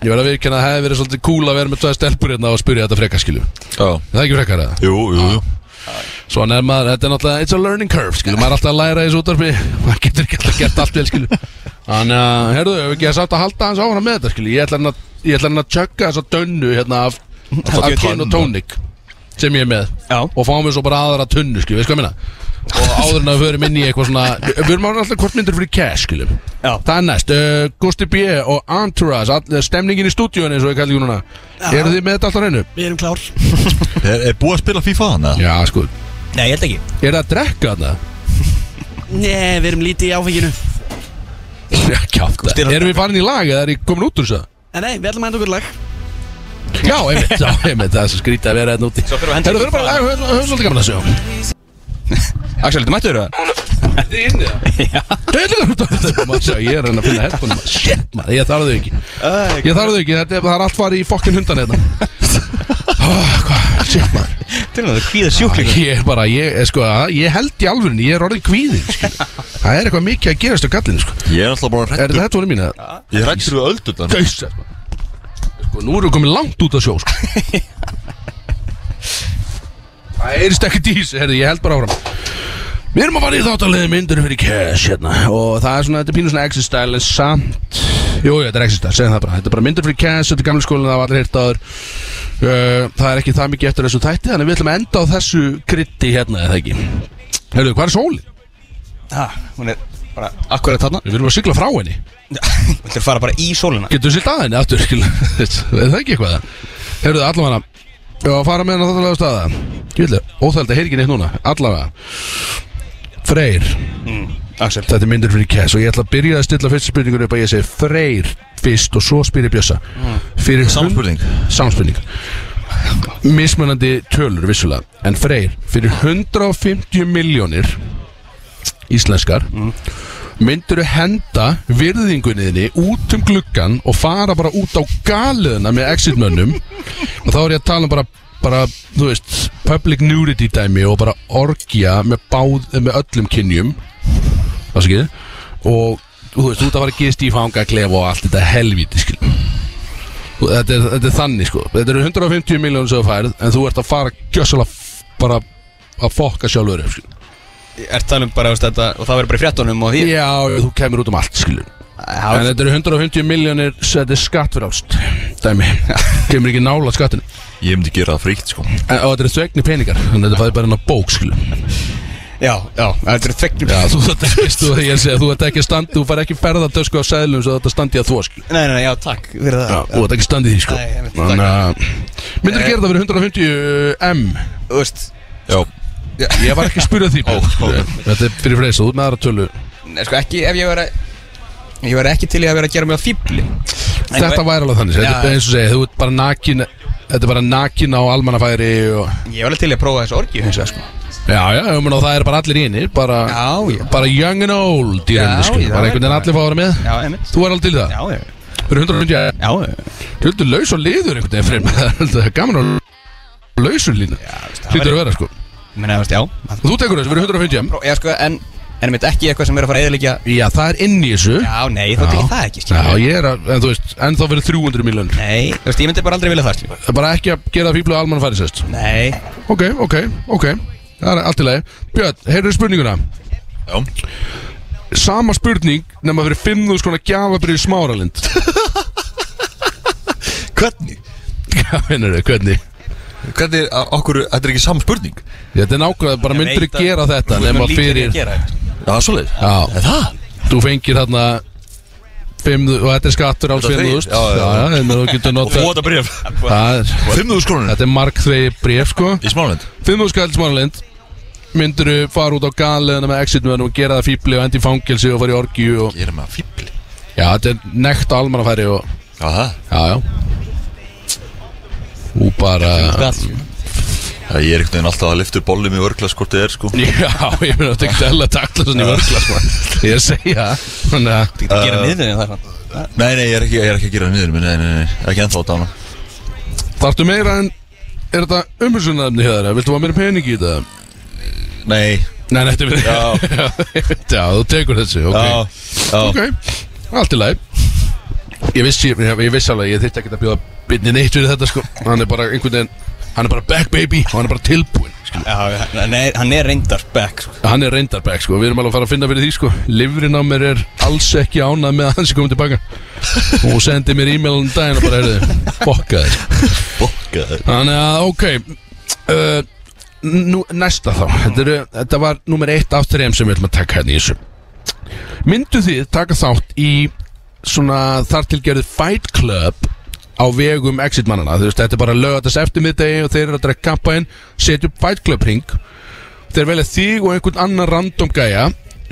Speaker 1: ég verð að viðkynna að það hefði verið svolítið cool að vera með tvað stelpur hérna og spyrja þetta frekka, skilju Er
Speaker 3: Já
Speaker 1: Það er ekki frekkar eða?
Speaker 3: Jú, jú, jú
Speaker 1: Svona er maður, þetta er náttúrulega, it's a learning curve, skilju Maður er alltaf að læra í þessu útvarfi, maður getur ekki alltaf gert allt vel, skilju Þannig að, herðu, ef ekki að sátt að halda hans áfram með þetta, skilju Ég ætla hann að, ég ætla hann að tjögga þessa dönnu hérna af, af
Speaker 2: gjöti
Speaker 1: gin og tónik sem ég er með
Speaker 2: Já.
Speaker 1: og fáum við svo bara aðra tunnu, skilju, veist hvað ég minna og áður en að við förum inn í eitthvað svona við erum alltaf hvort myndir fyrir cash, skilju
Speaker 2: Já.
Speaker 1: það er næst, uh, Gusti B og Anturas, all, eh, stemningin í stúdíunni eins og ég kalli hún núna, eru þið með þetta alltaf reynu?
Speaker 4: Við erum klár
Speaker 3: Er, er búið að spila FIFA hann, eða?
Speaker 1: Já, sko,
Speaker 2: Nei, ég held ekki
Speaker 1: er það að drekka þarna?
Speaker 4: Nei, við erum lítið í áfenginu
Speaker 1: Já, kjátt
Speaker 2: Gusti er að
Speaker 1: Erum við farin í lag eða er ég komin út úr þessu?
Speaker 4: En nei, við ætlum að enda okkur lag
Speaker 1: Já, einmitt, já, einmitt, það er svo skrítið að vera hérna úti
Speaker 2: Svo þurfum við að henda
Speaker 1: Herra,
Speaker 2: ykkur
Speaker 1: þurfum bara að höfum höfum svolítið gaman að sjá
Speaker 2: Axel, þetta mættur það?
Speaker 1: Þið er inni það? Já Ég er að reyna að finna headphone Shit, maður, ég þarf þau ekki Ég þarf þau ekki, þetta er, það er allt farið í fokkin hundan hérna oh, Hvað, shit maður
Speaker 2: Til og með það kvíða sjúklingur
Speaker 1: Ég er bara, ég, eh, sko, ég held í alvörinni, ég er orðin kvíðin sko. Það er eitthvað mikið að gerast á gallinu sko.
Speaker 3: Ég er alltaf bara
Speaker 1: Er
Speaker 3: hrættur
Speaker 1: þetta headphone mín eða?
Speaker 3: Ég er hrættur við öldurnar
Speaker 1: Gausa sko. sko, nú erum við komin langt út að sjó sko. Það er ekki dís, herri, ég held bara áfram Við erum að fara í þáttarlega myndir fyrir cash hérna Og það er svona, þetta er pínu svona exit style en Samt, jú, jú, þetta er exit style, segjum það bara Þetta er bara myndir fyrir cash, þetta er gamlega skólinn Það var allir hýrt áður uh, Það er ekki það mikið eftir þessu þætti Þannig við ætlum að enda á þessu krytti hérna, eða ekki Herru, hvað er sólin?
Speaker 2: Ha, hún er bara akkurat þarna
Speaker 1: Við viljum að sigla frá henni
Speaker 2: Viltur fara bara í sóluna
Speaker 1: Getur þú silt að henni aftur, skil Er það ekki eitthvað? Herruðu, allavega Já, fara með henni á þáttalega staða Gjöldlega, óþæld að heyri ekki neitt núna Allavega Freyr,
Speaker 2: Axel
Speaker 1: þetta er myndir fyrir Kess Og ég ætla að byrja að stilla fyrstu spurningur upp að ég segi Freyr fyrst og svo spyrir Bjössa Fyrir
Speaker 3: Samspurning
Speaker 1: Samspurning Mismunandi tölur vissulega En Freyr, fyrir 150 miljónir Íslenskar mm. Myndirðu henda virðingunniðinni út um gluggan Og fara bara út á galiðina með exitmönnum Og þá er ég að tala um bara bara, þú veist, public nudity dæmi og bara orgja með báð með öllum kynjum ásakið, og þú veist, þú ert að fara að gist í fangaklefa og allt þetta helvíti, skil Og þetta er, þetta er þannig sko Þetta eru 150 miljónir sem þú færð En þú ert að fara gjössalega f- bara að fokka sjálfur upp, sko. skilur.
Speaker 2: Er talum bara, veist, þetta, og það verður bara í fréttunum og því
Speaker 1: Já, já, þú kemur út um allt skilur.
Speaker 2: Það
Speaker 1: En
Speaker 2: var-
Speaker 1: þetta eru 150 miljónir Þetta er skattfrálst Dæmi, kemur ekki nála skattin
Speaker 3: Ég myndi gera það fríkt, sko
Speaker 1: en, Og þetta eru þvegni peningar Þannig að þetta fæði bara enn á bók skilur.
Speaker 2: Já, já, þetta er feknum
Speaker 1: Já, þú ert ekki, þú, ég segi, þú ert ekki standi, þú fær ekki ferðartösku á sæðlum svo þetta standi að þvo, skil
Speaker 2: Nei, nei, nei, já, takk fyrir það
Speaker 1: Já, þú ert ekki standið því, sko
Speaker 2: Nei, einmitt, takk.
Speaker 1: Þannig að Myndur gera það fyrir eh, 150 M
Speaker 2: Þú veist
Speaker 3: Já,
Speaker 2: já,
Speaker 1: Ég var ekki að spyrja því Þetta er fyrir freysa, þú ert með aðra tölu
Speaker 2: Nei, sko, ekki ef ég verið Ég verið ekki til í að vera að gera mig á fíbli
Speaker 1: Þetta væri alveg þannig,
Speaker 2: Já,
Speaker 1: þetta er eins og segja, þú ert bara nakin Þetta er bara nakin á almannafæri og
Speaker 2: Ég var alveg til í að prófa þessu orgi hins vegar, sko
Speaker 1: Já, já, ég meina, og það er bara allir inni bara,
Speaker 2: Já, já.
Speaker 1: bara young and old í
Speaker 2: Já,
Speaker 1: rauninni, sko
Speaker 2: já,
Speaker 1: Bara einhvern veginn
Speaker 2: já.
Speaker 1: allir fá að vera með
Speaker 2: Já, einmitt
Speaker 1: Þú er alveg til í það
Speaker 2: Já, já,
Speaker 1: Fyrir 150 M
Speaker 2: já, já
Speaker 1: Hlutur laus og liður einhvern veginn fremur Það er gaman að lausun lína
Speaker 2: veist, það
Speaker 1: Hlutur að
Speaker 2: væri-
Speaker 1: vera sko
Speaker 2: Menni, þú veist, já
Speaker 1: Og Þú tekur þessu fyrir 150
Speaker 2: Pró- Já, sko, en En mitt ekki eitthvað sem er að fara að eðalikja
Speaker 1: Já, það er inn í þessu
Speaker 2: Já, nei, þú tekir það ekki,
Speaker 1: Já,
Speaker 2: skilur
Speaker 1: ég er að, en þú veist, en þá fyrir 300 miljonir
Speaker 2: Nei, þú veist, ég myndi bara aldrei vilja það, skilur
Speaker 1: Það er bara ekki að gera það fíblu að almann færi sérst
Speaker 2: Nei
Speaker 1: Ok, ok, ok Það er allt í lagi Björn, heyrðu spurninguna
Speaker 3: já
Speaker 1: Sama spurning nema fyrir 5.000 konar gjafabrið smáralind
Speaker 3: Hvernig?
Speaker 1: Hvað mennur þau, hvernig?
Speaker 3: Hvernig, a- okkur, þetta er ekki saman spurning
Speaker 1: Þetta er nákvæmlega, bara myndir
Speaker 2: veit að-
Speaker 1: gera þetta
Speaker 2: Þú veist,
Speaker 1: nema
Speaker 2: maður líklegri
Speaker 1: fyrir
Speaker 2: að gera þetta.
Speaker 3: Já, svoleiðis
Speaker 1: Já.
Speaker 3: Er það?
Speaker 1: Þú fengir þarna fimm, og þetta er skattur alls
Speaker 3: Þetta er
Speaker 1: 5.000
Speaker 3: þegið, já, já, já.
Speaker 1: en þú getur
Speaker 3: Og þú
Speaker 1: notað
Speaker 3: óta bréf
Speaker 1: það er,
Speaker 3: 5.000 krónir
Speaker 1: Þetta er markþvegi bref sko
Speaker 3: Í smálend
Speaker 1: 5.000 skall smánalind myndirðu fara út á galleðuna með exitmöðunum og gera það fíbli og endi í fangelsi og fara í orgju og,
Speaker 3: Ég er með að fíbli
Speaker 1: Já, þetta er nekt á almannafæri og
Speaker 3: Já, það
Speaker 1: Já, já Þú bara
Speaker 3: Já, Ég er einhvern veginn alltaf að lifta upp bollum í örglas hvort þið er sko
Speaker 1: Já, ég meina þetta er ekki hella takla svona í vörgla sko. Ég er að segja það. Þannig að
Speaker 2: Þú getur að gera niðurinn það, svona
Speaker 3: Nei, nei, ég er ekki, ég er ekki að gera það niður minn, nei, nei, nei, ekki ennþá að dána
Speaker 1: Þarftu meira en Er þetta umhversunarefni hjá þeirra? Viltu fá meira pening í þetta?
Speaker 3: Nei,
Speaker 1: Nei, nei, þetta er verið Já, þú tekur þessu, ok
Speaker 3: já, já,
Speaker 1: Ok, allt í lagi Ég vissi, ég, ég vissi alveg, ég þyrfti ekki að bjóða byrni neitt fyrir þetta sko Hann er bara einhvern veginn, hann er bara back baby og hann er bara tilbúinn skilur.
Speaker 2: Já, já, nei, hann er reyndar back, sko
Speaker 1: Hann er reyndar back sko, við erum alveg að fara að finna fyrir því sko Livrin á mér er alls ekki ánað með að hann sé komið tilbaka Og hún sendi mér e-mail um daginn og bara, heyrðu, sko. fokka þér
Speaker 3: bokkaður
Speaker 1: Þannig að, ok uh, nú, Næsta þá þetta, eru, þetta var nummer eitt af þeim sem við ætlum að taka hérna í þessu Myndu þið taka þátt í svona þar til gerðu Fight Club á vegum exit mannana Þú veist, þetta er bara lögatast eftir miðdegi og þeir eru að drekka kampaðin setja upp Fight Club ring þeir velja þig og einhvern annan random gæja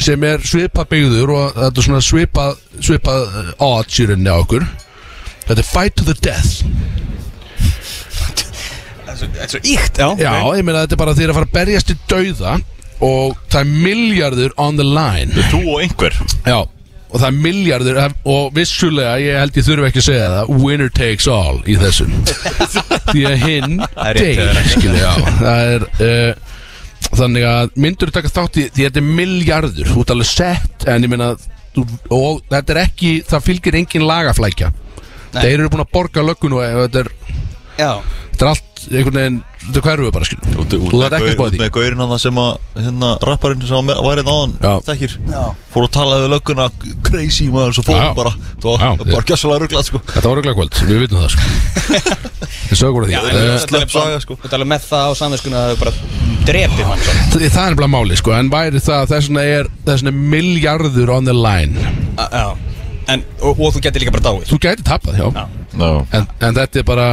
Speaker 1: sem er svipað byggður og þetta er svona svipað svipað eh, odds í rauninni á okkur þetta er Fight to the Death
Speaker 2: Þetta er svo íkt, já
Speaker 1: Já, ég meina þetta er bara þeir að fara að berjast í dauða og það er miljardur on the line
Speaker 3: Þú og einhver
Speaker 1: Já, og það er miljardur og vissulega, ég held ég þurfi ekki að segja það winner takes all í þessum því að hinn
Speaker 2: er rétt, það er
Speaker 1: deyr, skilja, já það er uh, þannig að myndur taka þátt í því þetta er miljardur þú ert alveg sett, en ég meina þú, og þetta er ekki, það fylgir engin lagaflækja
Speaker 2: Nei.
Speaker 1: þeir eru búin að borga löggun og þetta er,
Speaker 2: Já,
Speaker 1: þetta er allt einhvern veginn, þetta hverfur bara skilja
Speaker 3: Út- út
Speaker 1: þú
Speaker 3: með
Speaker 1: þarf ekki
Speaker 3: gaur-
Speaker 1: að spá í
Speaker 3: út
Speaker 1: því
Speaker 3: Með gaurinn hann sem að hérna rapparinn sem að me- var einn
Speaker 1: Já.
Speaker 3: áðan þekkir
Speaker 2: Já.
Speaker 3: Fór og talaði við lögguna crazy maður svo
Speaker 1: Já.
Speaker 3: fórum bara Þú
Speaker 1: Já.
Speaker 3: var bara gjössalega rugglað sko
Speaker 1: Þetta var auðvitað kvöld, við vitum það sko Við sögum úr því
Speaker 2: en
Speaker 1: Eh,
Speaker 2: þetta er
Speaker 3: slepp saga, sko.
Speaker 2: Þetta er alveg með það á samvinskuna að þau bara drepir hann svona.
Speaker 1: Það það er bara máli sko En væri það, þess vegna er Þess vegna er miljardur on the line
Speaker 2: Á, Já En, og, og þú getur líka bara dáið
Speaker 1: Þú gæti tapað, já
Speaker 2: Já.
Speaker 3: no.
Speaker 1: en, en þetta er bara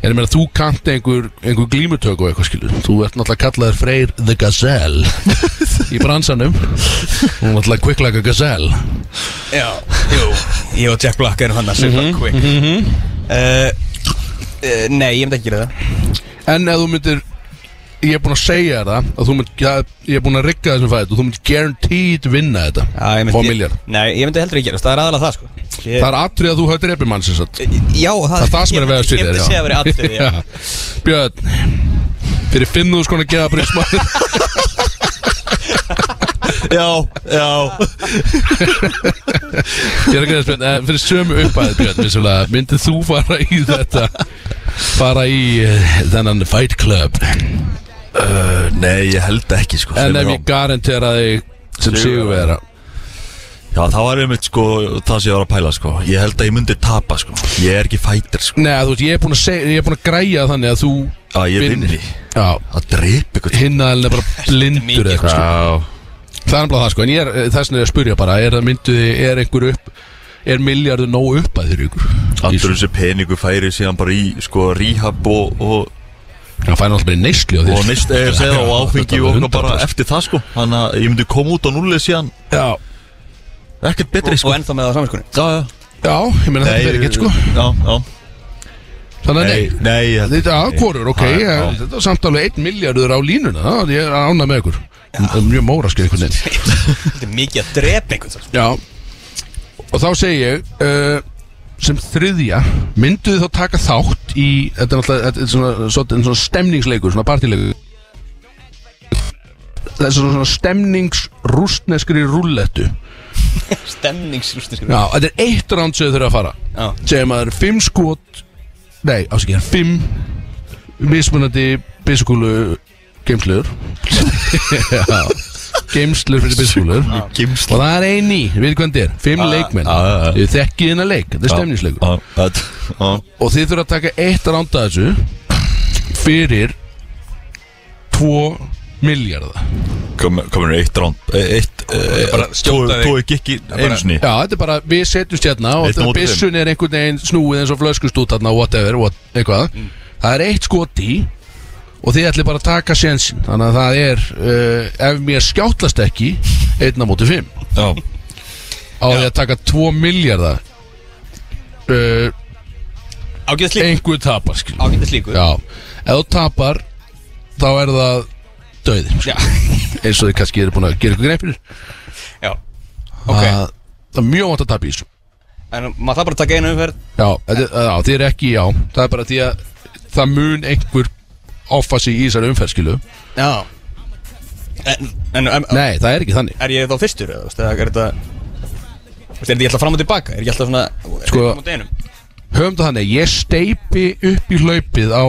Speaker 1: En ég meina, þú kanti einhver, einhver glímutöku og eitthvað skilur Þú ert náttúrulega kallaður Freyr the Gazelle Í bransanum Hún er náttúrulega kvikklaka Gazelle
Speaker 2: Já, jú Ég og Jack Black erum hann að super quick mm Nei, ég myndi ekki gera það
Speaker 1: En ef þú myndir Ég er búinn að segja þér það að þú mynd, ja, Ég er búinn að rigga þessum fæðið Og þú myndir guaranteed vinna þetta
Speaker 2: Já, ég
Speaker 1: Fá
Speaker 2: myndi
Speaker 1: milljarð.
Speaker 2: Nei, ég myndi heldur ekki gera það Það er aðalega það, sko
Speaker 1: Það er atrið að þú hafa drepið mann sem sagt
Speaker 2: Já,
Speaker 1: Það er það sem er að vegast
Speaker 2: Ég
Speaker 1: fyrir
Speaker 2: myndi segja að vera atrið, já
Speaker 1: Björn Fyrir 5.000 konar geða bríksmann
Speaker 3: Já, já
Speaker 1: Ég er ekki að spjörn eh, Fyrir sömu uppæði Björn vissulega, Myndið þú fara í þetta Fara í eh, þennan Fight Club
Speaker 3: uh, Nei, ég held ekki sko
Speaker 1: En
Speaker 3: segir
Speaker 1: ef
Speaker 3: mér
Speaker 1: ég garantera þig Sem sigurvera
Speaker 3: Já, það var einmitt sko það sem ég var að pæla sko Ég held að ég myndi tapa sko Ég er ekki fætir sko
Speaker 1: Nei þú veist ég er búinn að segja Ég er búinn að græja þannig að þú
Speaker 3: Að ég
Speaker 1: Vinni.
Speaker 3: vinni
Speaker 1: Já
Speaker 3: Að dreipa ykkur
Speaker 1: Hinnaðalinn er bara blindur eða eitthvað sko. Það er náttúrulega það sko En ég er þess vegna er að spyrja bara Er það mynduði, er einhver upp Er miljardur nóg upp að þeir ykkur
Speaker 3: Allur þessi peningu færi síðan bara í sko rehab og, og
Speaker 1: Það fær náttúrulega bara í neysli á þér
Speaker 3: Og nýst eða segja og áfengi
Speaker 1: Þetta er
Speaker 3: og okkur bara
Speaker 1: 100%.
Speaker 3: eftir það sko Þannig að ég myndi koma út á nullið síðan
Speaker 1: Já,
Speaker 3: Ekkert betri
Speaker 2: Og
Speaker 3: sko
Speaker 2: ennþá með það á saminskunni
Speaker 3: Já, já
Speaker 1: já, ég meina þetta
Speaker 3: Nei,
Speaker 1: fer ekki sko
Speaker 3: Já, já
Speaker 1: Þannig að
Speaker 3: Nei,
Speaker 1: nei
Speaker 3: nei ég-
Speaker 1: Þetta er aðkorur, ok
Speaker 3: Já, já.
Speaker 1: en Þetta er samt alveg 1 miljardur á línuna Það ég er ánað með ykkur Það er Mjög móra skeið einhvern veginn
Speaker 2: Þetta er mikið að drepa einhvern sko. svo.
Speaker 1: Já Og þá segi ég uh, sem þriðja, mynduð þið þá taka þátt í, þetta er náttúrulega þetta er svona, svona, svona stemningsleikur, svona partileikur það er svona, svona stemningsrústneskri rúllettu Já,
Speaker 2: Stemningsrústir
Speaker 1: þetta er eitt ránd sem þau þurfa að fara
Speaker 2: Já.
Speaker 1: sem að það er fimm skot nei, ásækja, fimm mismunandi byssukúlu geimsluður Já, geimslur fyrir byssukúlur
Speaker 3: Gimsla
Speaker 1: Og það er einn í, við hvernig er, fimm leikmenn
Speaker 3: já, já, já.
Speaker 1: Þið þekkið hennar leik, þetta er stemningsleikur
Speaker 3: Já, þetta- já
Speaker 1: Og þið þurfa að taka eitt ránda þessu Fyrir Tvo miljardar
Speaker 3: Kom- Komin er eitt ránd Eitt eh,
Speaker 10: bara skjóta þig.
Speaker 3: Tói gikk í einu sinni
Speaker 1: Já, þetta er bara, við setjumst hérna Og
Speaker 3: Eitt á
Speaker 1: þetta
Speaker 3: móti fimm.
Speaker 1: byssun er einhvern veginn snúið eins og flöskustút Þarna, whatever, what, eitthvað
Speaker 3: Mm.
Speaker 1: Það er eitt skot í Og þið ætli bara að taka sénsinn Þannig að það er, uh, ef mér skjátlast ekki Einna móti fimm
Speaker 3: Já
Speaker 1: Á því að taka tvo miljardar uh,
Speaker 2: Ágæðis líkur
Speaker 1: Einhver tapar, skil
Speaker 2: Ágæðis líkur
Speaker 1: Já, ef þú tapar þá er það döðin
Speaker 2: Já.
Speaker 1: eins og þið kannski eru búin að gera ykkur grein fyrir
Speaker 2: Já. Ok
Speaker 1: að það er mjög vant að tapa í þessu
Speaker 2: En maður það bara að taka einu umferð
Speaker 1: Já, þetta, já, þið er ekki já það er bara því að það mun einhver offa sig í þessari umferðskilu
Speaker 2: Já En, en em,
Speaker 1: Nei, það er ekki þannig
Speaker 2: er ég þá fyrstur eða, þú veist, eða er þetta Þú veist, er þetta ég alltaf fram og tilbaka? Er ég alltaf svona
Speaker 1: Sko-
Speaker 2: einn á móti einum?
Speaker 1: Höfum það þannig, ég steipi upp í hlaupið á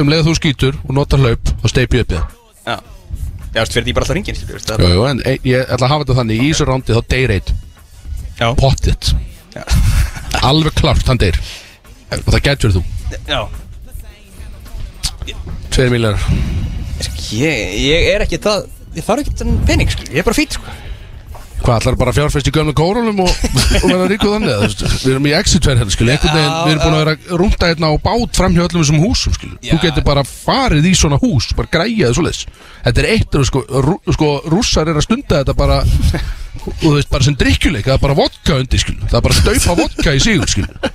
Speaker 1: um leið að þú skýtur og notar hlaup og steipi upp í það
Speaker 2: Já Já, þú veist, fyrir því bara alltaf ringin, skilur veist, það
Speaker 1: Jú, jú, en e- ég ætla að hafa þetta þannig í þessu rándi þá deyr eitt
Speaker 2: Já.
Speaker 1: Pottitt
Speaker 2: Já.
Speaker 1: Alveg klart, hann deyr Og það getur þú
Speaker 2: Já
Speaker 1: Tveir miljar
Speaker 2: Ég, ég er ekki það Ég þarf ekki þann pening, skilur Ég er bara fýtt, sko
Speaker 1: Hvað ætlar bara að fjárfest í gömlu kórunum og, og vera ríkuð þannig Þú veist, Við erum í exitverð hérna, skilju Einhvern veginn,
Speaker 2: Já,
Speaker 1: við erum búin að vera að rúnta hérna á bát fram hjá öllum þessum húsum, skilju
Speaker 2: Já.
Speaker 1: Þú getur bara farið í svona hús, bara græja þessu leis Þetta er eitt, og sko, rú, sko rússar er að stunda þetta bara og þú veist, bara sem drikkjuleik, það er bara vodka undir, skilju Það er bara að staupa vodka í sigur, skilju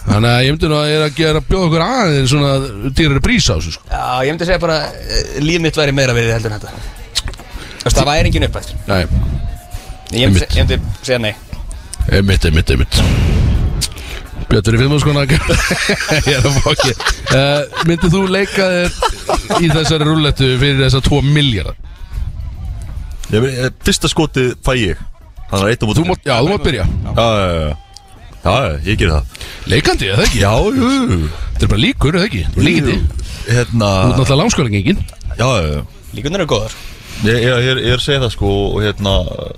Speaker 1: Þannig að ég myndi nú að ég er að gera bjóða okkur aðeins svona dýrari brís á þessu, sko
Speaker 2: Já, ég myndi að segja bara eh, Líf mitt væri meira verið heldur en þetta Þú veist, það væri engin uppæð
Speaker 1: Nei,
Speaker 2: Ég myndi, ég myndi segja nei
Speaker 1: einmitt, einmitt, einmitt Björn er í fimmúskona Ég er að fokki uh, Myndið þú leika þér í þessari rúllettu fyrir þessa 2 miljardar?
Speaker 3: Ég meina, eh, Fyrsta skotið fæ ég Þannig að eitt á móti
Speaker 1: Þú mátt, já, þú mátt byrja
Speaker 3: Já, já, já, já Já, já, ég ger það
Speaker 1: Leikandi, eða ekki?
Speaker 3: Já, jú, jú
Speaker 1: Þetta er bara líkur, eða ekki? Þú líkandi Þú
Speaker 3: Hérna
Speaker 1: ert náttúrulega langskólingin
Speaker 3: Já, já, já
Speaker 2: Líkunar eru góðar
Speaker 3: Ég, ég, ég, er- ég er að segja það sko og hérna uh,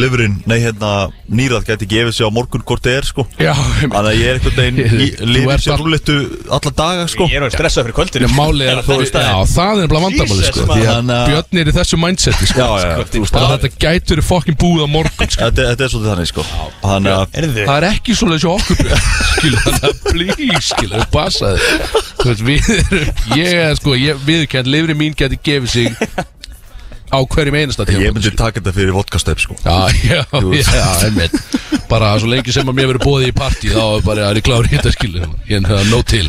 Speaker 3: Livurinn, nei hérna Nýrað gæti gefið sig á morgun hvort þið er sko
Speaker 1: Já,
Speaker 3: Þannig að ég er einhvern veginn
Speaker 1: Þú
Speaker 3: í- Lifir
Speaker 1: ert
Speaker 3: sér
Speaker 1: all-
Speaker 3: rúleittu alla daga sko
Speaker 2: Ég er alveg stressað fyrir kvöldur
Speaker 1: Málið er,
Speaker 3: Þú veist það.
Speaker 1: já, það er bara vandamáli
Speaker 2: Jesus,
Speaker 1: sko, því að
Speaker 3: maður.
Speaker 1: Björn er í þessu mindseti sko.
Speaker 3: uh, Já, já, já, þú veist
Speaker 1: Bara
Speaker 3: það
Speaker 1: þetta gætur verið fokkin búið á morgun sko.
Speaker 3: Þetta, þetta er svolítið þannig sko Þannig að
Speaker 2: Erðu
Speaker 1: Það er ekki svona þessu okkur Björn. Skilu, þannig að please, skilu, við passaði Þú veist, við erum Ég er sko, ég viðkjönd, lifri mín geti gefið sig Á hverjum einasta tíma
Speaker 3: ég myndi taka þetta fyrir vodkastöp sko
Speaker 1: Já, já, já, einmitt Bara svo lengi sem að mér verið bóðið í partí Þá er bara, það er klári hitta, skilu Ég er nóg til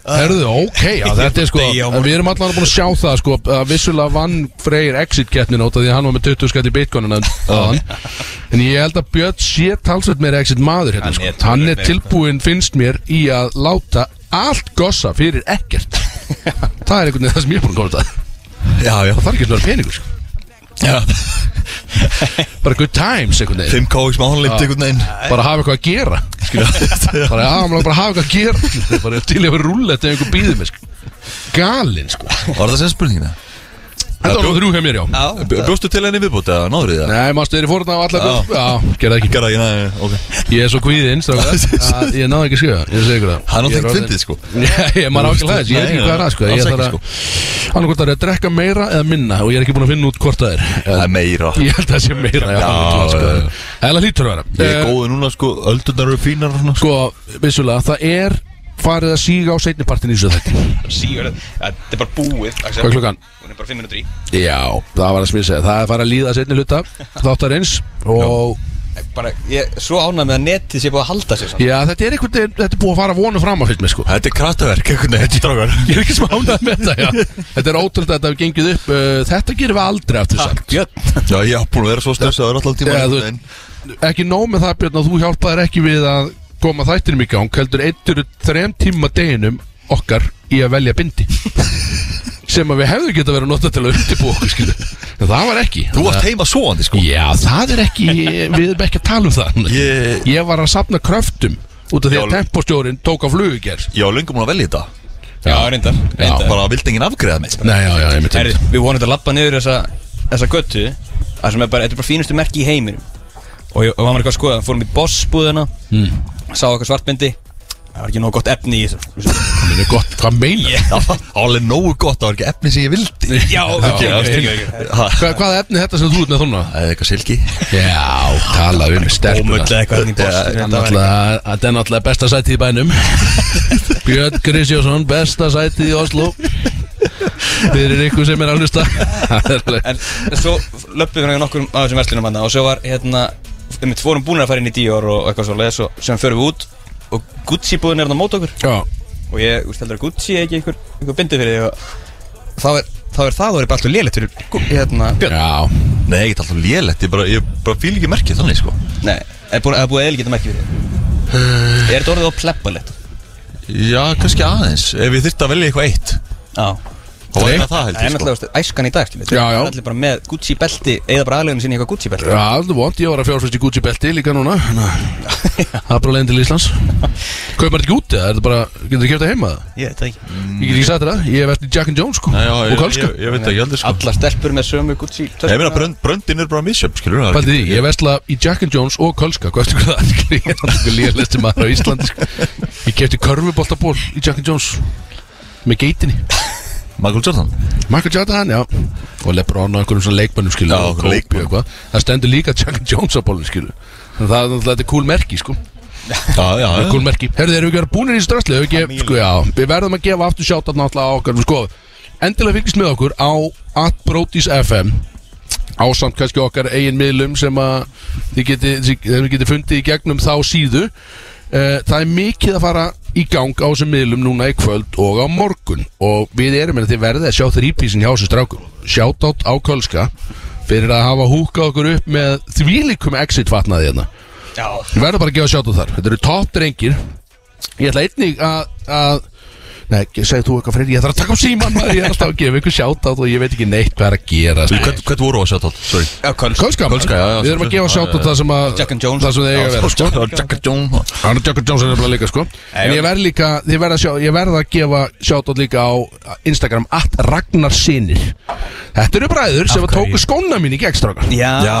Speaker 2: Uh,
Speaker 1: Herðu, ok, já, þetta er sko
Speaker 2: Degi á
Speaker 1: en
Speaker 2: morgun.
Speaker 1: Við erum allan búin að sjá það, sko að Vissulega vann Freyr exit-keppnin út af Því að hann var með 20 skatt í bitcoinin en, en ég held að Björn sé talsveit meira exit-maður hérna,
Speaker 2: Hann
Speaker 1: sko
Speaker 2: er töluvert
Speaker 1: Hann er
Speaker 2: meira.
Speaker 1: tilbúin, finnst mér, í að láta allt gossa fyrir ekkert Það er einhvern veginn það sem ég er búin að koma þetta
Speaker 3: Já, já
Speaker 1: Það þarf ekki að vera peningur, sko Bara good times, einhvern veginn
Speaker 3: 5K í smánlimt einhvern veginn
Speaker 1: bara hafa eitthvað að gera skilur. bara, já, maður bara hafa eitthvað að gera skilur. bara til ég að vera rúllett ef einhver býður mig sko. galinn sko
Speaker 3: Var það sem spurningina?
Speaker 1: Þetta var númer þrjú hjá mér, já.
Speaker 3: B- Bjóstu til henni viðbúti eða náður þið það?
Speaker 1: Nei, mástu þeirri fórna á alla
Speaker 3: Já.
Speaker 1: göll Já, gerða ekki
Speaker 3: Gerða ekki, nei, ok
Speaker 1: Ég er svo kvíðinn, strákar að Ég náði ekki að skrifa, ég segi ykkur það
Speaker 3: Hann á
Speaker 1: Ég er
Speaker 3: tengt
Speaker 1: orðinn-
Speaker 3: fyndið, sko.
Speaker 1: Nei, ég- maður á ekki að hlæðis, ég veit
Speaker 3: Nei,
Speaker 1: ekki hvað er að sko
Speaker 3: alls
Speaker 1: Ég
Speaker 3: ekki, sko.
Speaker 1: þarf að, hann hvort það er að drekka meira eða minna Og ég er ekki búin að finna út hvort það er
Speaker 3: Það er meira
Speaker 1: Ég held að það sé meira, já,
Speaker 3: Já,
Speaker 1: alveg klart,
Speaker 3: já, já.
Speaker 1: sko. Eða hlýtur að
Speaker 3: Ég er
Speaker 1: vera Eh,
Speaker 3: góði núna sko, öldurnar eru fínar og svona,
Speaker 1: Sko, vissulega, það er farið að síga á seinnipartin í þessu þetta
Speaker 2: Sýgur, þetta er bara búið Axel.
Speaker 1: Hvað er klukkan?
Speaker 2: Hún er bara 5 minútur í
Speaker 1: Já, það var að smísa Það er farið að líða seinni hluta Þáttar eins Og
Speaker 2: bara, ég, Svo ánægð með að netið sé búið að halda sér samt.
Speaker 1: Já, þetta er einhvern veginn, þetta er búið að fara vonu fram á fyllt mig sko
Speaker 3: Þetta er kraftaverk, einhvern veginn, þetta er drágar
Speaker 1: Ég er ekki smá ánægð með þetta, já Þetta er ótrúlega að þetta hefur gengið upp uh, Þetta gerum við aldrei aftur samt
Speaker 2: Björn
Speaker 3: Já, ég er búin að vera svo stressaður allan tíma
Speaker 1: Já, þú-
Speaker 3: en-
Speaker 1: Ekki nóg með það Björn að þú hjálpaðir ekki við að koma þættinum í gang heldur eittur þrem tíma deginum okkar í að velja bindi sem að við hefðu geta verið að nota til að undirbúa okkur skilu en það var ekki
Speaker 3: Þú varst heima svoandi sko
Speaker 1: Já, það er ekki, við erum ekki að tala um það
Speaker 3: Ég-
Speaker 1: Ég var að safna kröftum út af því að
Speaker 3: Já.
Speaker 1: tempostjórin tók á flugu í gær
Speaker 3: Ég var löngu múin að velja þetta
Speaker 2: Já, reyndar,
Speaker 1: Já.
Speaker 2: reyndar.
Speaker 3: Bara vildi enginn afgreða mig
Speaker 1: Nei, já, já, ég myndi
Speaker 2: Herri, Við vonum þetta að lappa niður þessa, þessa göttu Það sem er bara, þetta er bara fínustu merki í heiminum Og ég og var maður eitthvað að skoða Fórum í bossbúðina
Speaker 1: Hmm.
Speaker 2: mm. Sá eitthvað svartbindi Það var ekki nóg gott efni í þessu
Speaker 1: Það er gott, hvað meina yeah.
Speaker 3: Það var alveg nógu gott, það var ekki efni sem ég vildi
Speaker 2: Já, ok,
Speaker 1: já,
Speaker 2: ok,
Speaker 1: skil-
Speaker 2: ok.
Speaker 3: Ha,
Speaker 1: Hva, Hvaða efni er þetta sem þú ert með þóna?
Speaker 3: Það er eitthvað silki
Speaker 1: Já, talaðu um stelpuna
Speaker 2: Ómöldlega eitthvað enn í boss
Speaker 1: Þetta er
Speaker 2: Þetta var-
Speaker 1: náttúrulega- þetta er náttúrulega besta sætið í bænum Björn Kristjósson, besta sætið í Oslo Fyrir ykkur sem er að hlusta Það er alveg-
Speaker 2: En en svo löpum við nokkur af þessum verslunum hann og svo var hérna, um eitt vorum búin að fara inn í Dior og eitthvað svo leiðis og sem förum við út og Gucci búðin er þarna á mót okkur
Speaker 1: Já,
Speaker 2: og ég, þú veist heldur að Gucci er ekki einhver, einhver bindi fyrir þig og þá er, þá er það og er bara alltaf lélitt fyrir Gu- hérna, Björn
Speaker 1: já
Speaker 3: Nei, ekki alltaf lélegt, ég bara, ég bara fíl ekki merkið þannig sko
Speaker 2: Nei, er búin, er búin að eilgeta merki fyrir þig Er þetta orðið á plebbalett?
Speaker 3: Já, kannski aðeins Ef ég þyrfti að velja eitthvað eitt
Speaker 2: Já
Speaker 3: Þá var þetta það
Speaker 2: Það er
Speaker 3: held ég sko
Speaker 2: náttúrulega þú veist, æskan í dag, skiljið
Speaker 1: Já, já.
Speaker 2: Allir bara með Gucci belti, eða bara aðleginu sinni í eitthvað Gucci belti
Speaker 1: Já, alveg vond, ég var að fjárfæst í Gucci belti líka núna Ná, Það er bara leiðin til Íslands Kaupar þetta ekki út, eða er þetta bara, getur þið kæft það heima?
Speaker 2: Ég veit það ekki
Speaker 1: Ég get ekki sagt þér það, ég hef eftir Jack and Jones sko
Speaker 3: Nei, já,
Speaker 1: Og
Speaker 3: ég, ég,
Speaker 1: Kölska
Speaker 3: ég, ég veit ekki aldrei sko
Speaker 2: Allar stelpur með sömu Gucci
Speaker 3: Ég meina, brönd, bröndin er bara misjöfn, skilur það er
Speaker 1: Paldið
Speaker 3: ekki-
Speaker 1: því, ég vesla í Jack and Jones og Kölska Hvað eftir hvað það er, skilur, ég er náttúrulega lélæsti maður á Íslandi sko. Ég kefti körfuboltaból í Jack and Jones Með geitinni
Speaker 3: Michael Jordan
Speaker 1: Michael Jordan, já Og Lebron og einhverjum svona leikmönnum, skilur
Speaker 3: Já,
Speaker 1: og Kobe og
Speaker 3: leikmönnum.
Speaker 1: eitthvað. Það stendur líka Jack and Jones á bólun, skilur Þannig að það er náttúrulega þetta er cool merki, sko
Speaker 3: Já, já, já
Speaker 1: Cool merki Herðu, erum við ekki að vera búinir í þessu drasli? Erum við ekki- Sko, já, við verðum að gefa aftur sjátt náttúrulega á okkar Sko, endilega fylgist með okkur á atbrotis FM ásamt kannski okkar eigin miðlum sem að þið geti, þið geti fundið í gegnum þá síðu Eh, Það er mikið að fara í gang á þessum miðlum núna í kvöld og á morgun og við erum með þið verðið að sjá þrýpísin hjá þessu strákum Shoutout á Kölska fyrir að hafa húkað okkur upp með þvílikum exit fatnaði hérna Við verðum bara að gefa sjátt á þar Þetta eru topp drengir Ég ætla einnig að, að Nei, segir þú eitthvað fyrir Ég þarf að taka á síman maður Ég er alltaf að gefa ykkur sjátt á og ég veit ekki neitt hvað er að gera sko.
Speaker 3: Hvern- Hvern voru á að sjá þetta? Sorry
Speaker 2: Já, Kölsk
Speaker 1: Kölska, maður.
Speaker 3: Kölska, já, já,
Speaker 1: Við erum að gefa sjátt á það sem að
Speaker 2: Jack and Jones.
Speaker 1: Það sem þið eiga að vera sko.
Speaker 3: Jack and Jones
Speaker 1: Arnold Jacob Johnson er bara líka sko En ég verð líka Ég verð að, sjá, ég verð að gefa sjátt á líka á Instagram At Ragnar Sinir Þetta eru bræður sem að tóku skóna mín í gegnstra
Speaker 2: Já,
Speaker 3: Já,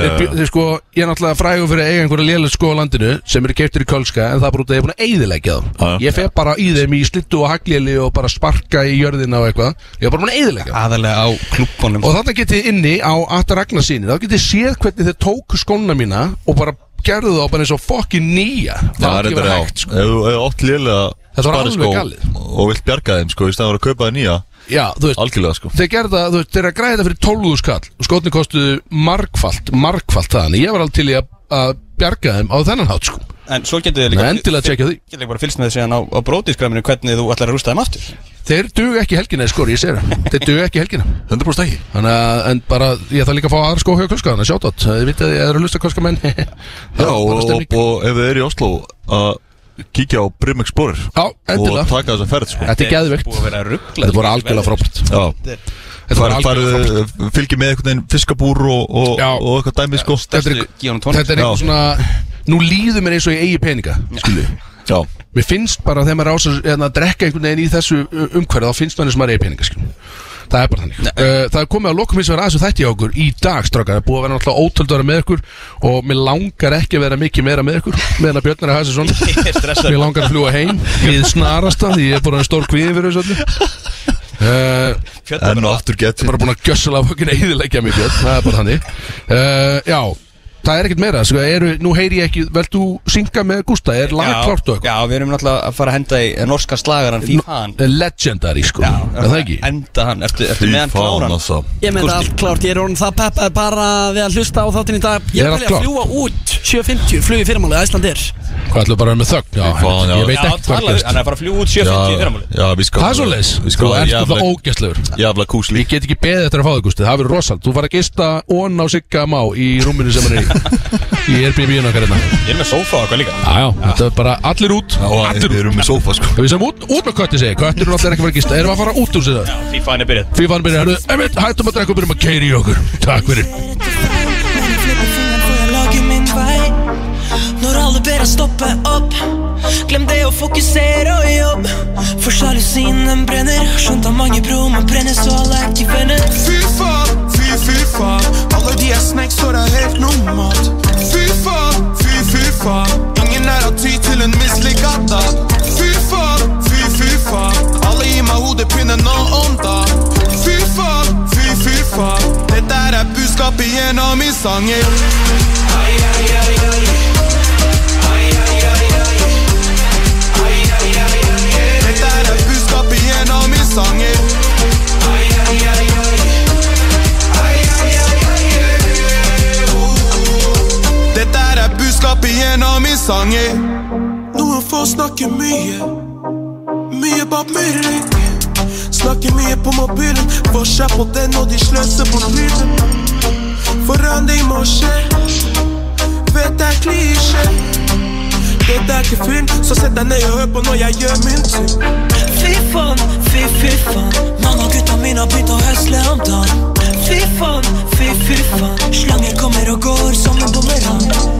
Speaker 3: Eh.
Speaker 1: Þeir, bjó- þeir sko, ég er náttúrulega frægur fyrir að eiga einhverja lélega sko á landinu sem eru keiptir í Kölska en það er bara út að ég er búin að eyðilegja þá
Speaker 3: Já, já.
Speaker 1: Ég fer bara í þeim í slittu og hagléli og bara sparka í jörðina og eitthvað Ég er bara búin að eyðilegja þá.
Speaker 2: aðalega á klubbanum
Speaker 1: Og þarna getið þið inni á Atta Ragnarsýni þá getið þið séð hvernig þeir tóku skóna mína og bara gerðu þá bara eins og fokkin nýja
Speaker 3: Það er
Speaker 1: ekki
Speaker 3: þetta
Speaker 1: verið
Speaker 3: já
Speaker 1: hægt, sko.
Speaker 3: Ef þú hefur átt lélega
Speaker 1: Þetta var alveg
Speaker 3: spariskó
Speaker 1: galið.
Speaker 3: Og vilt bjarga þeim sko Í staðan að kaupa þeim nýja
Speaker 1: Já, þú veist,
Speaker 3: Algjörlega sko
Speaker 1: þeir gerða, þú veist, þeir eru að græða fyrir 12.000 kall og skotni kostuðu margfalt, margfalt það en ég var alveg til í að, að bjarga þeim á þennan hátt sko
Speaker 2: En svo getur þið
Speaker 1: Nei,
Speaker 2: líka
Speaker 1: endilega tjekkja því.
Speaker 2: Getur þið bara fylgst með þið síðan á, á brótiskraminu Hvernig þú ætlar að rústa þeim aftur
Speaker 1: Þeir dugu ekki helgina í skori, ég segir það Þeir dugu ekki helgina
Speaker 3: 100% ekki
Speaker 1: Þannig að, en bara, ég þarf líka að fá aðra skó hjá kvölska Þannig að sjátt átt, þið vitið að ég er að hlusta kvölska menn
Speaker 3: Já, og, og, og ef þið eru í Oslo að kíkja á Brim Explorer
Speaker 1: Já, endilega.
Speaker 3: og taka þessa ferð sko
Speaker 1: Þetta er geðveikt
Speaker 2: Búið að vera ruggla
Speaker 1: Þetta voru algjörlega frábært
Speaker 3: Já,
Speaker 1: Þetta voru
Speaker 3: Far-
Speaker 1: algjörlega frábært sko.
Speaker 3: farið, fylgir með einhvern veginn fiskabúr og, og,
Speaker 1: Já.
Speaker 3: og eitthvað dæmi sko
Speaker 1: Þetta er-
Speaker 2: Gíða honum tónlist
Speaker 1: Þetta er eitthvað
Speaker 3: Já.
Speaker 1: svona, nú líður mér eins og ég eigi peninga Skilu
Speaker 3: Já,
Speaker 1: hérna, Mér finnst bara þegar maður ásar að drekka einhvern veginn í þessu umhverju Þá finnst maður eins og maður eigi peninga, skilu Það er bara þannig uh, Það er komið að lokum eins og er aðeins og þætti á okkur í dag strákar Það er búið að vera náttúrulega ótöld að vera með ykkur Og mér langar ekki að vera mikið meira með ykkur Meðan að Björn er að hafa
Speaker 2: Ég er
Speaker 1: sér
Speaker 2: stressaður.
Speaker 1: svona Mér langar að fljúa heim Við snarasta því ég er bara en stór kvíði fyrir þessu öllu uh,
Speaker 2: Fjöldar
Speaker 3: Enn og aftur
Speaker 1: Ég er
Speaker 3: getur
Speaker 1: bara búin að gjössala fokkin eðilegja mig Björn Það er bara þannig uh, Já, það er ekkert meira sko, eru, Nú heyri ég ekki, vel þú synga með Gústa Er lag klárt og
Speaker 2: Já, við erum náttúrulega að fara að henda í norska slagaran Fífan
Speaker 1: eitthvað Legendary sko, er það ekki?
Speaker 2: Enda hann, ertu, ertu
Speaker 3: Því sko.
Speaker 2: með hann
Speaker 3: faðan,
Speaker 2: kláran
Speaker 3: altså.
Speaker 4: Ég með
Speaker 2: Gústi.
Speaker 4: það allt klárt, ég er orðin það peppaði bara við að hlusta á þáttinn í dag
Speaker 1: Ég
Speaker 4: Ég
Speaker 1: er
Speaker 4: er
Speaker 1: allt
Speaker 4: að
Speaker 1: klárt.
Speaker 4: fljúa út 7.50, flugið fyrirmáli, Æslandir
Speaker 1: Hvað ætlum bara að vera með þögn? Já,
Speaker 3: Fáan, já.
Speaker 1: ég veit
Speaker 2: Já,
Speaker 1: ekki hvað
Speaker 2: talaðu,
Speaker 1: gerst.
Speaker 2: hann er að fara að fljú út 7.50 í fyrramáli
Speaker 3: Já, við skáðum
Speaker 1: Það er svo leis,
Speaker 3: Við
Speaker 1: þú
Speaker 3: skáðum
Speaker 1: ert alltaf
Speaker 3: jafnlega,
Speaker 1: ógæstlegur
Speaker 3: jafnlega kúsli
Speaker 1: Ég get ekki beðið eftir að fá þig, Gústi, það verður rosalt Þú fara að gista onn á Sigga Má í rúminu sem hann er í Í Airbnb-un okkar hérna
Speaker 2: Ég er með sófa og eitthvað líka
Speaker 1: Já, já, þetta er bara allir út
Speaker 3: Og
Speaker 1: Allir út
Speaker 3: við erum með sófa sko
Speaker 1: Við sem út, út með kötti segi, köttir eru allir ekki að fara að gista Erum við að fara út úr sér það?
Speaker 2: Fífan er byrjað
Speaker 1: Fífan byrja, herru, einmitt, hættum að drekka og byrjum að keiri í okkur Takk fyrir
Speaker 10: Når alle ber deg stoppe opp Glem det å fokusere og jobb For sjalusien den brenner Skjønt av mange bro, man brenner så alle er ikke venner
Speaker 11: Fy faen, fy fy faen Alle de er snakes og det er helt normalt Fy faen, fy fy faen Ingen er å ty til en mislykka dag Fy faen, fy fy faen Alle gir meg hodepine nå om dagen Fy faen, fy fy faen Dette her er budskapet gjennom min sanger Ai, ai, ai, ai Ai, ai, ai, ai Ai, ai, ai, ai Dette her er budskapet gjennom min sanger Ai, ai, ai, ai Ai, ai, ai, ai Oh. Dette her er budskapet gjennom min sanger Noen få snakker mye Mye bak min rygg Snakker mye på mobilen Forskjell på den og de sløser på lyden Forandring må skje Vet det er klisjé Dette er ikke film Så sett deg ned og hør på når jeg gjør min ting
Speaker 10: Fy faen, fy fy faen Mange av gutta mine har begynt å høsle om dagen Fy faen, fy fy faen Slanger kommer og går som en bumerang